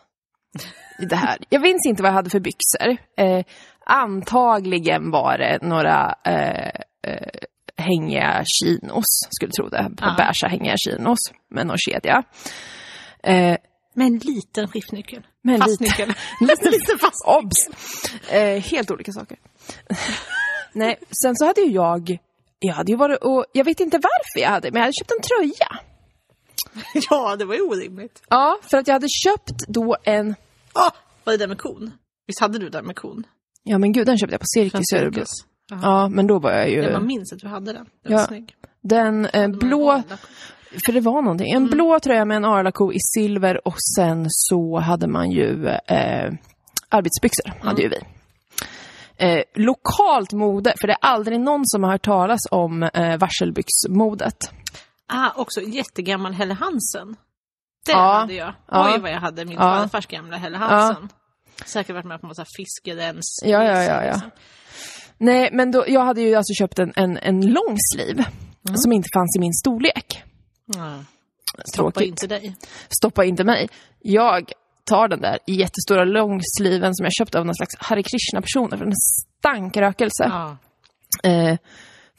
[SPEAKER 1] i det här. Jag minns inte vad jag hade för byxor. Eh, antagligen var det några eh, eh, hängiga chinos, skulle tro det.
[SPEAKER 2] Ja.
[SPEAKER 1] Ah. Beiga hängiga chinos med någon kedja. Eh,
[SPEAKER 2] Med en liten skiftnyckel.
[SPEAKER 1] Med en
[SPEAKER 2] fastnyckel.
[SPEAKER 1] liten-
[SPEAKER 2] liten fast.
[SPEAKER 1] Obs! Eh, helt olika saker. Nej, sen så hade ju jag... Jag hade ju varit och... Jag vet inte varför jag hade, men jag hade köpt en tröja.
[SPEAKER 2] Ja, det var ju orimligt.
[SPEAKER 1] Ja, för att jag hade köpt då en...
[SPEAKER 2] Ah, var det där med kon? Visst hade du den med kon?
[SPEAKER 1] Ja, men gud, den köpte jag på Cirkus i Örebro. Ja, men då var jag ju...
[SPEAKER 2] Jag bara minns att du hade den. Den var
[SPEAKER 1] Ja.
[SPEAKER 2] snygg.
[SPEAKER 1] Den eh, blå...
[SPEAKER 2] Den var-
[SPEAKER 1] För det var någonting. En blå tröja med en Arlako i silver och sen så hade man ju eh, arbetsbyxor. Hade ju vi. Eh, lokalt mode, för det är aldrig någon som har hört talas om eh, varselbyxmodet.
[SPEAKER 2] Ah, också jättegammal Helle Hansen. Den
[SPEAKER 1] Ja.
[SPEAKER 2] hade jag.
[SPEAKER 1] Ja.
[SPEAKER 2] Oj vad jag hade min
[SPEAKER 1] Ja.
[SPEAKER 2] farfars gamla Helle Hansen. Säkert varit med på en massa fiskerens.
[SPEAKER 1] Ja, ja, ja,
[SPEAKER 2] liksom.
[SPEAKER 1] ja. Nej, men då, jag hade ju alltså köpt en, en, en lång sleeve som inte fanns i min storlek.
[SPEAKER 2] ja. Var
[SPEAKER 1] Tråkigt.
[SPEAKER 2] inte dig.
[SPEAKER 1] Stoppa inte mig. Jag tar den där jättestora långsliven som jag köpte av någon slags Hare Krishna-personer, för den stank rökelse.
[SPEAKER 2] Ja.
[SPEAKER 1] Eh,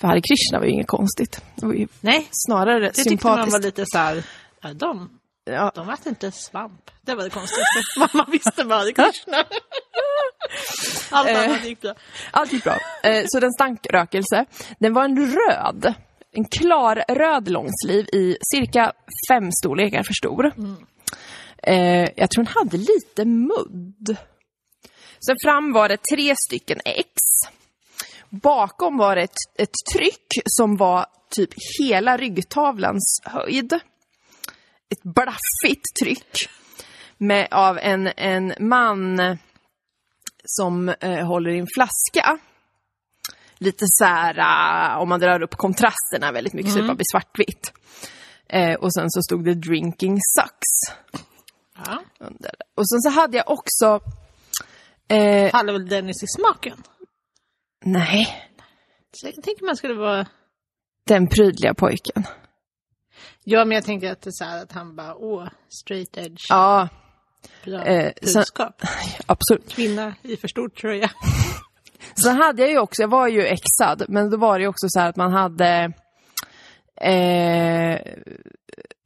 [SPEAKER 1] för Hare Krishna var ju inget konstigt. Det var ju
[SPEAKER 2] Nej,
[SPEAKER 1] snarare
[SPEAKER 2] det tyckte man
[SPEAKER 1] sympatiskt.
[SPEAKER 2] var lite så här. Ja, de,
[SPEAKER 1] ja.
[SPEAKER 2] de äter inte svamp. Det var det konstigaste. Vad man visste bara det Krishna. Allt
[SPEAKER 1] Eh.
[SPEAKER 2] annat gick bra.
[SPEAKER 1] Allt gick bra. Eh, så den stank rökelse. Den var en röd, en klar röd långsliv i cirka fem storlekar för stor. Eh, jag tror den hade lite mudd. Sen fram var det tre stycken X. Bakom var det ett, ett tryck som var typ hela ryggtavlans höjd. Ett blaffigt tryck med, av en, en man som eh, håller i en flaska. Lite så här, ah, om man drar upp kontrasterna väldigt mycket så det bara blir svartvitt. Eh, och sen så stod det “Drinking sucks”
[SPEAKER 2] Ja.
[SPEAKER 1] under. Och sen så hade jag också... Eh,
[SPEAKER 2] Hade väl Dennis i smaken?
[SPEAKER 1] nej,
[SPEAKER 2] Så jag tänker man skulle vara...
[SPEAKER 1] den prydliga pojken.
[SPEAKER 2] Ja, men jag tänker att det är så här att han bara, åh, straight edge,
[SPEAKER 1] Ja,
[SPEAKER 2] bra
[SPEAKER 1] eh, så-
[SPEAKER 2] budskap.
[SPEAKER 1] absolut.
[SPEAKER 2] Kvinna i för stor tröja.
[SPEAKER 1] Sen hade jag ju också, jag var ju exad, men då var det ju också så här att man hade... Eh,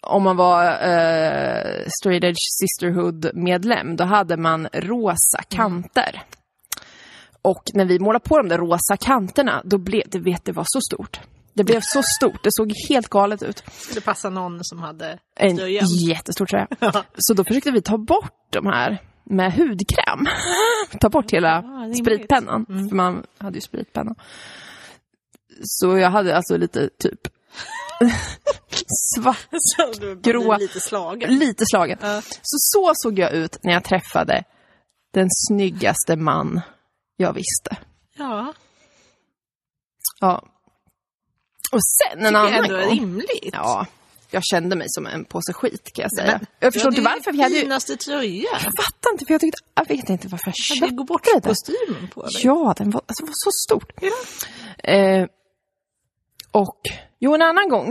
[SPEAKER 1] om man var eh, straight edge sisterhood-medlem, då hade man rosa kanter. Och när vi målade på de där rosa kanterna, då blev det, vet, det var så stort. Det blev så stort, det såg helt galet ut.
[SPEAKER 2] Skulle passa någon som hade
[SPEAKER 1] En
[SPEAKER 2] slöjan.
[SPEAKER 1] jättestor tröja. Så då försökte vi ta bort de här med hudkräm. ta bort hela
[SPEAKER 2] rimligt.
[SPEAKER 1] spritpennan.
[SPEAKER 2] Mm.
[SPEAKER 1] För man hade ju spritpenna. Så jag hade alltså lite typ svart
[SPEAKER 2] Så du
[SPEAKER 1] Gråa.
[SPEAKER 2] Gråa. lite slagen.
[SPEAKER 1] Lite slagen.
[SPEAKER 2] Ja.
[SPEAKER 1] Så så såg jag ut när jag träffade den snyggaste man jag visste.
[SPEAKER 2] Ja,
[SPEAKER 1] Ja. Och sen en
[SPEAKER 2] det
[SPEAKER 1] annan
[SPEAKER 2] är ändå
[SPEAKER 1] gång.
[SPEAKER 2] rimligt.
[SPEAKER 1] Ja, jag kände mig som en påse skit kan jag säga.
[SPEAKER 2] Men-
[SPEAKER 1] jag förstår inte
[SPEAKER 2] det är
[SPEAKER 1] varför. för Jag hade ju...
[SPEAKER 2] finaste tröja.
[SPEAKER 1] Jag fattar inte, för jag tyckte... Jag vet inte varför jag
[SPEAKER 2] Hade
[SPEAKER 1] köpte
[SPEAKER 2] du gått bort
[SPEAKER 1] det. där.
[SPEAKER 2] kostymen på dig?
[SPEAKER 1] Ja, den var, alltså, den var så stor. Eh, och, jo en annan gång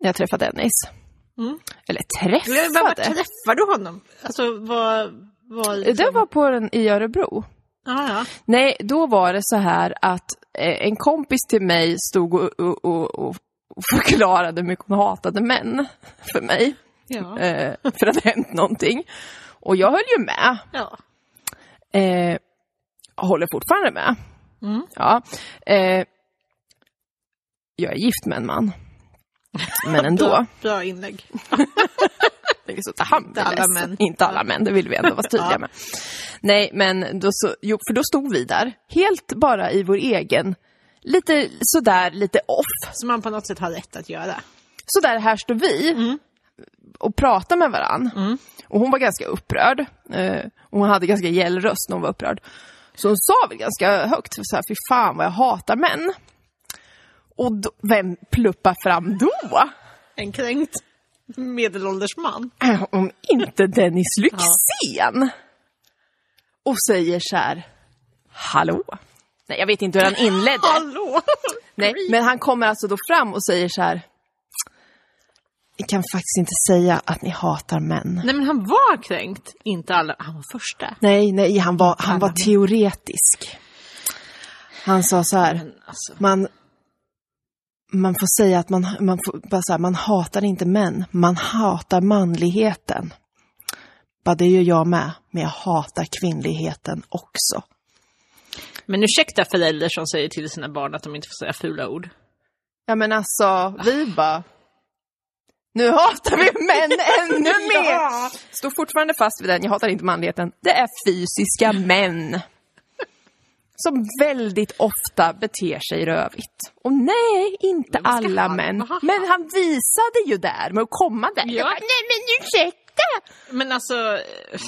[SPEAKER 1] när jag träffade Dennis.
[SPEAKER 2] Mm.
[SPEAKER 1] Eller
[SPEAKER 2] Jag vill bara, vart
[SPEAKER 1] träffade.
[SPEAKER 2] träffade du honom? Alltså, vad... vad liksom-
[SPEAKER 1] Det var på den i Örebro.
[SPEAKER 2] Ja, ja.
[SPEAKER 1] Nej, då var det så här att eh, en kompis till mig stod och, och, och, och och förklarade hur mycket hon hatade män för mig.
[SPEAKER 2] Ja.
[SPEAKER 1] Eh, för att det hade hänt någonting. Och jag höll ju med.
[SPEAKER 2] ja.
[SPEAKER 1] Eh, håller fortfarande med.
[SPEAKER 2] Mm.
[SPEAKER 1] Ja. Eh, jag är gift med en man. Men ändå.
[SPEAKER 2] Bra, bra inlägg.
[SPEAKER 1] tänker så, att han
[SPEAKER 2] Inte
[SPEAKER 1] blir
[SPEAKER 2] alla
[SPEAKER 1] ledsen.
[SPEAKER 2] män.
[SPEAKER 1] Inte alla män, det vill vi ändå vara tydliga
[SPEAKER 2] Ja.
[SPEAKER 1] med. Nej, men då så, jo, för då stod vi där, helt bara i vår egen, lite sådär, lite off.
[SPEAKER 2] Som man på något sätt har rätt att göra.
[SPEAKER 1] Så där här står vi och pratar med varann. Och hon var ganska upprörd. Eh, och hon hade ganska gäll röst när hon var upprörd. Så hon sa väl ganska högt, så här, fy fan vad jag hatar män. Och då, vem pluppar fram då?
[SPEAKER 2] En kränkt medelålders man.
[SPEAKER 1] Äh, om inte Dennis Lyxzén. Och säger så här, hallå? Nej, jag vet inte hur han inledde.
[SPEAKER 2] Hallå!
[SPEAKER 1] Nej, men han kommer alltså då fram och säger så här, ni kan faktiskt inte säga att ni hatar män.
[SPEAKER 2] Nej men han var kränkt. Inte alla. Han var första.
[SPEAKER 1] Nej, nej, han var, han var teoretisk. Han sa så här,
[SPEAKER 2] Men alltså.
[SPEAKER 1] man, man får säga att man, man, får, bara så här, man hatar inte män, man hatar manligheten. Bara det gör jag med, men jag hatar kvinnligheten också.
[SPEAKER 2] Men ursäkta föräldrar som säger till sina barn att de inte får säga fula ord.
[SPEAKER 1] Ja men alltså, vi bara... Nu hatar vi män ännu mer!
[SPEAKER 2] Ja.
[SPEAKER 1] Står fortfarande fast vid den, jag hatar inte manligheten. Det är fysiska män. Som väldigt ofta beter sig rövigt. Och nej, inte
[SPEAKER 2] vad ska
[SPEAKER 1] alla
[SPEAKER 2] han-
[SPEAKER 1] män.
[SPEAKER 2] vad har han-
[SPEAKER 1] Men han visade ju där med att komma där. Jag
[SPEAKER 2] Ja.
[SPEAKER 1] bara, nej men ursäkta!
[SPEAKER 2] Men alltså... eh,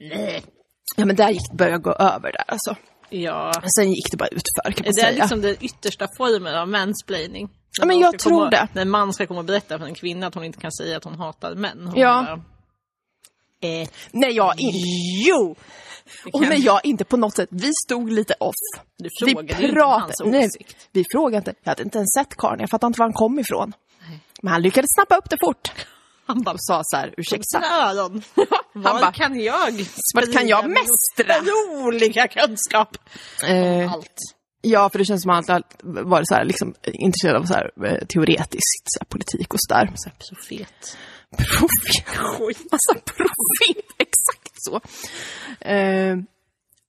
[SPEAKER 2] Nej.
[SPEAKER 1] Ja men där gick det, började gå över där alltså.
[SPEAKER 2] Ja.
[SPEAKER 1] Sen gick det bara utför kan
[SPEAKER 2] Är
[SPEAKER 1] man
[SPEAKER 2] det är
[SPEAKER 1] säga.
[SPEAKER 2] liksom den yttersta formen av mansplaining. När
[SPEAKER 1] Ja, men
[SPEAKER 2] någon
[SPEAKER 1] jag
[SPEAKER 2] ska
[SPEAKER 1] tror
[SPEAKER 2] komma,
[SPEAKER 1] det.
[SPEAKER 2] När en man ska komma och berätta för en kvinna att hon inte kan säga att hon hatar män. Hon
[SPEAKER 1] Ja.
[SPEAKER 2] Bara, eh,
[SPEAKER 1] När jag in... Jo! Och
[SPEAKER 2] kan-
[SPEAKER 1] när jag inte på något sätt, vi stod lite off.
[SPEAKER 2] du
[SPEAKER 1] Vi
[SPEAKER 2] frågade ju inte om hans
[SPEAKER 1] nej,
[SPEAKER 2] åsikt.
[SPEAKER 1] vi frågade inte. Jag hade inte ens sett karln, jag fattade inte var han kom ifrån. Men han lyckades snappa upp det fort.
[SPEAKER 2] Han bara,
[SPEAKER 1] Sa så här, ursäkta.
[SPEAKER 2] sina öron. Var
[SPEAKER 1] bara,
[SPEAKER 2] kan jag
[SPEAKER 1] vart kan jag
[SPEAKER 2] sprida min
[SPEAKER 1] mästra?
[SPEAKER 2] otroliga kunskap?
[SPEAKER 1] Eh,
[SPEAKER 2] Allt.
[SPEAKER 1] ja, för det känns som att han alltid har varit så här, liksom, intresserad av så här, eh, teoretiskt så här, politik och sådär. Så här,
[SPEAKER 2] Profet.
[SPEAKER 1] profet. Massa profet, Alltså, exakt så. Eh,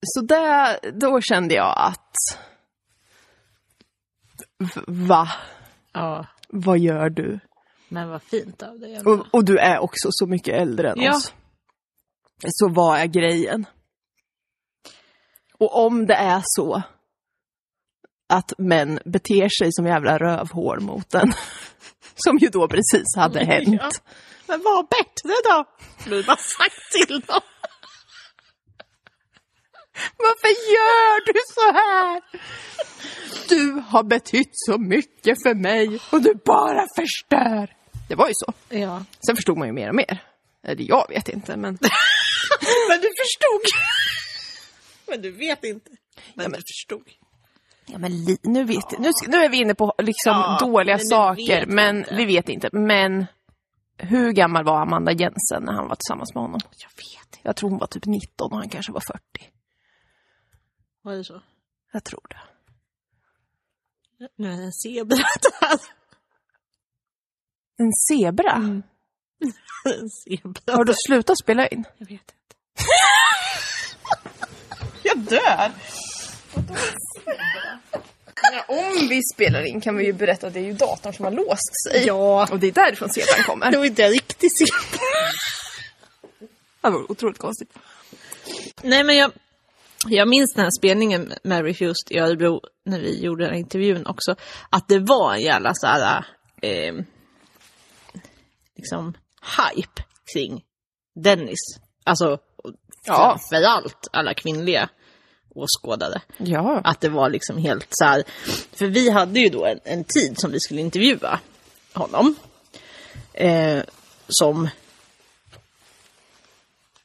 [SPEAKER 1] så där, då kände jag att... v- Va?
[SPEAKER 2] Ja,
[SPEAKER 1] Vad gör du?
[SPEAKER 2] men vad fint av dig. ändå.
[SPEAKER 1] Och, och du är också så mycket äldre än
[SPEAKER 2] Ja.
[SPEAKER 1] oss. Så vad är grejen? Och om det är så att män beter sig som jävla rövhår mot en, som ju då precis hade hänt.
[SPEAKER 2] Ja. Men var bättre då! Du bara sagt till dem.
[SPEAKER 1] Varför gör du så här? Du har betytt så mycket för mig och du bara förstör. Det var ju så.
[SPEAKER 2] Ja.
[SPEAKER 1] Sen förstod man ju mer och mer. Eller jag vet inte, men...
[SPEAKER 2] Men du förstod. men du vet inte. Men,
[SPEAKER 1] Ja, men-
[SPEAKER 2] du förstod.
[SPEAKER 1] Ja, men li- nu, vet, nu, ska- nu är vi inne på liksom
[SPEAKER 2] Ja,
[SPEAKER 1] dåliga
[SPEAKER 2] men vi
[SPEAKER 1] saker,
[SPEAKER 2] vet
[SPEAKER 1] men
[SPEAKER 2] inte.
[SPEAKER 1] vi vet inte. Men hur gammal var Amanda Jensen när han var tillsammans med honom?
[SPEAKER 2] Jag vet inte.
[SPEAKER 1] Jag tror hon var typ 19 och han kanske var 40.
[SPEAKER 2] Var det så?
[SPEAKER 1] Jag tror det.
[SPEAKER 2] Nu är en zebra där.
[SPEAKER 1] En zebra?
[SPEAKER 2] Zebra.
[SPEAKER 1] Har du slutat spela in?
[SPEAKER 2] Jag vet inte. jag dör!
[SPEAKER 1] om vi spelar in kan vi ju berätta att det är ju datorn som har låst sig.
[SPEAKER 2] Ja.
[SPEAKER 1] Och det är därifrån zebran kommer.
[SPEAKER 2] Det var inte en riktig zebra.
[SPEAKER 1] Det var otroligt konstigt.
[SPEAKER 2] Nej, men jag, jag minns den här spelningen med Mary Hust i Örebro när vi gjorde den här intervjun också. Att det var en jävla så här, eh, liksom hype kring Dennis. Alltså
[SPEAKER 1] Ja.
[SPEAKER 2] framförallt alla kvinnliga åskådare.
[SPEAKER 1] Ja.
[SPEAKER 2] Att det var liksom helt så här, för vi hade ju då en, en tid som vi skulle intervjua honom. Eh, som,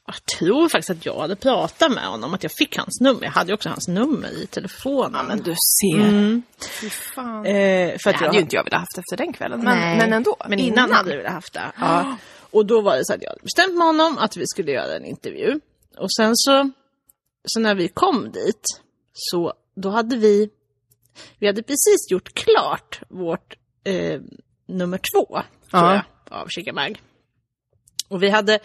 [SPEAKER 2] jag tror faktiskt att jag hade pratat med honom, att jag fick hans nummer. Jag hade ju också hans nummer i telefonen.
[SPEAKER 1] Men du ser. Fy fan.
[SPEAKER 2] eh,
[SPEAKER 1] Det
[SPEAKER 2] för att
[SPEAKER 1] hade
[SPEAKER 2] jag,
[SPEAKER 1] ju inte jag velat haft efter den kvällen. Men, men ändå.
[SPEAKER 2] Men innan, hade vi velat haft det. Ja. Och då var det så att jag hade bestämt med honom att vi skulle göra en intervju. Och sen så, så när vi kom dit, så då hade vi, vi hade precis gjort klart vårt eh, nummer två, tror
[SPEAKER 1] Ja.
[SPEAKER 2] jag, av Chickamag. Och vi hade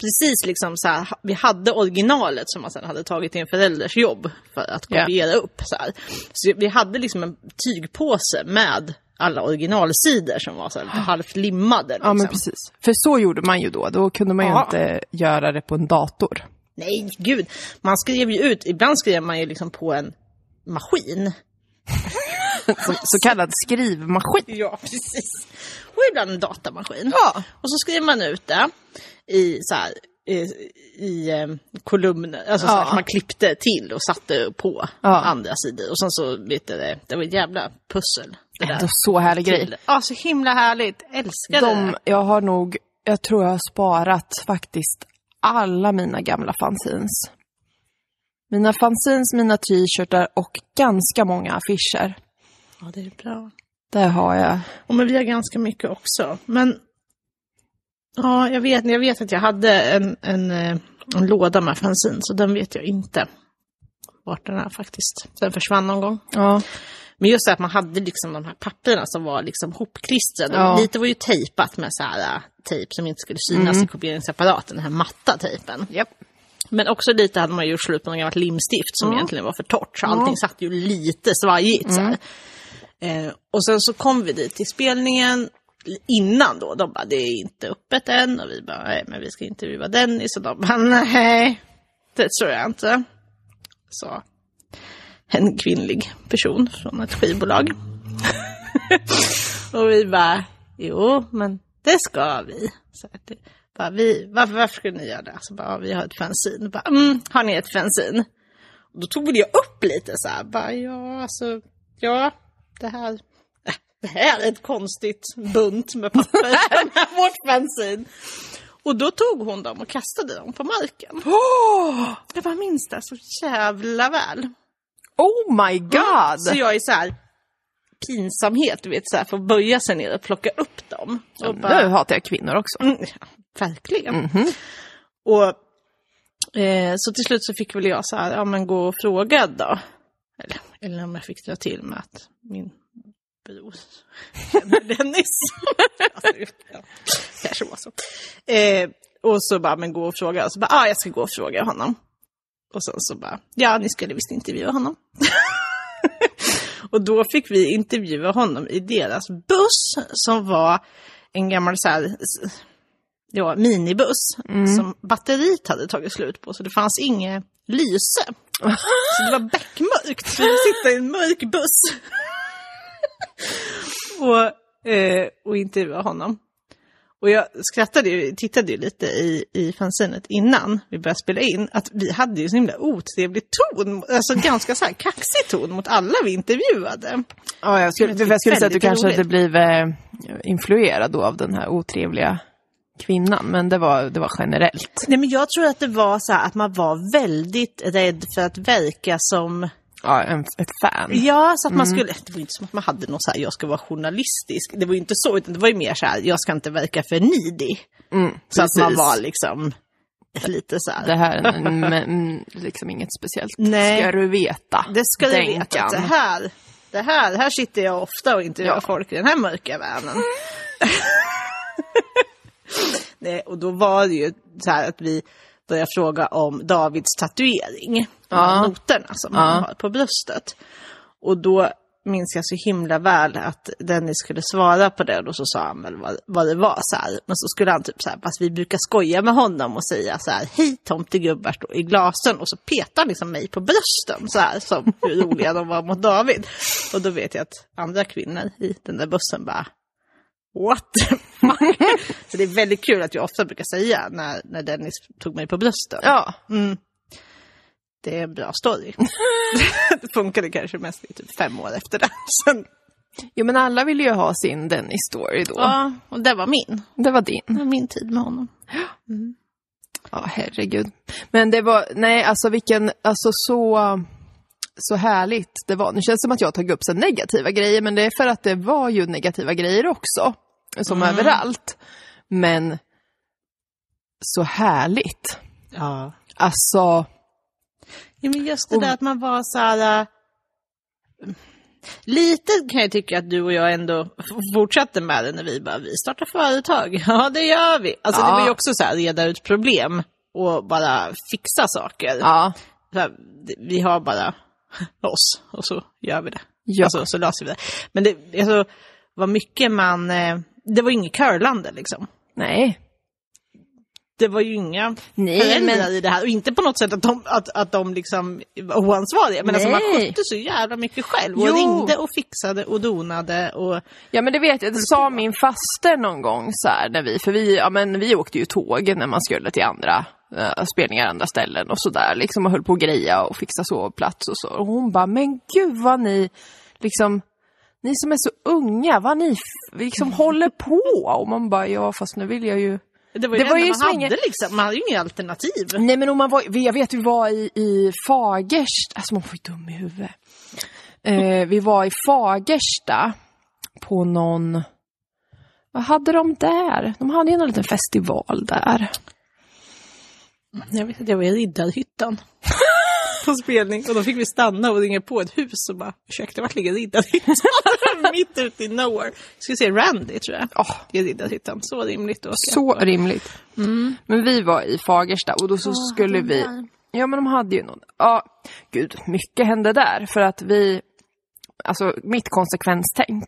[SPEAKER 2] precis liksom så här, vi hade originalet som man sen hade tagit till en förälders jobb för att
[SPEAKER 1] Ja.
[SPEAKER 2] kopiera upp. Så, här. så vi hade liksom en tygpåse med alla originalsidor som var så här lite halvt limmade. Liksom.
[SPEAKER 1] Ja, men precis. För så gjorde man ju då. Då kunde man ju
[SPEAKER 2] Ja.
[SPEAKER 1] inte göra det på en dator.
[SPEAKER 2] Nej, gud. Man skrev ju ut, ibland skrev man ju liksom på en maskin.
[SPEAKER 1] Så, så kallad skrivmaskin.
[SPEAKER 2] Ja, precis. Och ibland en datamaskin. Ja. Och så skriver man ut det i så här, i, i eh, kolumner, alltså så här,
[SPEAKER 1] Ja.
[SPEAKER 2] som man klippte till och satte på
[SPEAKER 1] Ja.
[SPEAKER 2] andra sidor. Och sen så, vet du, det, det var ett jävla pussel. Det
[SPEAKER 1] Ändå så härlig grej.
[SPEAKER 2] där. Ja, så himla härligt. Älskar det.
[SPEAKER 1] De, jag har nog, jag tror jag har sparat faktiskt alla mina gamla fanzines. Mina fanzines, mina t-shirtar och ganska många affischer.
[SPEAKER 2] Ja, det är bra.
[SPEAKER 1] Där har jag.
[SPEAKER 2] Och men vi har ganska mycket också. Men ja, jag vet, jag vet att jag hade en, en, eh, en låda med fanzin, så den vet jag inte vart den är faktiskt. Den försvann någon gång.
[SPEAKER 1] Ja.
[SPEAKER 2] Men just det att man hade liksom de här papperna som var liksom hopklistrade.
[SPEAKER 1] Ja.
[SPEAKER 2] Och lite var ju tejpat med så här eh, tejp som inte skulle synas i kopieringsapparaten, den här matta tejpen.
[SPEAKER 1] Japp.
[SPEAKER 2] Men också lite hade man ju gjort slut med något gammalt limstift som egentligen var för torrt, så allting satt ju lite svajigt. Så här. Eh, och sen så kom vi dit till spelningen innan då, de bara det är inte öppet än och vi bara nej men vi ska intervjua Dennis och de bara nej det tror jag inte. Så en kvinnlig person från ett skivbolag. och vi bara jo men det ska vi. Så att det, bara, vi varför, varför skulle ni göra det? Så bara, "Ja, vi har ett fanzine. Bara, mm, har ni ett fanzine? Och då tog väl jag upp lite så här, bara, ja, alltså, ja, det här, äh, det här är ett konstigt bunt med papper som är vårt bensin. Och då tog hon dem och kastade dem på marken.
[SPEAKER 1] Oh!
[SPEAKER 2] Jag bara minns det så jävla väl.
[SPEAKER 1] oh my god!
[SPEAKER 2] Så jag är så här pinsamhet, du vet, så här, får böja sig ner och plocka upp dem.
[SPEAKER 1] Ja,
[SPEAKER 2] Och bara-
[SPEAKER 1] Nu hatar jag kvinnor också.
[SPEAKER 2] Mm, Mhm. ja, verkligen. Och eh, så till slut så fick väl jag så här, ja men gå och fråga då. Eller, eller om jag fick dra till med att min bror känner Dennis. alltså, ja, kanske var så. Eh, och så bara, men gå och fråga. Och så bara, ja ah, jag ska gå och fråga honom. Och sen så bara, ja ni skulle visst intervjua honom. och då fick vi intervjua honom i deras buss som var en gammal så här, s- ja, minibuss som batteriet hade tagit slut på så det fanns inget lyse. Så det var beckmörkt, så vi sitta i en mörk buss. och, eh, och intervjua honom. Och jag skrattade ju, tittade ju lite i, i fanzinet innan vi började spela in, att vi hade ju så himla otrevlig ton, alltså ganska så här kaxig ton mot alla vi intervjuade.
[SPEAKER 1] Ja, jag skulle,
[SPEAKER 2] Men det är
[SPEAKER 1] jag skulle säga att du
[SPEAKER 2] väldigt
[SPEAKER 1] kanske
[SPEAKER 2] roligt.
[SPEAKER 1] hade blivit eh, influerad då av den här otrevliga kvinnan, men det var, det var generellt.
[SPEAKER 2] Nej men jag tror att det var så här att man var väldigt rädd för att verka som
[SPEAKER 1] Ja, en, ett fan.
[SPEAKER 2] Ja, så att man
[SPEAKER 1] Mm.
[SPEAKER 2] skulle... Det var ju inte som att man hade någon så här, jag ska vara journalistisk. Det var ju inte så, utan det var ju mer så här, jag ska inte verka för nidig. så att man
[SPEAKER 1] Mm, precis.
[SPEAKER 2] var liksom lite så här...
[SPEAKER 1] Det här är en- men, mm, liksom inget speciellt.
[SPEAKER 2] Nej.
[SPEAKER 1] Ska du veta.
[SPEAKER 2] Det ska du
[SPEAKER 1] Dänkan.
[SPEAKER 2] veta, att det här, det här, här sitter jag ofta och intervjuar
[SPEAKER 1] Ja.
[SPEAKER 2] folk i den här mörka världen. Nej, och då var det ju så här att vi började fråga om Davids tatuering. De här
[SPEAKER 1] Ja.
[SPEAKER 2] noterna som
[SPEAKER 1] Ja.
[SPEAKER 2] han har på bröstet. Och då minns jag så himla väl att Dennis skulle svara på det och så sa han väl vad, vad det var så här. Men så skulle han typ så här, fast vi brukar skoja med honom och säga så här, hej tomtegubbar står i glasen och så petar han liksom mig på brösten så här som hur roliga de var mot David. Och då vet jag att andra kvinnor i den där bussen bara, what the fuck? så det är väldigt kul att jag ofta brukar säga när, när Dennis tog mig på brösten.
[SPEAKER 1] Ja,
[SPEAKER 2] Mm. Det är en bra story. det funkade kanske mest i typ fem år efter det. Sen,
[SPEAKER 1] jo men alla ville ju ha sin Dennis-story då.
[SPEAKER 2] ja, och det var min.
[SPEAKER 1] Det var din.
[SPEAKER 2] Det var min tid med honom.
[SPEAKER 1] Ja, herregud. Men det var, nej alltså vilken, alltså så, så härligt det var. Nu känns det som att jag har tagit upp så negativa grejer, men det är för att det var ju negativa grejer också. Som överallt. Men så härligt.
[SPEAKER 2] Ja.
[SPEAKER 1] Alltså,
[SPEAKER 2] ja men just det
[SPEAKER 1] Och-
[SPEAKER 2] där att man var så här... äh, Lite kan jag tycka att du och jag ändå fortsatte med det när vi bara, vi startar företag. Ja, det gör vi. Alltså det
[SPEAKER 1] Ja.
[SPEAKER 2] var ju också så här, reda ut problem och bara fixa saker.
[SPEAKER 1] ja.
[SPEAKER 2] så här, det- vi har bara oss och så gör vi det.
[SPEAKER 1] Ja.
[SPEAKER 2] Alltså, så löser vi det. Men det alltså, var mycket man... eh, Det var ju inget curlande liksom.
[SPEAKER 1] Nej.
[SPEAKER 2] Det var ju inga
[SPEAKER 1] Nej,
[SPEAKER 2] föräldrar
[SPEAKER 1] men-
[SPEAKER 2] i det här. Och inte på något sätt att de, att, att de liksom var oansvariga. Men alltså, man
[SPEAKER 1] Nej.
[SPEAKER 2] skötte så jävla mycket själv. Och
[SPEAKER 1] Jo.
[SPEAKER 2] ringde och fixade och donade. Och,
[SPEAKER 1] Ja men det vet jag, det sa min faster någon gång så här när vi, för vi, ja men vi åkte ju tåg när man skulle till andra eh, spelningar, andra ställen och sådär liksom och höll på att greja och fixa sovplats och så. Och hon bara, men gud vad ni liksom, ni som är så unga, vad ni f- liksom håller på! Och man bara, ja fast nu vill jag ju
[SPEAKER 2] det var ju det, var ju man
[SPEAKER 1] så
[SPEAKER 2] hade
[SPEAKER 1] länge-
[SPEAKER 2] liksom. Man hade ju inga alternativ.
[SPEAKER 1] Nej men om man var, jag vet vi var i, i Fagersta, alltså man får ju dum i huvudet. Eh, vi var i Fagersta på någon, vad hade de där? De hade ju någon liten festival där.
[SPEAKER 2] Jag vet att jag var i Riddarhyttan. på spelning. Och då fick vi stanna och ringa på ett hus och bara, ursäkta vart ligger Riddarhyttan? Mitt ute i nowhere. Jag skulle se Randy tror jag.
[SPEAKER 1] Ja,
[SPEAKER 2] I Riddarhyttan. Så rimligt att åka.
[SPEAKER 1] så rimligt. Men vi var i Fagersta och då så skulle
[SPEAKER 2] de
[SPEAKER 1] vi,
[SPEAKER 2] Mm. där.
[SPEAKER 1] ja men de hade ju någon, ja gud, mycket hände där för att vi, alltså mitt konsekvenstänk,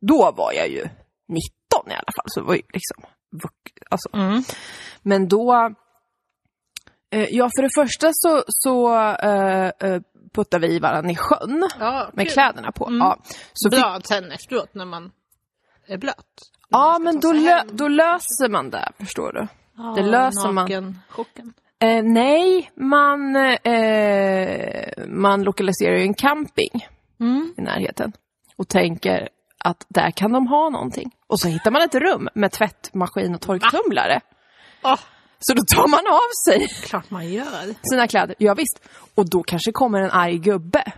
[SPEAKER 1] då var jag ju 19 i alla fall, så det var ju liksom, vux- alltså
[SPEAKER 2] Mm.
[SPEAKER 1] Men då... Eh, ja, för det första så, så eh, eh, puttar vi varandra i sjön
[SPEAKER 2] Ja,
[SPEAKER 1] med
[SPEAKER 2] kul. Mm.
[SPEAKER 1] kläderna på. Ja, så fick,
[SPEAKER 2] Bra sen efteråt när man är blöt.
[SPEAKER 1] ja men då, lö, då löser man det, förstår du.
[SPEAKER 2] Ja,
[SPEAKER 1] det löser man.
[SPEAKER 2] Ah, Chocken.
[SPEAKER 1] Eh, nej, man, eh, man lokaliserar ju en camping
[SPEAKER 2] Mm.
[SPEAKER 1] i närheten och tänker att där kan de ha någonting. Och så hittar man ett rum med tvättmaskin och torktumlare.
[SPEAKER 2] Ja,
[SPEAKER 1] Så då tar man av sig
[SPEAKER 2] Ah, klart man gör.
[SPEAKER 1] sina kläder. Ja, visst. Och då kanske kommer en arg gubbe.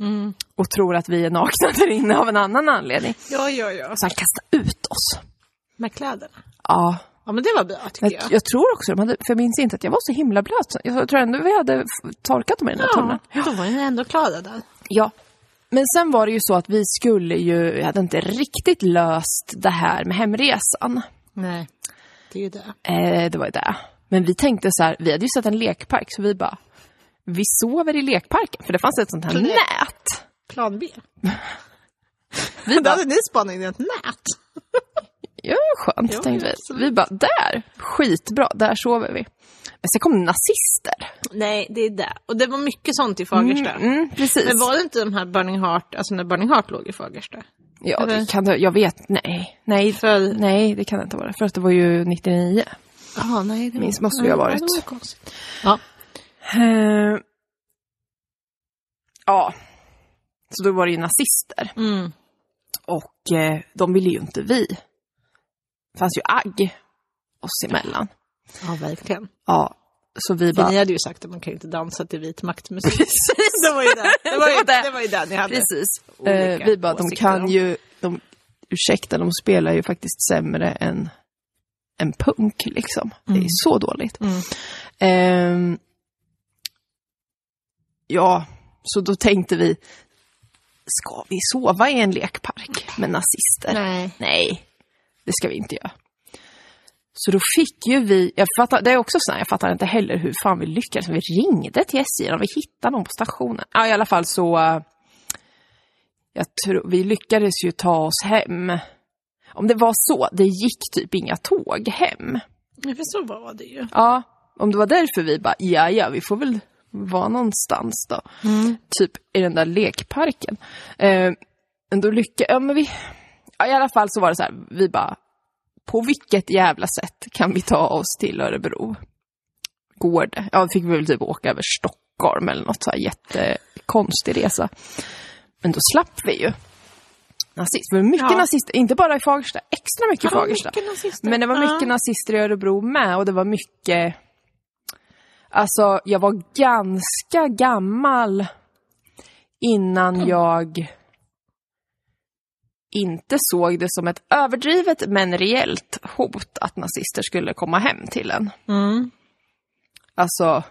[SPEAKER 2] Mm.
[SPEAKER 1] Och tror att vi är nakna där inne av en annan anledning.
[SPEAKER 2] Ja, ja, ja.
[SPEAKER 1] Så han kastar ut oss.
[SPEAKER 2] Med kläderna.
[SPEAKER 1] Ja.
[SPEAKER 2] Ja, men det var bra tycker
[SPEAKER 1] Jag,
[SPEAKER 2] jag.
[SPEAKER 1] jag tror också de hade, för jag minns inte att jag var så himla blöt. Jag tror ändå vi hade f- torkat dem i den här tunnan.
[SPEAKER 2] Ja, då var ni ändå klara där.
[SPEAKER 1] Ja. Men sen var det ju så att vi skulle ju, jag hade inte riktigt löst det här med hemresan.
[SPEAKER 2] Nej, det är ju det.
[SPEAKER 1] Eh, det var ju det. Men vi tänkte så här, vi hade ju sett en lekpark så vi bara, vi sover i lekparken. För det fanns ett sånt här
[SPEAKER 2] Planet.
[SPEAKER 1] nät.
[SPEAKER 2] Plan B. Vi hade ni spaning i ett nät.
[SPEAKER 1] Ja, skönt,
[SPEAKER 2] Ja,
[SPEAKER 1] tänkte vi.
[SPEAKER 2] absolut.
[SPEAKER 1] Vi bara, där, skitbra, där sover vi. Men sen kom nazister.
[SPEAKER 2] Nej, det är det. Och det var mycket sånt i Fagersta.
[SPEAKER 1] Mm, precis.
[SPEAKER 2] Men var det inte de här Burning Heart, alltså när Burning Heart låg i Fagersta?
[SPEAKER 1] ja,
[SPEAKER 2] eller?
[SPEAKER 1] det kan det, jag vet, nej. Nej,
[SPEAKER 2] För-
[SPEAKER 1] nej, det kan det inte vara. För att det var ju 99.
[SPEAKER 2] Ja, nej. Det
[SPEAKER 1] Minst måste vi ha varit.
[SPEAKER 2] Ja, det var konstigt. Ja.
[SPEAKER 1] Eh, ja, så då var det ju nazister.
[SPEAKER 2] Mm.
[SPEAKER 1] Och eh, de ville ju inte vi. Det fanns ju agg oss emellan.
[SPEAKER 2] ja, verkligen.
[SPEAKER 1] Ja, så vi
[SPEAKER 2] För
[SPEAKER 1] bara...
[SPEAKER 2] ni hade ju sagt att man kan ju inte dansa till vit maktmusik. Precis! Det var ju det. Det var ju
[SPEAKER 1] Det var det.
[SPEAKER 2] det, var ju det ni hade.
[SPEAKER 1] Precis.
[SPEAKER 2] olika
[SPEAKER 1] Eh, vi bara, de
[SPEAKER 2] åsikter
[SPEAKER 1] kan
[SPEAKER 2] om.
[SPEAKER 1] ju, de, ursäkta, de spelar ju faktiskt sämre än, än punk liksom. Det är så dåligt.
[SPEAKER 2] Mm.
[SPEAKER 1] Ehm, ja, så då tänkte vi, ska vi sova i en lekpark med nazister?
[SPEAKER 2] Nej.
[SPEAKER 1] Nej, det ska vi inte göra. Så då fick ju vi, jag fattar, det är också sådär, jag fattar inte heller hur fan vi lyckades. Vi ringde till SJ och vi hittade någon på stationen. Ja, i alla fall så, eh, jag tror, vi lyckades ju ta oss hem. Om det var så, det gick typ inga tåg hem.
[SPEAKER 2] Ja, för så var det ju.
[SPEAKER 1] Ja, om det var därför vi bara, ja ja, vi får väl vara någonstans då.
[SPEAKER 2] Mm.
[SPEAKER 1] Typ i den där lekparken. Eh, men då lycka, ja men vi, ja, i alla fall så var det så här, vi bara, på vilket jävla sätt kan vi ta oss till Örebro? Går det? Ja, fick vi väl typ åka över Stockholm eller något så här jättekonstig resa. Men då slapp vi ju. Nazist, men mycket
[SPEAKER 2] Ja.
[SPEAKER 1] nazister, inte bara i Fagersta, extra mycket i
[SPEAKER 2] Ja,
[SPEAKER 1] Fagersta.
[SPEAKER 2] mycket nazister.
[SPEAKER 1] Men det var
[SPEAKER 2] Ja.
[SPEAKER 1] mycket nazister i Örebro med och det var mycket... Alltså, jag var ganska gammal innan jag inte såg det som ett överdrivet men reellt hot att nazister skulle komma hem till en.
[SPEAKER 2] Mm.
[SPEAKER 1] Alltså,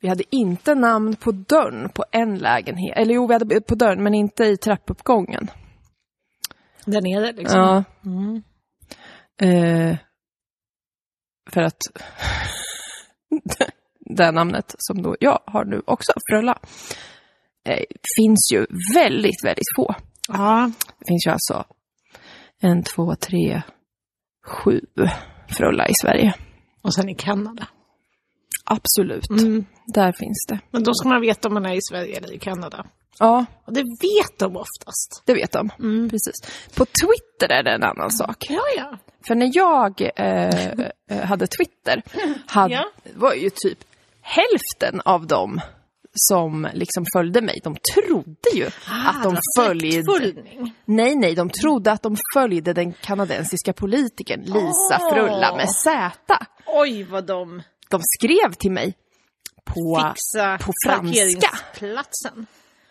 [SPEAKER 1] vi hade inte namn på dörren på en lägenhet. Eller jo, vi hade på dörren men inte i trappuppgången.
[SPEAKER 2] Där nere liksom.
[SPEAKER 1] Ja.
[SPEAKER 2] Mm.
[SPEAKER 1] Eh, för att det här namnet som då jag har nu också, Frölla, eh, finns ju väldigt, väldigt få.
[SPEAKER 2] ja.
[SPEAKER 1] Det finns ju alltså en, två, tre, sju Frölla i Sverige.
[SPEAKER 2] Och sen i Kanada. Mm.
[SPEAKER 1] Absolut, Mm. där finns det.
[SPEAKER 2] Men då ska man veta om man är i Sverige eller i Kanada.
[SPEAKER 1] Ja,
[SPEAKER 2] Och det vet de oftast.
[SPEAKER 1] det vet de.
[SPEAKER 2] Mm.
[SPEAKER 1] Precis. På Twitter är det en annan sak.
[SPEAKER 2] Ja, ja.
[SPEAKER 1] För när jag eh, eh, hade Twitter hade,
[SPEAKER 2] Ja.
[SPEAKER 1] var ju typ hälften av dem som liksom följde mig, de trodde ju
[SPEAKER 2] Ah,
[SPEAKER 1] att de följde...
[SPEAKER 2] Följning.
[SPEAKER 1] Nej, nej, de trodde att de följde den kanadensiska politikern Lisa
[SPEAKER 2] Åh.
[SPEAKER 1] Frulla med Z.
[SPEAKER 2] Oj, vad de
[SPEAKER 1] De skrev till mig på...
[SPEAKER 2] fixar
[SPEAKER 1] på franska.
[SPEAKER 2] parkeringsplatsen.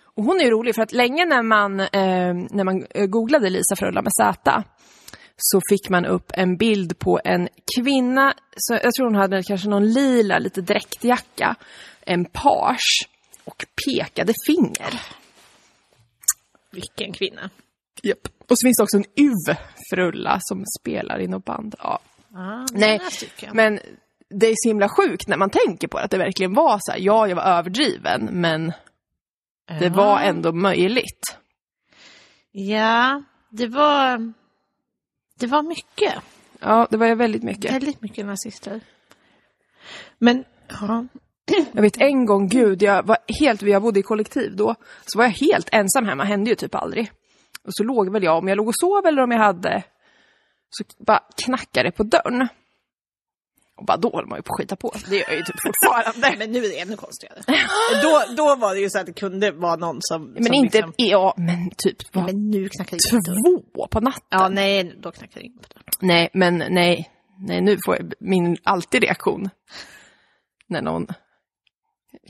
[SPEAKER 1] Och hon är ju rolig för att länge när man, eh, när man eh, googlade Lisa Frölla med Z så fick man upp en bild på en kvinna, så jag tror hon hade kanske någon lila, lite dräktjacka, en page och pekade finger.
[SPEAKER 2] Vilken kvinna.
[SPEAKER 1] Yep. Och så finns det också en Uv Frulla som spelar i något band. Ja.
[SPEAKER 2] Ah,
[SPEAKER 1] Nej,
[SPEAKER 2] några stycken.
[SPEAKER 1] men det är så himla sjukt när man tänker på det, att det verkligen var så här, ja, jag var överdriven, men det
[SPEAKER 2] Ja.
[SPEAKER 1] var ändå möjligt.
[SPEAKER 2] Ja, det var... Det var mycket.
[SPEAKER 1] Ja, det var ju väldigt mycket.
[SPEAKER 2] Väldigt mycket nazister. Men, ja.
[SPEAKER 1] Jag vet en gång, gud, jag var helt, jag bodde i kollektiv då, så var jag helt ensam hemma, hände ju typ aldrig. Och så låg väl jag, om jag låg och sov eller om jag hade, så bara knackade det på dörren. Och bara då höll man ju på att skita på sig. det gör jag ju typ fortfarande.
[SPEAKER 2] Men nu är det ännu konstigare. då, då var det ju så att det kunde vara någon som...
[SPEAKER 1] Men
[SPEAKER 2] som
[SPEAKER 1] inte,
[SPEAKER 2] liksom-
[SPEAKER 1] ja, men typ
[SPEAKER 2] Ja,
[SPEAKER 1] var
[SPEAKER 2] Men nu knackar det inte.
[SPEAKER 1] två på natten.
[SPEAKER 2] Ja, nej, då knackar det in på det.
[SPEAKER 1] Nej, men nej, nej, nu får jag min alltid reaktion när någon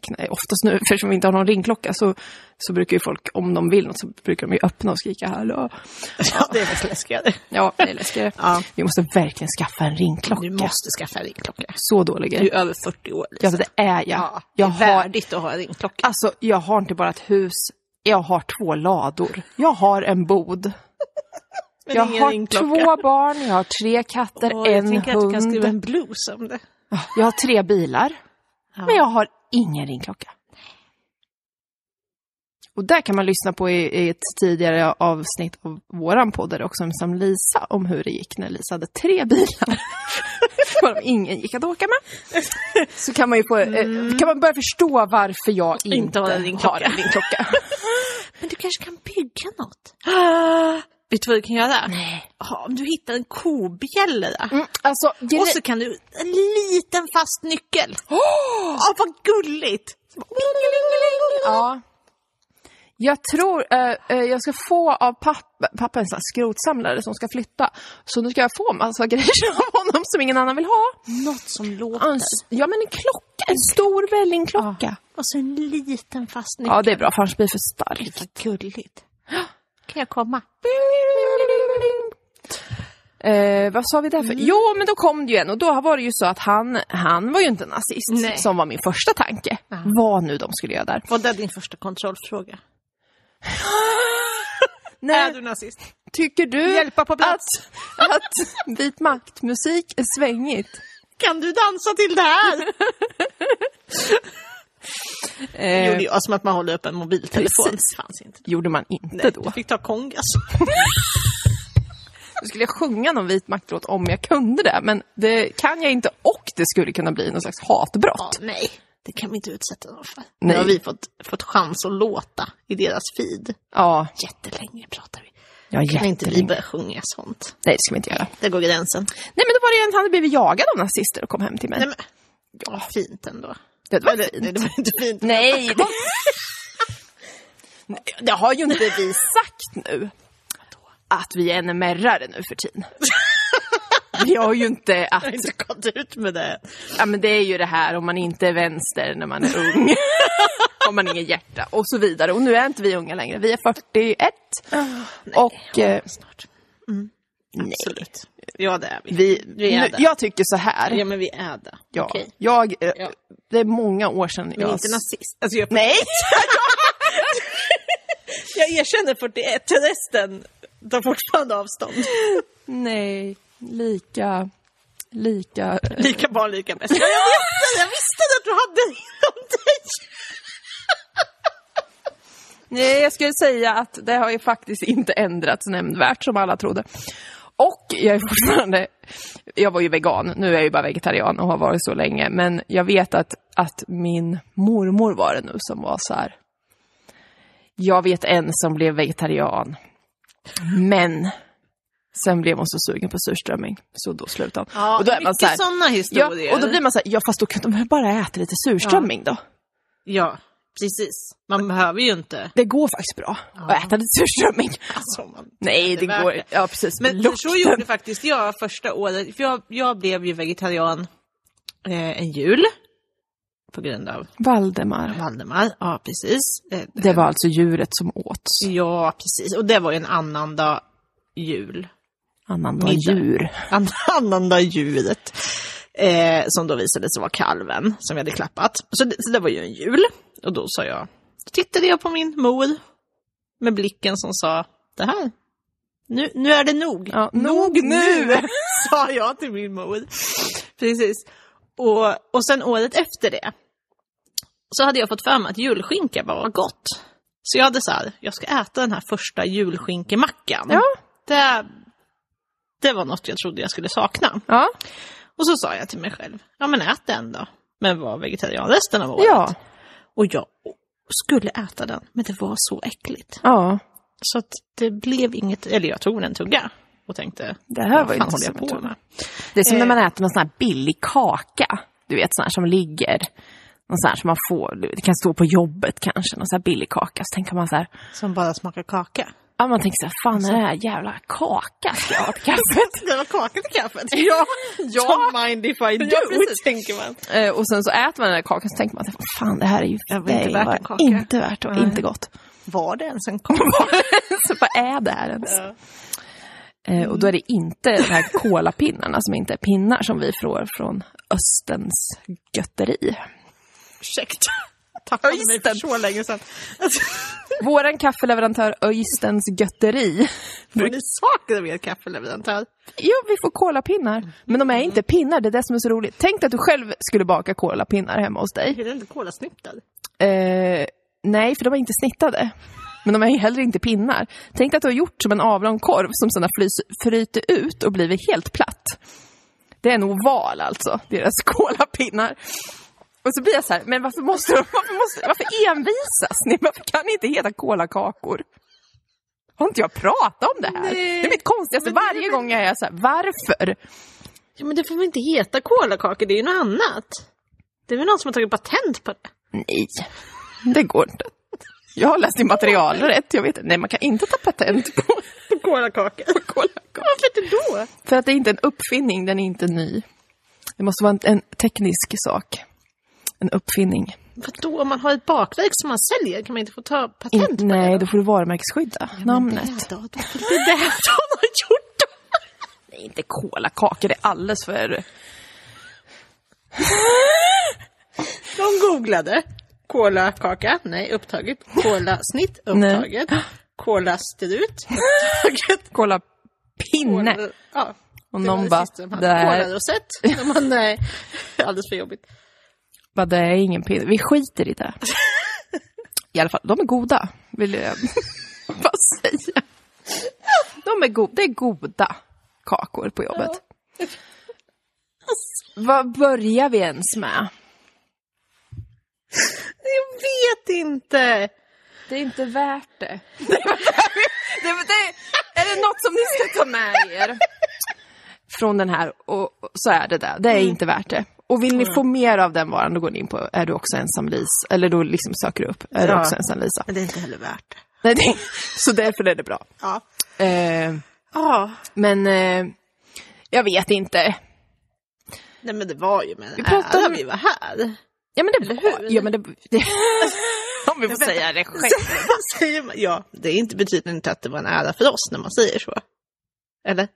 [SPEAKER 1] Nej, oftast nu, eftersom vi inte har någon ringklocka, så, så brukar ju folk, om de vill något, så brukar de ju öppna och skrika hallå.
[SPEAKER 2] Ja, det är väl läskigare.
[SPEAKER 1] Ja, det är läskigare.
[SPEAKER 2] Ja.
[SPEAKER 1] Vi måste verkligen skaffa en ringklocka.
[SPEAKER 2] Du måste skaffa en ringklocka.
[SPEAKER 1] Så dålig är jag.
[SPEAKER 2] över 40 år.
[SPEAKER 1] Ja, men det är jag.
[SPEAKER 2] Ja, det
[SPEAKER 1] jag,
[SPEAKER 2] är
[SPEAKER 1] har,
[SPEAKER 2] värdigt att ha en ringklocka.
[SPEAKER 1] alltså, jag har inte bara ett hus, jag har två lador. Jag har en bod.
[SPEAKER 2] Men
[SPEAKER 1] jag
[SPEAKER 2] ingen
[SPEAKER 1] har
[SPEAKER 2] ringklocka.
[SPEAKER 1] två barn, jag har tre katter,
[SPEAKER 2] Åh, jag
[SPEAKER 1] en
[SPEAKER 2] tänker att du
[SPEAKER 1] hund.
[SPEAKER 2] kan skriva en blues om det.
[SPEAKER 1] Jag har tre bilar, men jag har ingen ringklocka. Och där kan man lyssna på i, i ett tidigare avsnitt av våran podd, där det också som Lisa, om hur det gick när Lisa hade tre bilar. Varav ingen gick att åka med. Så kan man ju få, eh, kan man börja förstå varför jag inte,
[SPEAKER 2] har Mm. en ringklocka.
[SPEAKER 1] har en ringklocka.
[SPEAKER 2] Men du kanske kan bygga något? Vet du vad du kan göra? Nej. om du hittar en kobjällra.
[SPEAKER 1] Mm, alltså, gre-
[SPEAKER 2] Och så kan du, en liten fast nyckel. Åh, vad gulligt!
[SPEAKER 1] Ja. Jag tror eh, eh, jag ska få av pappa, pappa är en sån här skrotsamlare som ska flytta. Så nu ska jag få massa grejer av honom som ingen annan vill ha.
[SPEAKER 2] Något som låter.
[SPEAKER 1] Ans- ja men en klocka, en stor vällingklocka.
[SPEAKER 2] Och så en liten fast nyckel.
[SPEAKER 1] Ja det är bra för annars blir det för starkt.
[SPEAKER 2] Vad gulligt. Kan jag komma?
[SPEAKER 1] Eh, vad sa vi där för?
[SPEAKER 2] Mm.
[SPEAKER 1] Jo men då kom det ju en och då var det ju så att han, han var ju inte nazist
[SPEAKER 2] Nej.
[SPEAKER 1] som var min första tanke.
[SPEAKER 2] Ja.
[SPEAKER 1] Vad nu de skulle göra där.
[SPEAKER 2] Var det din första kontrollfråga?
[SPEAKER 1] Nej.
[SPEAKER 2] Är du nazist?
[SPEAKER 1] Tycker du
[SPEAKER 2] Hjälpa på plats.
[SPEAKER 1] att, att vit makt-musik är svängigt?
[SPEAKER 2] Kan du dansa till det här?
[SPEAKER 1] Eh,
[SPEAKER 2] Gjorde jag som att man håller upp en mobiltelefon.
[SPEAKER 1] Precis.
[SPEAKER 2] Fanns inte.
[SPEAKER 1] gjorde man inte
[SPEAKER 2] Nej,
[SPEAKER 1] då.
[SPEAKER 2] du fick ta kongas.
[SPEAKER 1] Då skulle jag sjunga någon vit maktlåt om jag kunde det, men det kan jag inte och det skulle kunna bli någon slags hatbrott.
[SPEAKER 2] nej, det kan vi inte utsätta dem för. Nu
[SPEAKER 1] Nej.
[SPEAKER 2] har vi fått, fått chans att låta i deras feed.
[SPEAKER 1] Ja,
[SPEAKER 2] Jättelänge pratar vi.
[SPEAKER 1] ja
[SPEAKER 2] Kan inte vi
[SPEAKER 1] jättelänge.
[SPEAKER 2] börja sjunga sånt?
[SPEAKER 1] Nej, det ska vi inte göra.
[SPEAKER 2] Där går gränsen.
[SPEAKER 1] Nej, men då var det en som hade blivit jagad av nazister och kom hem till mig.
[SPEAKER 2] Nej, men, ja, fint ändå.
[SPEAKER 1] det var
[SPEAKER 2] Eller, nej,
[SPEAKER 1] fint.
[SPEAKER 2] det var inte fint.
[SPEAKER 1] Nej, det... Nej, det har ju inte vi sagt nu. Att vi är NMR-are nu för tiden. Vi har ju inte att...
[SPEAKER 2] Jag har inte gått ut med det.
[SPEAKER 1] Ja, men det är ju det här om man inte är vänster när man är ung. om man inget hjärta och så vidare. Och nu är inte vi unga längre. Vi är 41. och... Eh,
[SPEAKER 2] Ah, Snart. Mm.
[SPEAKER 1] nej.
[SPEAKER 2] Absolut. Ja, det är vi.
[SPEAKER 1] Vi,
[SPEAKER 2] Vi är
[SPEAKER 1] nu,
[SPEAKER 2] där.
[SPEAKER 1] jag tycker så här.
[SPEAKER 2] Ja, men vi är det.
[SPEAKER 1] Ja,
[SPEAKER 2] Okej.
[SPEAKER 1] jag, eh,
[SPEAKER 2] Ja.
[SPEAKER 1] Det är många år sedan
[SPEAKER 2] Men
[SPEAKER 1] jag...
[SPEAKER 2] inte nazist. Alltså, jag,
[SPEAKER 1] Nej!
[SPEAKER 2] jag erkänner 41, resten tar fortfarande avstånd.
[SPEAKER 1] Nej, lika... Lika...
[SPEAKER 2] Lika barn, lika bäst. Ja, jag visste, jag visste att du hade det inom dig!
[SPEAKER 1] Nej, jag skulle säga att det har ju faktiskt inte ändrats nämnvärt som alla trodde. Och jag är fortfarande... Jag var ju vegan, nu är jag ju bara vegetarian och har varit så länge. Men jag vet att, att min mormor var det nu som var så här... Jag vet en som blev vegetarian, men sen blev hon så sugen på surströmming, så då slutade hon.
[SPEAKER 2] Ja,
[SPEAKER 1] och då är man så här,
[SPEAKER 2] sådana
[SPEAKER 1] ja,
[SPEAKER 2] historier.
[SPEAKER 1] och då blir man så här, ja fast då kan de bara äta lite surströmming då.
[SPEAKER 2] ja, precis. Man behöver ju inte.
[SPEAKER 1] Det går faktiskt bra att äta lite surströmming.
[SPEAKER 2] Alltså, man...
[SPEAKER 1] Nej, det,
[SPEAKER 2] Det är värt
[SPEAKER 1] går
[SPEAKER 2] det.
[SPEAKER 1] Ja, precis.
[SPEAKER 2] Men
[SPEAKER 1] Lukten.
[SPEAKER 2] så gjorde faktiskt jag första året. För jag, jag blev ju vegetarian eh, en jul. På grund av
[SPEAKER 1] Valdemar.
[SPEAKER 2] Valdemar. Ja, precis. Eh,
[SPEAKER 1] Det var alltså djuret som åts.
[SPEAKER 2] Ja, precis. Och det var ju en annandag jul.
[SPEAKER 1] Annandag
[SPEAKER 2] Middag.
[SPEAKER 1] djur.
[SPEAKER 2] An- Annandag djuret. Eh, som då visade sig vara kalven som vi hade klappat. Så det, så det var ju en jul. Och då sa jag, då tittade jag på min mor med blicken som sa, det här, nu, nu är det nog.
[SPEAKER 1] Ja, nog nu!
[SPEAKER 2] sa jag till min mor. Precis. Och, och sen året efter det så hade jag fått för mig att julskinka var gott. Så jag hade så här, jag ska äta den här första julskinkemackan.
[SPEAKER 1] Ja.
[SPEAKER 2] Det, det var något jag trodde jag skulle sakna.
[SPEAKER 1] Ja.
[SPEAKER 2] Och så sa jag till mig själv, ja men ät den då. Men var vegetarian resten av året.
[SPEAKER 1] Ja.
[SPEAKER 2] Och jag skulle äta den, men det var så äckligt.
[SPEAKER 1] ja.
[SPEAKER 2] Så att det blev inget, eller jag tog en tugga och tänkte,
[SPEAKER 1] Det här var
[SPEAKER 2] vad
[SPEAKER 1] ju
[SPEAKER 2] fan
[SPEAKER 1] inte
[SPEAKER 2] håller
[SPEAKER 1] så
[SPEAKER 2] jag på
[SPEAKER 1] mycket.
[SPEAKER 2] med?
[SPEAKER 1] Det är som
[SPEAKER 2] Eh.
[SPEAKER 1] när man äter någon sån här billig kaka. Du vet, sån här som ligger. Någon sån här som man får. Det kan stå på jobbet kanske. Någon sån här billig kaka. Så tänker man så här.
[SPEAKER 2] Som bara smakar kaka.
[SPEAKER 1] Ja, man tänker så här. Fan, är det här jävla kaka ska jag ha till kaffet?
[SPEAKER 2] Det var kaka till kaffet. Ja,
[SPEAKER 1] ja.
[SPEAKER 2] Don't mind if I do,
[SPEAKER 1] Ja, precis.
[SPEAKER 2] tänker man.
[SPEAKER 1] Eh, Och sen så äter man den där kakan så tänker man att fan det här är ju
[SPEAKER 2] Jag var
[SPEAKER 1] det
[SPEAKER 2] inte
[SPEAKER 1] är
[SPEAKER 2] värt
[SPEAKER 1] bara
[SPEAKER 2] en kaka.
[SPEAKER 1] Inte värt och
[SPEAKER 2] Nej.
[SPEAKER 1] inte gott.
[SPEAKER 2] Var det ens en kaka?
[SPEAKER 1] så vad är det här ens?
[SPEAKER 2] Ja.
[SPEAKER 1] Eh, Och då är det inte de här kolapinnarna som inte är pinnar som vi får från Östens götteri.
[SPEAKER 2] Ursäkta. Tappade mig för
[SPEAKER 1] Öysten.
[SPEAKER 2] så länge sedan. Alltså,
[SPEAKER 1] Våran kaffeleverantör Östens götteri.
[SPEAKER 2] får ni saker med kaffeleverantör?
[SPEAKER 1] Jo, vi får kolapinnar. Men de är inte pinnar, det är det som är så roligt. Tänk dig att du själv skulle baka kolapinnar hemma hos dig.
[SPEAKER 2] Är det inte kolasnittar?
[SPEAKER 1] Eh, nej, för de är inte snittade. Men de är ju heller inte pinnar. Tänk dig att du har gjort som en avlång korv som sedan har flys- fryter ut och blivit helt platt. Det är en oval alltså, deras kolapinnar. Och så blir jag så här, men varför måste de, varför, måste, varför envisas ni? Varför kan ni inte heta kolakakor? Har inte jag pratat om det här?
[SPEAKER 2] Nej.
[SPEAKER 1] Det är mitt konstigaste,
[SPEAKER 2] Men det är
[SPEAKER 1] varje
[SPEAKER 2] väl-
[SPEAKER 1] gång jag är så här, varför?
[SPEAKER 2] Ja, men det får väl inte heta kolakakor, det är ju något annat. Det är väl någon som har tagit patent på det?
[SPEAKER 1] Nej, det går inte. Jag har läst i materialrätt, jag vet Nej, man kan inte ta patent på
[SPEAKER 2] På kolakakor. Varför inte då?
[SPEAKER 1] För att det är inte en uppfinning, den är inte ny. Det måste vara en, en teknisk sak. En uppfinning.
[SPEAKER 2] Vadå, om man har ett bakverk som man säljer, kan man inte få ta
[SPEAKER 1] In,
[SPEAKER 2] patent på det?
[SPEAKER 1] nej, då får du varumärkesskydda namnet.
[SPEAKER 2] Det är det som har gjort det.
[SPEAKER 1] Nej, inte kolakakor, det är alldeles för...
[SPEAKER 2] De googlade. Kolakaka, nej upptaget. Kolasnitt, upptaget. Cola stod ut. Taget.
[SPEAKER 1] Kolla pinne.
[SPEAKER 2] Cola- Ja.
[SPEAKER 1] Och
[SPEAKER 2] det var
[SPEAKER 1] någon
[SPEAKER 2] det
[SPEAKER 1] bara,
[SPEAKER 2] sista de hade.
[SPEAKER 1] det här-
[SPEAKER 2] Colarosett. De bara, nej, alldeles för jobbigt.
[SPEAKER 1] Bara, det är ingen pinne. Vi skiter i det. I alla fall, de är goda. Vill jag bara säga. De är go- det är goda kakor på jobbet. Vad börjar vi ens med?
[SPEAKER 2] Jag vet inte.
[SPEAKER 1] Det är inte värt det. det, det är det något som ni ska ta med er från den här, och, och så är det det. Det är inte värt det. Och vill ni få mer av den varan, då går ni in på Är du också ensam Lis? Eller då liksom söker du upp Är du
[SPEAKER 2] Ja.
[SPEAKER 1] också ensam Lisa?
[SPEAKER 2] Men det är inte heller värt det.
[SPEAKER 1] Nej, det, så därför är det bra.
[SPEAKER 2] Ja.
[SPEAKER 1] Eh,
[SPEAKER 2] Ja.
[SPEAKER 1] men eh, jag vet inte.
[SPEAKER 2] Nej men det var ju med en
[SPEAKER 1] pratade
[SPEAKER 2] ära
[SPEAKER 1] om-
[SPEAKER 2] vi var här.
[SPEAKER 1] Ja men det var,
[SPEAKER 2] hur?
[SPEAKER 1] ja, men det, det, om vi får säga det själv.
[SPEAKER 2] Vad säger man? Ja, det är inte betyder inte att det var en ära för oss när man säger så. Eller?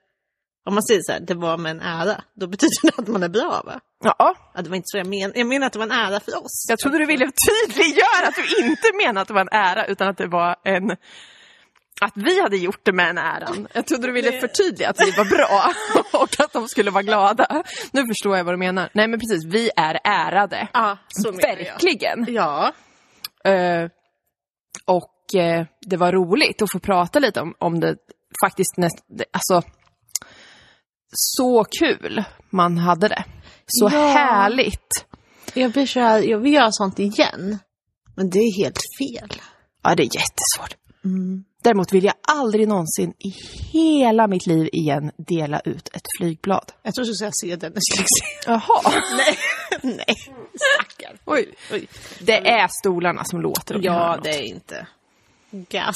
[SPEAKER 2] Om man säger så här, det var med en ära, då betyder det att man är bra va?
[SPEAKER 1] Ja,
[SPEAKER 2] Ja, det var inte så jag menade. Jag menar att det var en ära för oss.
[SPEAKER 1] jag trodde du ville tydliggöra att du inte menade att det var en ära utan att det var en... Att vi hade gjort det med en äran. Jag trodde du ville förtydliga att vi var bra och att de skulle vara glada. Nu förstår jag vad du menar. Nej men precis, vi är ärade.
[SPEAKER 2] Ja, så menar jag.
[SPEAKER 1] Verkligen.
[SPEAKER 2] Ja.
[SPEAKER 1] Eh, och eh, det var roligt att få prata lite om, om det faktiskt näst, det- alltså så kul man hade det. Så
[SPEAKER 2] Ja.
[SPEAKER 1] härligt.
[SPEAKER 2] Jag blir så här, jag vill göra sånt igen. Men det är helt fel.
[SPEAKER 1] Ja, det är jättesvårt. Mm. Däremot vill jag aldrig någonsin i hela mitt liv igen dela ut ett flygblad.
[SPEAKER 2] Jag tror du ska se Dennis Lyxzén.
[SPEAKER 1] Jaha.
[SPEAKER 2] Nej, nej. Stackarn.
[SPEAKER 1] Oj.
[SPEAKER 2] Oj.
[SPEAKER 1] Det är stolarna som låter. om ni hör
[SPEAKER 2] Ja,
[SPEAKER 1] något.
[SPEAKER 2] det är inte gas.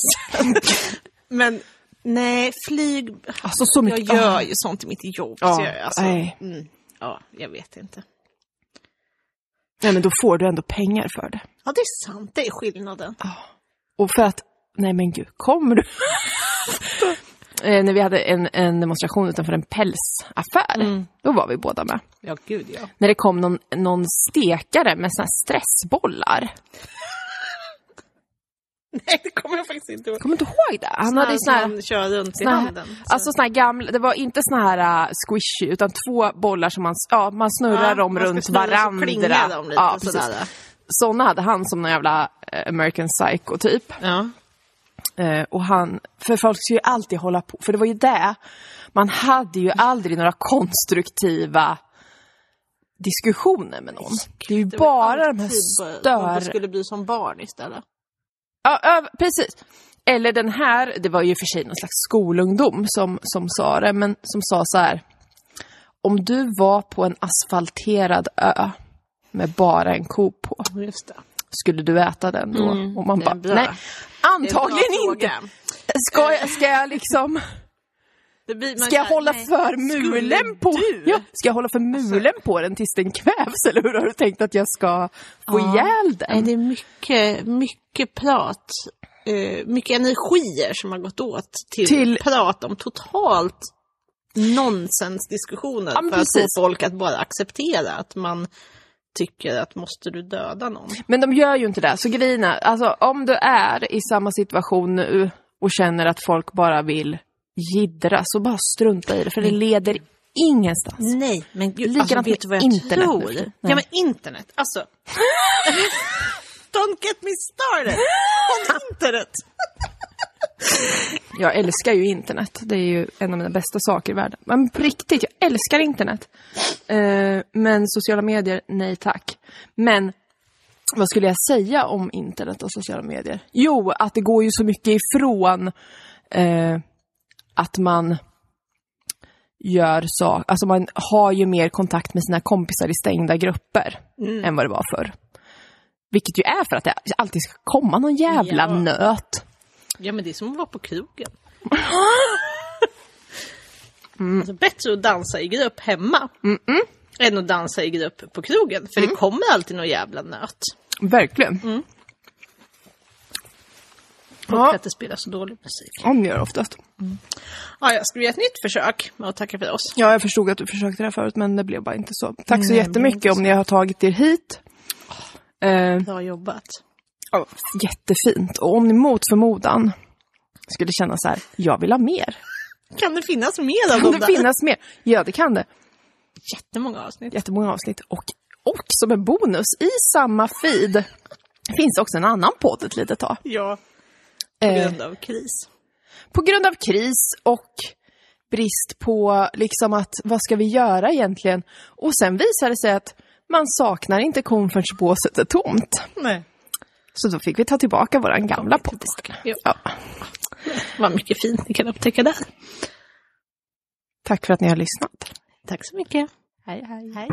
[SPEAKER 2] Men nej, flyg...
[SPEAKER 1] Alltså så
[SPEAKER 2] Jag
[SPEAKER 1] mycket.
[SPEAKER 2] gör ju sånt i mitt jobb.
[SPEAKER 1] Ja,
[SPEAKER 2] så jag, alltså,
[SPEAKER 1] nej.
[SPEAKER 2] mm, ja, jag vet inte.
[SPEAKER 1] Nej, men då får du ändå pengar för det.
[SPEAKER 2] Ja, det är sant. Det är skillnaden.
[SPEAKER 1] Och för att, nej men gud, kommer du? eh, när vi hade en, en demonstration utanför en pälsaffär, då var vi båda med.
[SPEAKER 2] Ja, gud ja.
[SPEAKER 1] När det kom någon, någon stekare med såna här stressbollar.
[SPEAKER 2] Nej, det kommer jag faktiskt inte ihåg.
[SPEAKER 1] Kommer du inte ihåg det? Han hade ju såna här,
[SPEAKER 2] Man kör runt i
[SPEAKER 1] såna
[SPEAKER 2] handen.
[SPEAKER 1] här,
[SPEAKER 2] så-
[SPEAKER 1] alltså såna här gamla, det var inte såna här uh, squishy, utan två bollar som man, s- ja, man snurrar
[SPEAKER 2] Ja,
[SPEAKER 1] dem
[SPEAKER 2] man ska
[SPEAKER 1] runt
[SPEAKER 2] snurra så
[SPEAKER 1] varandra.
[SPEAKER 2] klingar de lite
[SPEAKER 1] ja, precis.
[SPEAKER 2] sådär.
[SPEAKER 1] Såna hade han som någon jävla eh, American Psycho typ.
[SPEAKER 2] Ja.
[SPEAKER 1] Eh, och han, för folk skulle ju alltid hålla på, för det var ju det. Man hade ju aldrig några konstruktiva diskussioner med någon. Det är ju
[SPEAKER 2] Det var
[SPEAKER 1] bara de här
[SPEAKER 2] alltid bara- Man
[SPEAKER 1] stör...
[SPEAKER 2] typ skulle bli som barn istället.
[SPEAKER 1] Ja, ja, precis. Eller den här, det var ju i och för sig någon slags skolungdom som, som sa det, men som sa så här. Om du var på en asfalterad ö med bara en ko på,
[SPEAKER 2] Just det.
[SPEAKER 1] skulle du äta den då? och man
[SPEAKER 2] Mm, det är
[SPEAKER 1] bara,
[SPEAKER 2] bra.
[SPEAKER 1] nej,
[SPEAKER 2] Det är en bra
[SPEAKER 1] antagligen inte.
[SPEAKER 2] fråga.
[SPEAKER 1] Ska jag, ska jag liksom...
[SPEAKER 2] Det blir, man
[SPEAKER 1] Ska jag
[SPEAKER 2] känner-
[SPEAKER 1] hålla
[SPEAKER 2] nej.
[SPEAKER 1] för mulen på...
[SPEAKER 2] du? Alltså.
[SPEAKER 1] Ja, ska jag hålla för mulen på den tills den kvävs? Eller hur har du tänkt att jag ska få
[SPEAKER 2] Ja.
[SPEAKER 1] ihjäl
[SPEAKER 2] Nej,
[SPEAKER 1] den?
[SPEAKER 2] det är mycket, mycket prat. eh, mycket energier som har gått åt till,
[SPEAKER 1] Till-
[SPEAKER 2] prat om totalt nonsensdiskussioner
[SPEAKER 1] Ja, men
[SPEAKER 2] för att få
[SPEAKER 1] precis.
[SPEAKER 2] folk att bara acceptera att man tycker att måste du döda någon?
[SPEAKER 1] Men de gör ju inte det. Så grejen är, alltså om du är i samma situation nu och känner att folk bara vill jiddra, så bara strunta i det. För det leder ingenstans.
[SPEAKER 2] Nej, men gud,
[SPEAKER 1] Likadant med internet nu för tiden.
[SPEAKER 2] Ja, men internet, alltså. Don't get me started on internet!
[SPEAKER 1] Jag älskar ju internet. Det är ju en av mina bästa saker i världen. Men på riktigt, jag älskar internet. Eh, men sociala medier, nej tack. Men vad skulle jag säga om internet och sociala medier? Jo, att det går ju så mycket ifrån eh, att man gör saker, alltså man har ju mer kontakt med sina kompisar i stängda grupper än vad det var förr. Vilket ju är för att det alltid ska komma någon jävla
[SPEAKER 2] Ja.
[SPEAKER 1] nöt.
[SPEAKER 2] Ja, men det är som att vara på krogen.
[SPEAKER 1] Mm.
[SPEAKER 2] Alltså, bättre att dansa i grupp hemma än att dansa i grupp på krogen. För
[SPEAKER 1] Mm.
[SPEAKER 2] det kommer alltid någon jävla nöt.
[SPEAKER 1] Verkligen.
[SPEAKER 2] Och
[SPEAKER 1] Ja.
[SPEAKER 2] att det spelar så dålig musik.
[SPEAKER 1] Om gör oftast.
[SPEAKER 2] Ja, jag ska vi göra ett nytt försök med att tacka för oss.
[SPEAKER 1] Ja, jag förstod att du försökte det här förut, men det blev bara inte så. Tack så jättemycket om ni har tagit er hit. Eh,
[SPEAKER 2] Bra jobbat.
[SPEAKER 1] jättefint. Och om ni mot förmodan skulle känna så här, jag vill ha mer.
[SPEAKER 2] Kan det finnas mer av
[SPEAKER 1] Kan
[SPEAKER 2] dem
[SPEAKER 1] det
[SPEAKER 2] där?
[SPEAKER 1] finnas mer? Ja, det kan det.
[SPEAKER 2] jättemånga avsnitt.
[SPEAKER 1] Jättemånga avsnitt. Och, och som en bonus, i samma feed finns också en annan podd ett litet tag.
[SPEAKER 2] Ja, på
[SPEAKER 1] Eh,
[SPEAKER 2] grund av kris.
[SPEAKER 1] på grund av kris och brist på liksom att vad ska vi göra egentligen? Och sen visade det sig att man saknar inte kon förrän båset är tomt.
[SPEAKER 2] Nej.
[SPEAKER 1] Så då fick vi ta tillbaka våran gamla podd istället.
[SPEAKER 2] Ja.
[SPEAKER 1] Ja.
[SPEAKER 2] Vad mycket fint ni kan upptäcka där.
[SPEAKER 1] Tack för att ni har lyssnat.
[SPEAKER 2] Tack så mycket. Hej, hej. hej.